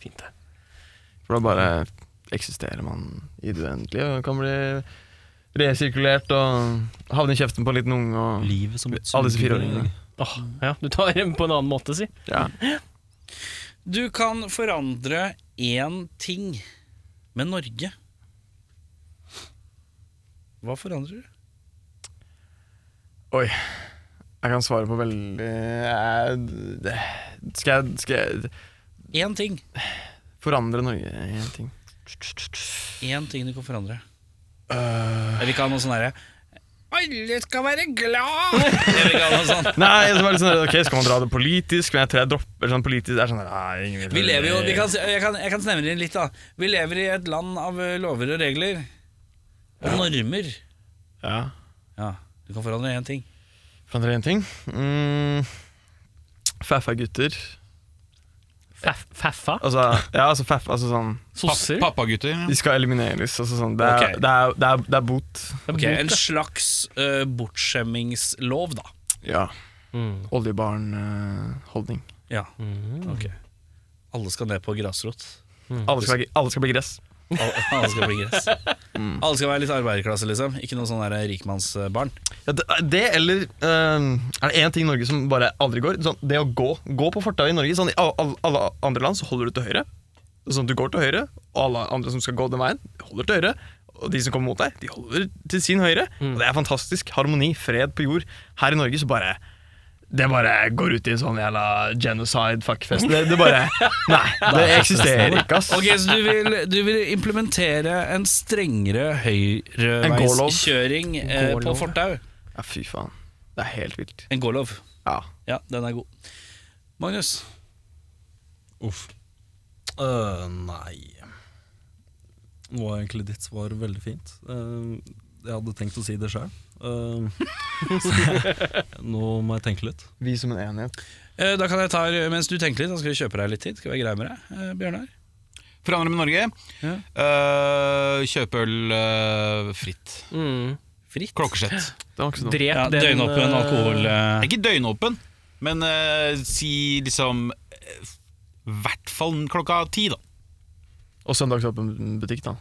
Speaker 3: Fint, det.
Speaker 6: For da bare eksisterer man i det uendelige og kan bli resirkulert og havne i kjeften på en liten unge og
Speaker 5: Livet som et
Speaker 6: Alle disse fireåringene.
Speaker 3: Åh, ja, du tar dem på en annen måte, si.
Speaker 6: ja.
Speaker 1: Du kan forandre én ting med Norge. Hva forandrer du?
Speaker 6: Oi. Jeg kan svare på veldig jeg- det- skal, jeg, skal jeg
Speaker 1: Én ting.
Speaker 6: forandre Norge i en ting?
Speaker 1: Én ting du kan forandre. Jeg vil ikke ha noe sånn herre Alle skal være glad! Jeg vil ikke ha noe sånn.
Speaker 6: Nei, så var det sånn, ok, Skal man dra det politisk? Men jeg tror jeg dropper sånn politisk. Det er sånn, nei, ingen vil
Speaker 1: Vi lever jo, vi kan, jeg, kan, jeg kan snevre inn litt, da. Vi lever i et land av eh, lover og regler. Og normer.
Speaker 6: ja.
Speaker 1: Ja, Du kan forandre én ting.
Speaker 6: Forandre én ting. Mm. Fæfæ gutter.
Speaker 3: Faff- Faffa?
Speaker 6: Altså, ja, altså, faff, altså sånn
Speaker 3: Sosser?
Speaker 2: Pappagutter.
Speaker 6: De skal elimineres. Altså, sånn. det, er,
Speaker 1: Ok.
Speaker 6: det, er, det, er, det er bot.
Speaker 1: Ok, En slags eh, bortskjemmingslov, da.
Speaker 6: Ja.
Speaker 3: Mm.
Speaker 6: Oljebarnholdning.
Speaker 1: Ja,
Speaker 3: Mm.
Speaker 1: ok Alle skal ned på grasrot.
Speaker 6: alle, skal- alle skal bli gress.
Speaker 1: Alle, alle skal bli gress. Alle skal være litt arbeiderklasse, liksom. Ikke noe sånn der rikmannsbarn.
Speaker 6: Ja, det, det eller ehm, Er det én ting i Norge som bare aldri går? Sånn, det å gå Gå på fortauet i Norge. Sånn, I all- all- alle andre land så holder du til høyre. Sånn, Du går til høyre, og alle andre som skal gå den veien, holder til høyre. Og de som kommer mot deg, de holder til sin høyre. Og Det er fantastisk. Harmoni, fred på jord. Her i Norge så bare det bare går ut i en sånn jævla genocide fuckfest. Det, det bare Nei, det eksisterer ikke, ass.
Speaker 1: Ok, Så du vil, du vil implementere en strengere
Speaker 6: En gålov.
Speaker 1: høyreveiskjøring eh, på
Speaker 3: Gålov.
Speaker 1: fortau?
Speaker 6: Ja, fy faen. Det er helt vilt.
Speaker 1: En gålov.
Speaker 6: Ja.
Speaker 1: Ja, den er god. Magnus,
Speaker 5: Uff. Øh, nei Nå var egentlig ditt svar veldig fint. Eh, jeg hadde tenkt å si det sjøl. nå må jeg tenke litt.
Speaker 6: Vi som en enhet.
Speaker 1: eh, da kan jeg ta mens du tenker litt. Da skal vi kjøpe deg litt tid. Skal vi være greie med deg, eh, Bjørnar?
Speaker 2: Forandre med Norge.
Speaker 1: Ja.
Speaker 2: Eh, kjøp øl eh, fritt.
Speaker 3: Mm.
Speaker 1: Fritt.
Speaker 2: Klokkesett.
Speaker 6: Det var ikke så dumt.
Speaker 3: Drep
Speaker 1: Ja,
Speaker 3: den
Speaker 1: Døgnåpen
Speaker 3: eh,
Speaker 1: alkohol...
Speaker 2: Det
Speaker 1: Eh.
Speaker 2: er Ikke døgnåpen, men eh, si liksom eh, hvert fall klokka ti, da.
Speaker 6: Og søndagsåpen butikk, da.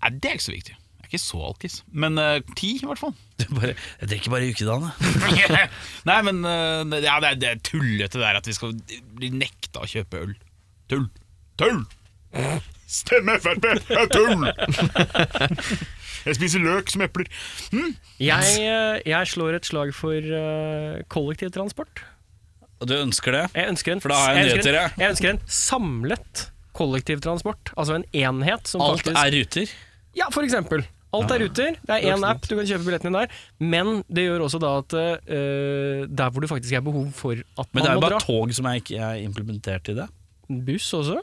Speaker 2: Nei, det er ikke så viktig. Jeg er ikke så alkis, men eh, ti i hvert fall.
Speaker 1: Du bare, jeg drikker bare i ukedagene.
Speaker 2: Nei, men eh, ja, det, er, det er tullete der at vi skal bli nekta å kjøpe øl. Tull. Tull! Stemme Frp er tull! Jeg spiser løk som epler.
Speaker 3: Jeg, eh, jeg slår et slag for eh, kollektivtransport.
Speaker 1: Og du ønsker det?
Speaker 3: Jeg ønsker en,
Speaker 1: For da har jeg en nyhet
Speaker 3: ønsker
Speaker 1: til
Speaker 3: en,
Speaker 1: deg.
Speaker 3: jeg ønsker en samlet kollektivtransport. Altså en enhet som
Speaker 1: Alt
Speaker 3: faktisk
Speaker 1: er ruter.
Speaker 3: Ja, for eksempel. Alt er ruter. Det er én app, du kan kjøpe billettene der. Men det gjør også da at eh, der hvor det faktisk er behov for at
Speaker 1: Men det er
Speaker 3: man
Speaker 1: jo
Speaker 3: må
Speaker 1: bare
Speaker 3: dra
Speaker 1: tog som er ikke er implementert i det.
Speaker 3: Buss også.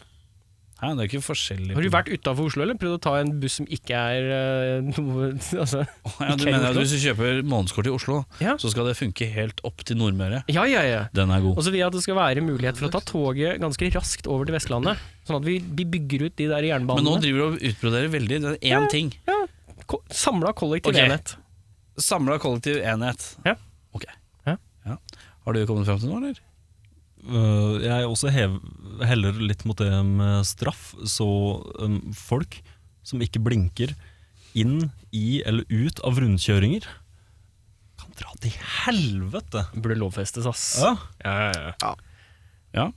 Speaker 1: Hæ, det er ikke forskjellig.
Speaker 3: Har du vært utafor Oslo, eller? Prøvd å ta en buss som ikke er eh, noe altså.
Speaker 1: ja, du
Speaker 3: ikke i
Speaker 1: mener at
Speaker 3: Oslo?
Speaker 1: Hvis du kjøper månedskort i Oslo,
Speaker 3: Ja.
Speaker 1: så skal det funke helt opp til Nordmøre.
Speaker 3: Ja, ja, ja.
Speaker 1: Den er
Speaker 3: Og
Speaker 1: god.
Speaker 3: så vil jeg at det skal være mulighet for å ta toget ganske raskt over til Vestlandet. Sånn at vi, vi bygger ut de der
Speaker 1: Men nå
Speaker 3: jernbanene.
Speaker 1: driver du og utbroderer veldig. Det er én ting.
Speaker 3: Ko Samla kollektiv
Speaker 1: Ok.
Speaker 3: enhet.
Speaker 1: Samla kollektiv enhet.
Speaker 3: Ja.
Speaker 1: Ok.
Speaker 3: Ja.
Speaker 1: Ja. Har du kommet frem til noe, eller?
Speaker 5: Øh, jeg også hev, heller litt mot det med straff. Så øhm, folk som ikke blinker inn i eller ut av rundkjøringer, kan dra til helvete!
Speaker 3: Burde lovfestes, ass.
Speaker 5: Ja.
Speaker 1: Ja.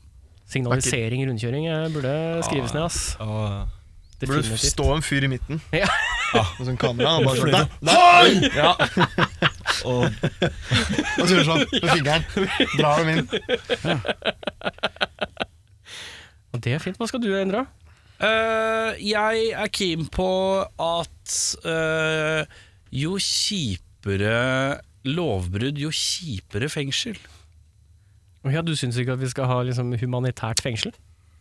Speaker 3: Signalisering i rundkjøring eh, burde skrives ned, ass.
Speaker 5: Ja,
Speaker 6: Det burde
Speaker 3: Definitivt.
Speaker 6: stå en fyr i midten
Speaker 3: Ja.
Speaker 6: med sånn kamera. Og bare sånn, der, Ja,
Speaker 5: og
Speaker 6: og så gjør sånn med fingeren. Drar dem inn.
Speaker 3: Og det er fint. Hva skal du endre?
Speaker 1: Eh, jeg er keen på at eh, jo kjipere lovbrudd, jo kjipere fengsel.
Speaker 3: Å Ja, du syns ikke at vi skal ha liksom, humanitært fengsel?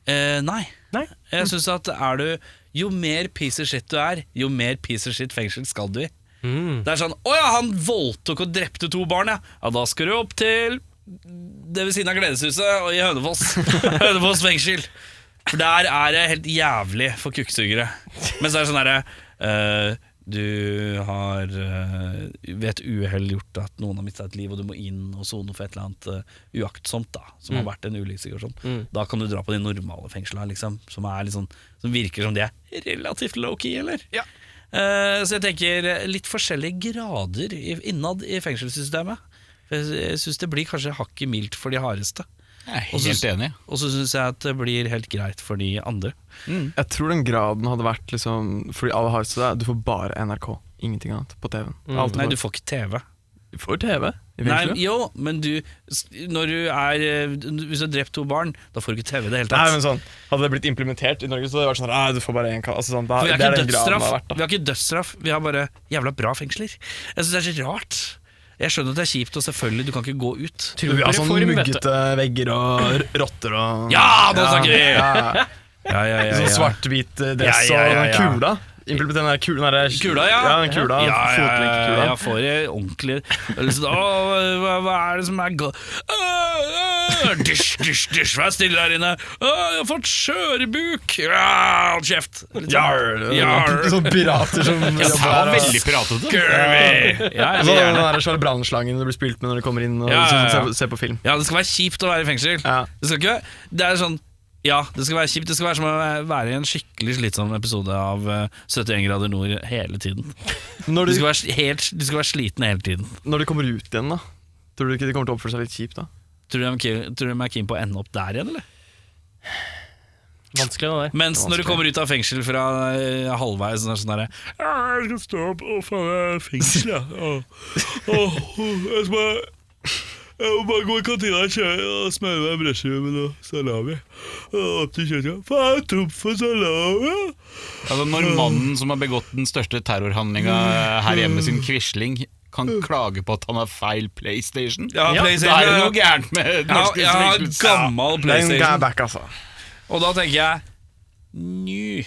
Speaker 1: Eh, nei.
Speaker 3: Nei.
Speaker 1: Jeg synes at er du Jo mer piece of shit du er, jo mer piece of shit fengsel skal du i.
Speaker 3: Mm.
Speaker 1: Det er sånn 'Å ja, han voldtok og drepte to barn, ja'. Ja, da skal du opp til det ved siden av Gledeshuset og i Hønefoss. Hønefoss fengsel. For der er det helt jævlig for kukksugere. Men så er det sånn herre eh, Du har eh, ved et uhell gjort at noen har mista et liv, og du må inn og sone for et eller annet eh, uaktsomt, da som har vært en ulykkessituasjon. Da kan du dra på de normale fengslene, liksom, som, er litt sånn, som virker som de er relativt low-key, eller? Eh, så jeg tenker eh, litt forskjellige grader i- innad i fengselssystemet. For Jeg jeg syns det blir kanskje hakket mildt for de hardeste.
Speaker 2: Jeg er
Speaker 1: Og så-
Speaker 2: helt enig.
Speaker 1: Og så syns jeg at det blir helt greit for de andre.
Speaker 6: Jeg tror den graden hadde vært liksom Fordi alle har seg det, du får bare NRK. Ingenting annet på TV-en. Alt
Speaker 1: Nei,
Speaker 6: du
Speaker 1: du får ikke TV.
Speaker 6: får- får TV i
Speaker 1: Nei,
Speaker 6: fengselet.
Speaker 1: jo, men du s- Når du er eh, Hvis du har drept to barn, da får du ikke TV i det hele
Speaker 6: Nei,
Speaker 1: tatt.
Speaker 6: men sånn, Hadde det blitt implementert i Norge, så hadde det vært sånn Nei, du får bare én kanal. Altså, sånn, da-
Speaker 1: For vi
Speaker 6: det
Speaker 1: har ikke
Speaker 6: er den graden det
Speaker 1: dødsstraff,
Speaker 6: har vært. Da.
Speaker 1: vi har ikke dødsstraff, vi har bare jævla bra fengsler. Jeg syns det er så rart. Jeg skjønner at det er kjipt, og selvfølgelig, du kan ikke gå ut.
Speaker 6: Vi har
Speaker 3: Trump-reform,
Speaker 6: sånn
Speaker 3: vet du.
Speaker 6: muggete vegger og r- rotter og
Speaker 1: Ja, nå snakker vi!
Speaker 6: Ja, ja, ja.
Speaker 1: Ja, ja, ja, ja.
Speaker 6: Sånn svart-hvit eh, dress
Speaker 1: Ja, ja, ja,
Speaker 6: og den
Speaker 1: ja.
Speaker 6: kula. Implementert den der kula den der-
Speaker 1: Kula, ja.
Speaker 6: ja den kula,
Speaker 1: Ja, ja, ja, ja,
Speaker 6: Fotlenkkula.
Speaker 1: jeg får jeg ordentlig liksom, Å, hva, hva er det som er gal... Å, å, Dysj, dysj, dysj, vær stille der inne. Å, jeg har fått skjørbuk. Ja, Hold kjeft. sånn.
Speaker 6: Jarl!
Speaker 1: Jarl.
Speaker 6: Sånne pirater som
Speaker 2: Det var veldig piratete.
Speaker 1: Curvy. Ja, jeg
Speaker 6: Så
Speaker 1: vil
Speaker 6: Sånn, den
Speaker 1: gjerne.
Speaker 6: der svære brannslangen det blir spilt med når de kommer inn og
Speaker 1: Ja, ja, ja.
Speaker 6: Se, se på film.
Speaker 1: Ja, det skal være kjipt å være i fengsel.
Speaker 6: Ja.
Speaker 1: Det skal ikke være Det er sånn ja, det skal være kjipt. Det skal være som å være i en skikkelig slitsom episode av eh, 71 grader nord hele tiden. Du
Speaker 6: Når de,
Speaker 1: skal være, s- helt, du skal være sliten hele tiden.
Speaker 6: når de kommer ut igjen, da? Tror du ikke de kommer til å oppføre seg litt kjipt da?
Speaker 1: Tror du de er keen- tror du de er keen på å ende opp der igjen, eller?
Speaker 3: Vanskelig, det der.
Speaker 1: Mens når du kommer ut av fengsel fra eh, halvveis sånn er det sånn derre «Ja, Jeg skal stå opp og faen jeg er i fengsel, jeg. Åh, åh, jeg skal bare jeg må bare gå i kantina og, kjøre, og smøre meg en brødskive med noe salami. Og opp til kjøkkenet. Faen, jeg er tom for salami!
Speaker 2: Altså, når mannen som har begått den største terrorhandlinga her hjemme, sin Quisling, kan klage på at han har feil PlayStation
Speaker 1: Ja,
Speaker 2: Det er jo noe gærent med norsk
Speaker 1: Jeg har
Speaker 2: utvikling.
Speaker 1: gammel
Speaker 6: Den er
Speaker 1: PlayStation,
Speaker 6: back, altså.
Speaker 1: og da tenker jeg Nju.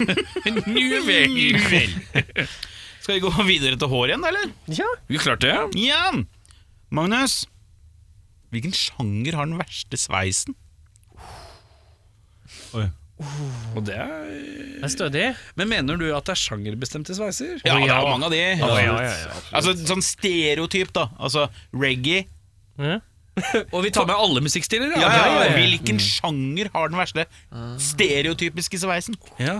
Speaker 1: Nju vel.
Speaker 2: Skal vi gå videre til hår igjen, eller?
Speaker 3: Ja.
Speaker 1: Vi klarte det.
Speaker 2: Ja! Magnus, hvilken sjanger har den verste sveisen?
Speaker 1: Og det er
Speaker 3: Det er stødig.
Speaker 1: Men mener du at det er sjangerbestemte sveiser?
Speaker 2: Ja,
Speaker 3: Å,
Speaker 2: det
Speaker 3: ja.
Speaker 2: er jo mange av de. Altså, sånn stereotyp, da. Altså reggae.
Speaker 1: Og vi tar med alle musikkstiler?
Speaker 2: Ja, Mm. Hvilken sjanger har den verste stereotypiske sveisen?
Speaker 1: Ja.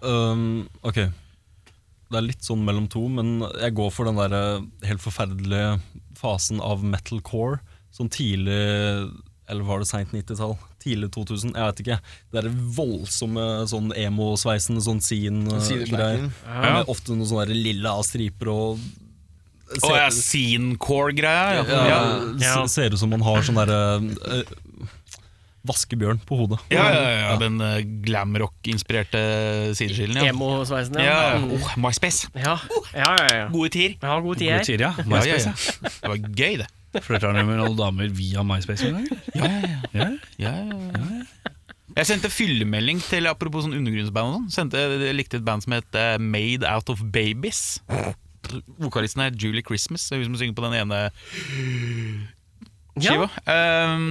Speaker 5: Um, ok. Det er litt sånn mellom to, men jeg går for den der eh, helt forferdelige fasen av metalcore. Sånn tidlig Eller var det seint 90-tall? Tidlig 2000? Jeg vet ikke. Det derre voldsomme sånn emo-sveisen, sånn scene-greier.
Speaker 6: Sideslangen.
Speaker 5: Med ofte noen sånne der lilla striper og
Speaker 2: Å ja, scenecore-greia. Ja.
Speaker 5: ja,
Speaker 2: Ja.
Speaker 3: Ja.
Speaker 5: se- Ser ut som man har sånn derre eh, Vaskebjørn på hodet.
Speaker 2: Ja, ja, ja, den eh, glamrock-inspirerte sideskillen, ja.
Speaker 3: Emo-sveisen,
Speaker 2: ja.
Speaker 3: ja. Mm.
Speaker 2: Oh, MySpace.
Speaker 3: Ja, ja, ja. ja.
Speaker 2: Gode tider.
Speaker 3: Jeg har god tid,
Speaker 1: Gode
Speaker 3: jeg.
Speaker 1: tider, ja.
Speaker 2: Ja, ja,
Speaker 1: MySpace,
Speaker 2: ja. Det var gøy, det.
Speaker 1: ja. Flørter du med noen damer via MySpace? en gang?
Speaker 2: Ja, ja, ja. ja, ja, ja. Jeg sendte fyllemelding til apropos sånn undergrunnsband. og sånn, sendte, Jeg likte et band som het eh, Made Out of Babies. Vokalisten er Julie Christmas, det er hun som synger på den ene
Speaker 3: Ja.
Speaker 2: skiva. Ehm,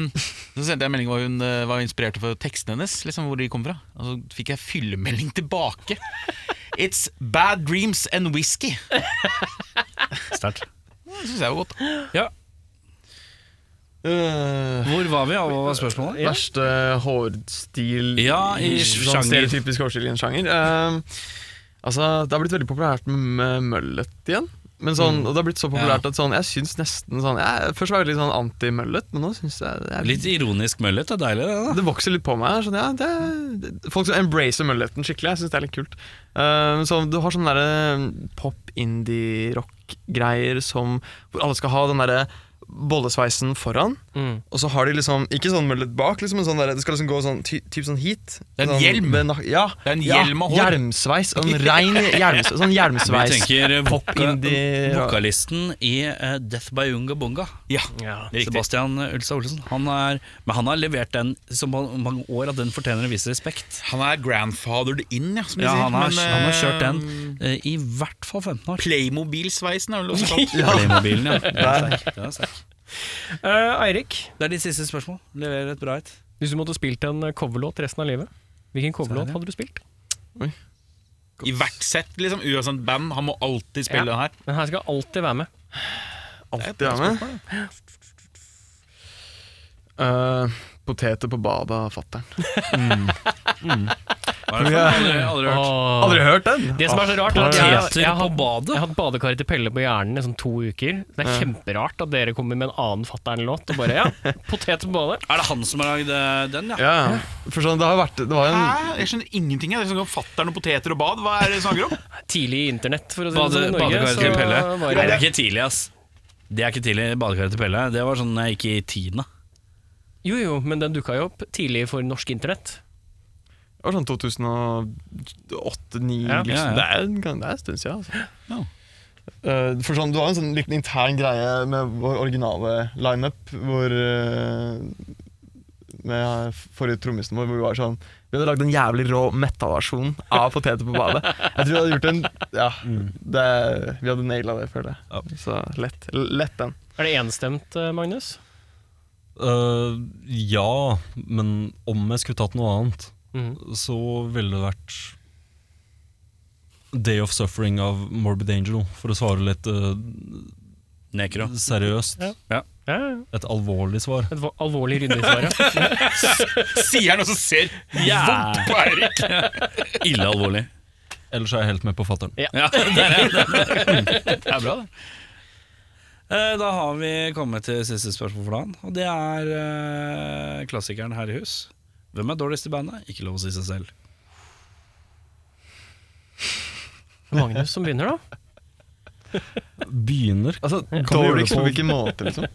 Speaker 2: så sendte jeg en melding hvor hun eh, var inspirert for tekstene hennes, liksom hvor de kom fra. Og så fikk jeg fyllemelding tilbake. It's bad dreams and whisky.
Speaker 1: Sterkt.
Speaker 2: Det syns jeg var godt.
Speaker 6: Øh,
Speaker 1: Hvor var vi? og Hva var spørsmålet?
Speaker 6: Verste hårstil
Speaker 1: Ja, i sjanger.
Speaker 6: sånn Stereotypisk hårstil i en sjanger. Eh, altså, det har blitt veldig populært med møllet igjen. Men
Speaker 1: Mm.
Speaker 6: sånn, og det har blitt så populært at sånn, jeg syns nesten sånn jeg, Først var jeg litt sånn anti-møllet, men nå syns jeg, jeg
Speaker 1: Litt ironisk møllet er deilig, det. da
Speaker 6: Det vokser litt på meg. Sånn, ja, det, det, folk som embracer mulleten skikkelig. Jeg syns det er litt kult. Eh, så du har sånne der, eh, pop, indie, rock-greier som Hvor alle skal ha den derre bollesveisen foran,
Speaker 3: Mm.
Speaker 6: og så har de liksom Ikke sånn mullet bak, liksom, men sånn derre- det skal liksom gå sånn, ty, typ sånn hit.
Speaker 2: Det er en
Speaker 6: sånn,
Speaker 2: hjelm.
Speaker 6: med nak- ja,
Speaker 2: Det er en
Speaker 6: ja,
Speaker 2: hjelm av hår.
Speaker 6: Hjelmsveis. En rein hjelmsveis. Sånn
Speaker 1: Vi
Speaker 6: hjelmsveis.
Speaker 1: tenker voka
Speaker 6: indie-
Speaker 1: vokalisten i eh, Death by Unga Bunga.
Speaker 2: Ja,
Speaker 3: Ja.
Speaker 2: det er riktig.
Speaker 1: Sebastian Ulstad Olsen. Han er, men han har levert den så ma- mange år at den fortjener en viss respekt.
Speaker 2: Han er grandfathered in, ja, som de
Speaker 1: Ja,
Speaker 2: sier.
Speaker 1: han har,
Speaker 2: men,
Speaker 1: han har
Speaker 2: eh,
Speaker 1: kjørt den eh, i hvert fall 15 år.
Speaker 2: Playmobil-sveisen er vel også kalt.
Speaker 1: Playmobilen, ja. Den er sterk, den er sterk.
Speaker 3: Eh, Eirik,
Speaker 1: Det er ditt siste spørsmål. Leverer et bra et.
Speaker 3: hvis du måtte spilt en eh, coverlåt resten av livet, hvilken coverlåt hadde du spilt?
Speaker 2: I hvert sett, liksom, uansett band. Han må alltid spille
Speaker 3: Ja.
Speaker 2: den her.
Speaker 3: Den her skal alltid være med.
Speaker 6: Alltid er med. Eh, poteter på badet av fatter'n.
Speaker 1: Hva er det for noe? Aldri, aldri hørt.
Speaker 3: Åh.
Speaker 6: Aldri hørt den!
Speaker 3: Det som er så rart, er at jeg, jeg,
Speaker 1: Poteter på
Speaker 3: har-
Speaker 1: badet?
Speaker 3: jeg har hatt badekar til Pelle på hjernen i sånn to uker. Det er kjemperart at dere kommer med en annen Fatter'n-låt og bare ja, potet på badet.
Speaker 1: Er det han som har lagd eh, den, ja?
Speaker 6: Ja, ja. for sånn, det har vært Det var en
Speaker 2: Hæ? Jeg skjønner ingenting. Jeg. Det er sånn Fatter'n og poteter og bad, hva er det du snakker om?
Speaker 3: Tidlig internett, for å si det
Speaker 1: Bade,
Speaker 3: sånn, i Norge.
Speaker 1: badekaret
Speaker 3: så
Speaker 1: til Pelle?
Speaker 3: var
Speaker 1: Nei, det
Speaker 3: det-
Speaker 1: er ikke tidlig, ass. Det er ikke tidlig, badekaret til Pelle. Det var sånn jeg gikk i tiende.
Speaker 3: Jo jo, men den dukka jo opp tidlig for norsk internett.
Speaker 6: Det var sånn 2008-2009.
Speaker 3: Ja.
Speaker 1: Ja, ja.
Speaker 6: Liksom. Det, er en gang, det er en stund siden. Altså.
Speaker 1: Ja.
Speaker 6: Eh, for sånn, du har en sånn liten intern greie med vår originale lineup, hvor eh, med forrige trommisen vår, hvor vi var sånn Vi hadde lagd en jævlig rå metal-versjon av Poteter på badet. Jeg tror vi hadde gjort en Ja, det, vi hadde naila det, føler jeg.
Speaker 5: Ja.
Speaker 6: Så lett, lett den.
Speaker 3: Er det enstemt, eh, Magnus?
Speaker 5: Eh, ja, men om jeg skulle tatt noe annet, så ville det vært Day of Suffering av Morbid Angel, for å svare litt eh,
Speaker 1: Nekro.
Speaker 5: seriøst.
Speaker 3: Ja. Ja, ja.
Speaker 5: Et alvorlig svar.
Speaker 3: et va- alvorlig ryddig svar. ja.
Speaker 2: Sier han og så ser vondt på Eirik.
Speaker 1: Ille alvorlig.
Speaker 5: Ellers er jeg helt med på fatter'n.
Speaker 1: Ja, det er, det det er bra, det. Eh, Da har vi kommet til siste spørsmål for dagen, og det er eh, klassikeren her i hus. Hvem er dårligst i bandet? Ikke lov å si seg selv.
Speaker 3: Magnus som begynner, da.
Speaker 5: Begynner
Speaker 6: Altså,
Speaker 5: vi gjøre det
Speaker 6: Dårligst
Speaker 5: på-
Speaker 6: på hvilken måte, liksom?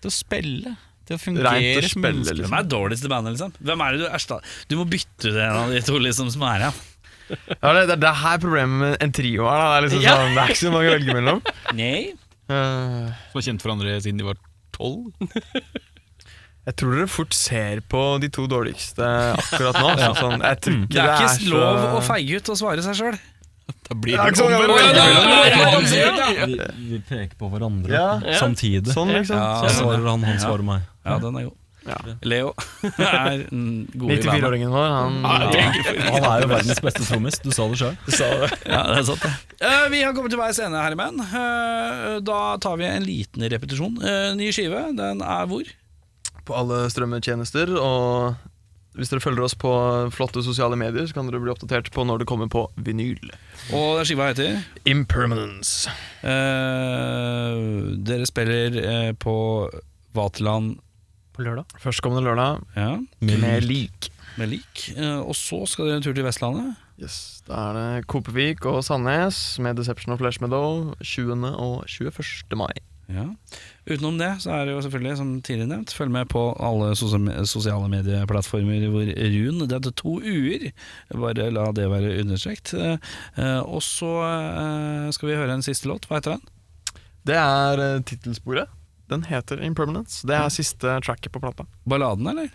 Speaker 2: Til å spille. Til å
Speaker 6: Rent
Speaker 2: fungere
Speaker 6: å
Speaker 2: som
Speaker 6: spille,
Speaker 2: menneske.
Speaker 6: liksom.
Speaker 1: Hvem er dårligst i bandet, liksom? Hvem er det du erstatter? Du må bytte ut en av de to liksom, som er her.
Speaker 6: Ja, det, det, det er her problemet med en trio er. Da. Det er liksom
Speaker 1: Ja.
Speaker 6: sånn, det er ikke så mange å velge mellom.
Speaker 1: Nei.
Speaker 6: Eh,
Speaker 2: Som har kjent hverandre siden de var tolv.
Speaker 6: jeg tror dere fort ser på de to dårligste akkurat nå. altså, sånn, jeg tror ikke
Speaker 1: Mm. Det er ikke
Speaker 6: så-
Speaker 1: lov å feige ut og svare seg sjøl.
Speaker 2: Da blir
Speaker 6: Det er
Speaker 2: det
Speaker 6: ikke sånn,
Speaker 2: omvendt.
Speaker 6: ja, ja, ja,
Speaker 5: vi, vi peker på hverandre
Speaker 6: Ja.
Speaker 5: samtidig.
Speaker 6: Sånn, liksom.
Speaker 1: Ja,
Speaker 5: Så
Speaker 6: sånn.
Speaker 5: svarer han, han svarer meg.
Speaker 1: Ja, den er god.
Speaker 6: Ja.
Speaker 1: Leo er mm, god i bandet.
Speaker 6: 94-åringen vår, han
Speaker 5: Han er jo verdens beste trommis, du sa det sjøl.
Speaker 1: Ja, det er sant det. Eh, vi har kommet til veis ende, herremenn. Eh, da tar vi en liten repetisjon. Eh, ny skive, den er hvor?
Speaker 6: på alle strømmetjenester. Og hvis dere følger oss på flotte sosiale medier, så kan dere bli oppdatert på når det kommer på vinyl.
Speaker 1: Og den skiva heter?
Speaker 6: Impermanence.
Speaker 1: Eh, dere spiller eh, på Vaterland
Speaker 3: På lørdag.
Speaker 6: Førstkommende lørdag
Speaker 1: ja,
Speaker 6: med lik.
Speaker 1: med lik. Eh, og så skal dere en tur til Vestlandet.
Speaker 6: Yes, Da er det Kopervik og Sandnes med Deception of Flesh Meadow 20. og 21. mai.
Speaker 1: Ja. Utenom det så er det jo selvfølgelig, som tidligere nevnt, følg med på alle sosia- sosiale medieplattformer hvor Run Det er to u-er, bare la det være understreket. Eh, eh, og så eh, skal vi høre en siste låt. Hva heter den?
Speaker 6: Det er eh, tittelsporet. Den heter Impermanence. Det
Speaker 1: Mm.
Speaker 6: er siste tracket på plata.
Speaker 1: Balladen, eller?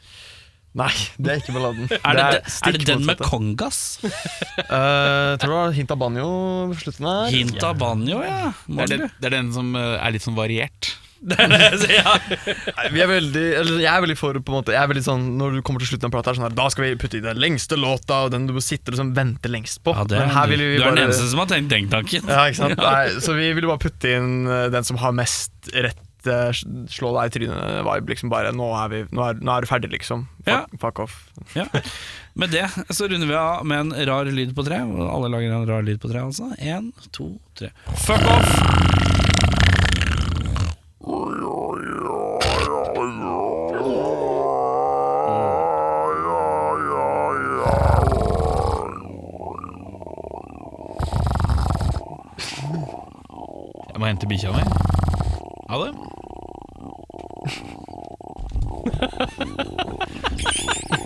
Speaker 6: Nei, det er ikke balladen.
Speaker 1: Er det,
Speaker 6: er
Speaker 1: de- er
Speaker 6: stikk
Speaker 1: det den med
Speaker 6: motsatte.
Speaker 1: kongas?
Speaker 6: Eh, tror det var hint av banjo på slutten her.
Speaker 1: Hint av banjo,
Speaker 2: Det
Speaker 1: ja.
Speaker 2: er,
Speaker 1: Morgen,
Speaker 2: den,
Speaker 1: du.
Speaker 2: det er den som eh, er litt sånn variert.
Speaker 6: Nei, Vi er veldig, eller jeg er veldig for på en måte Jeg er veldig sånn, Når du kommer til slutten av plata, er sånn her, da skal vi putte i den lengste låta, og den du må sitte og liksom vente lengst på.
Speaker 1: Ja, det er,
Speaker 6: Men her vil vi
Speaker 1: du er
Speaker 6: bare
Speaker 1: den eneste som har tenkt den tanken.
Speaker 6: ja, ikke sant? Nei, Så vi ville bare putte inn eh, den som har mest rett, eh, slå deg i trynet-vibe. Liksom bare nå er, vi, nå, er, nå er du ferdig, liksom.
Speaker 1: Ja.
Speaker 6: Fuck, fuck off.
Speaker 1: Ja. Med det så runder vi av med en rar lyd på tre. Og Alle lager en rar lyd på tre, altså. Én, to, tre. Fuck off!
Speaker 2: Jeg må hente bikkja mi. Ha det.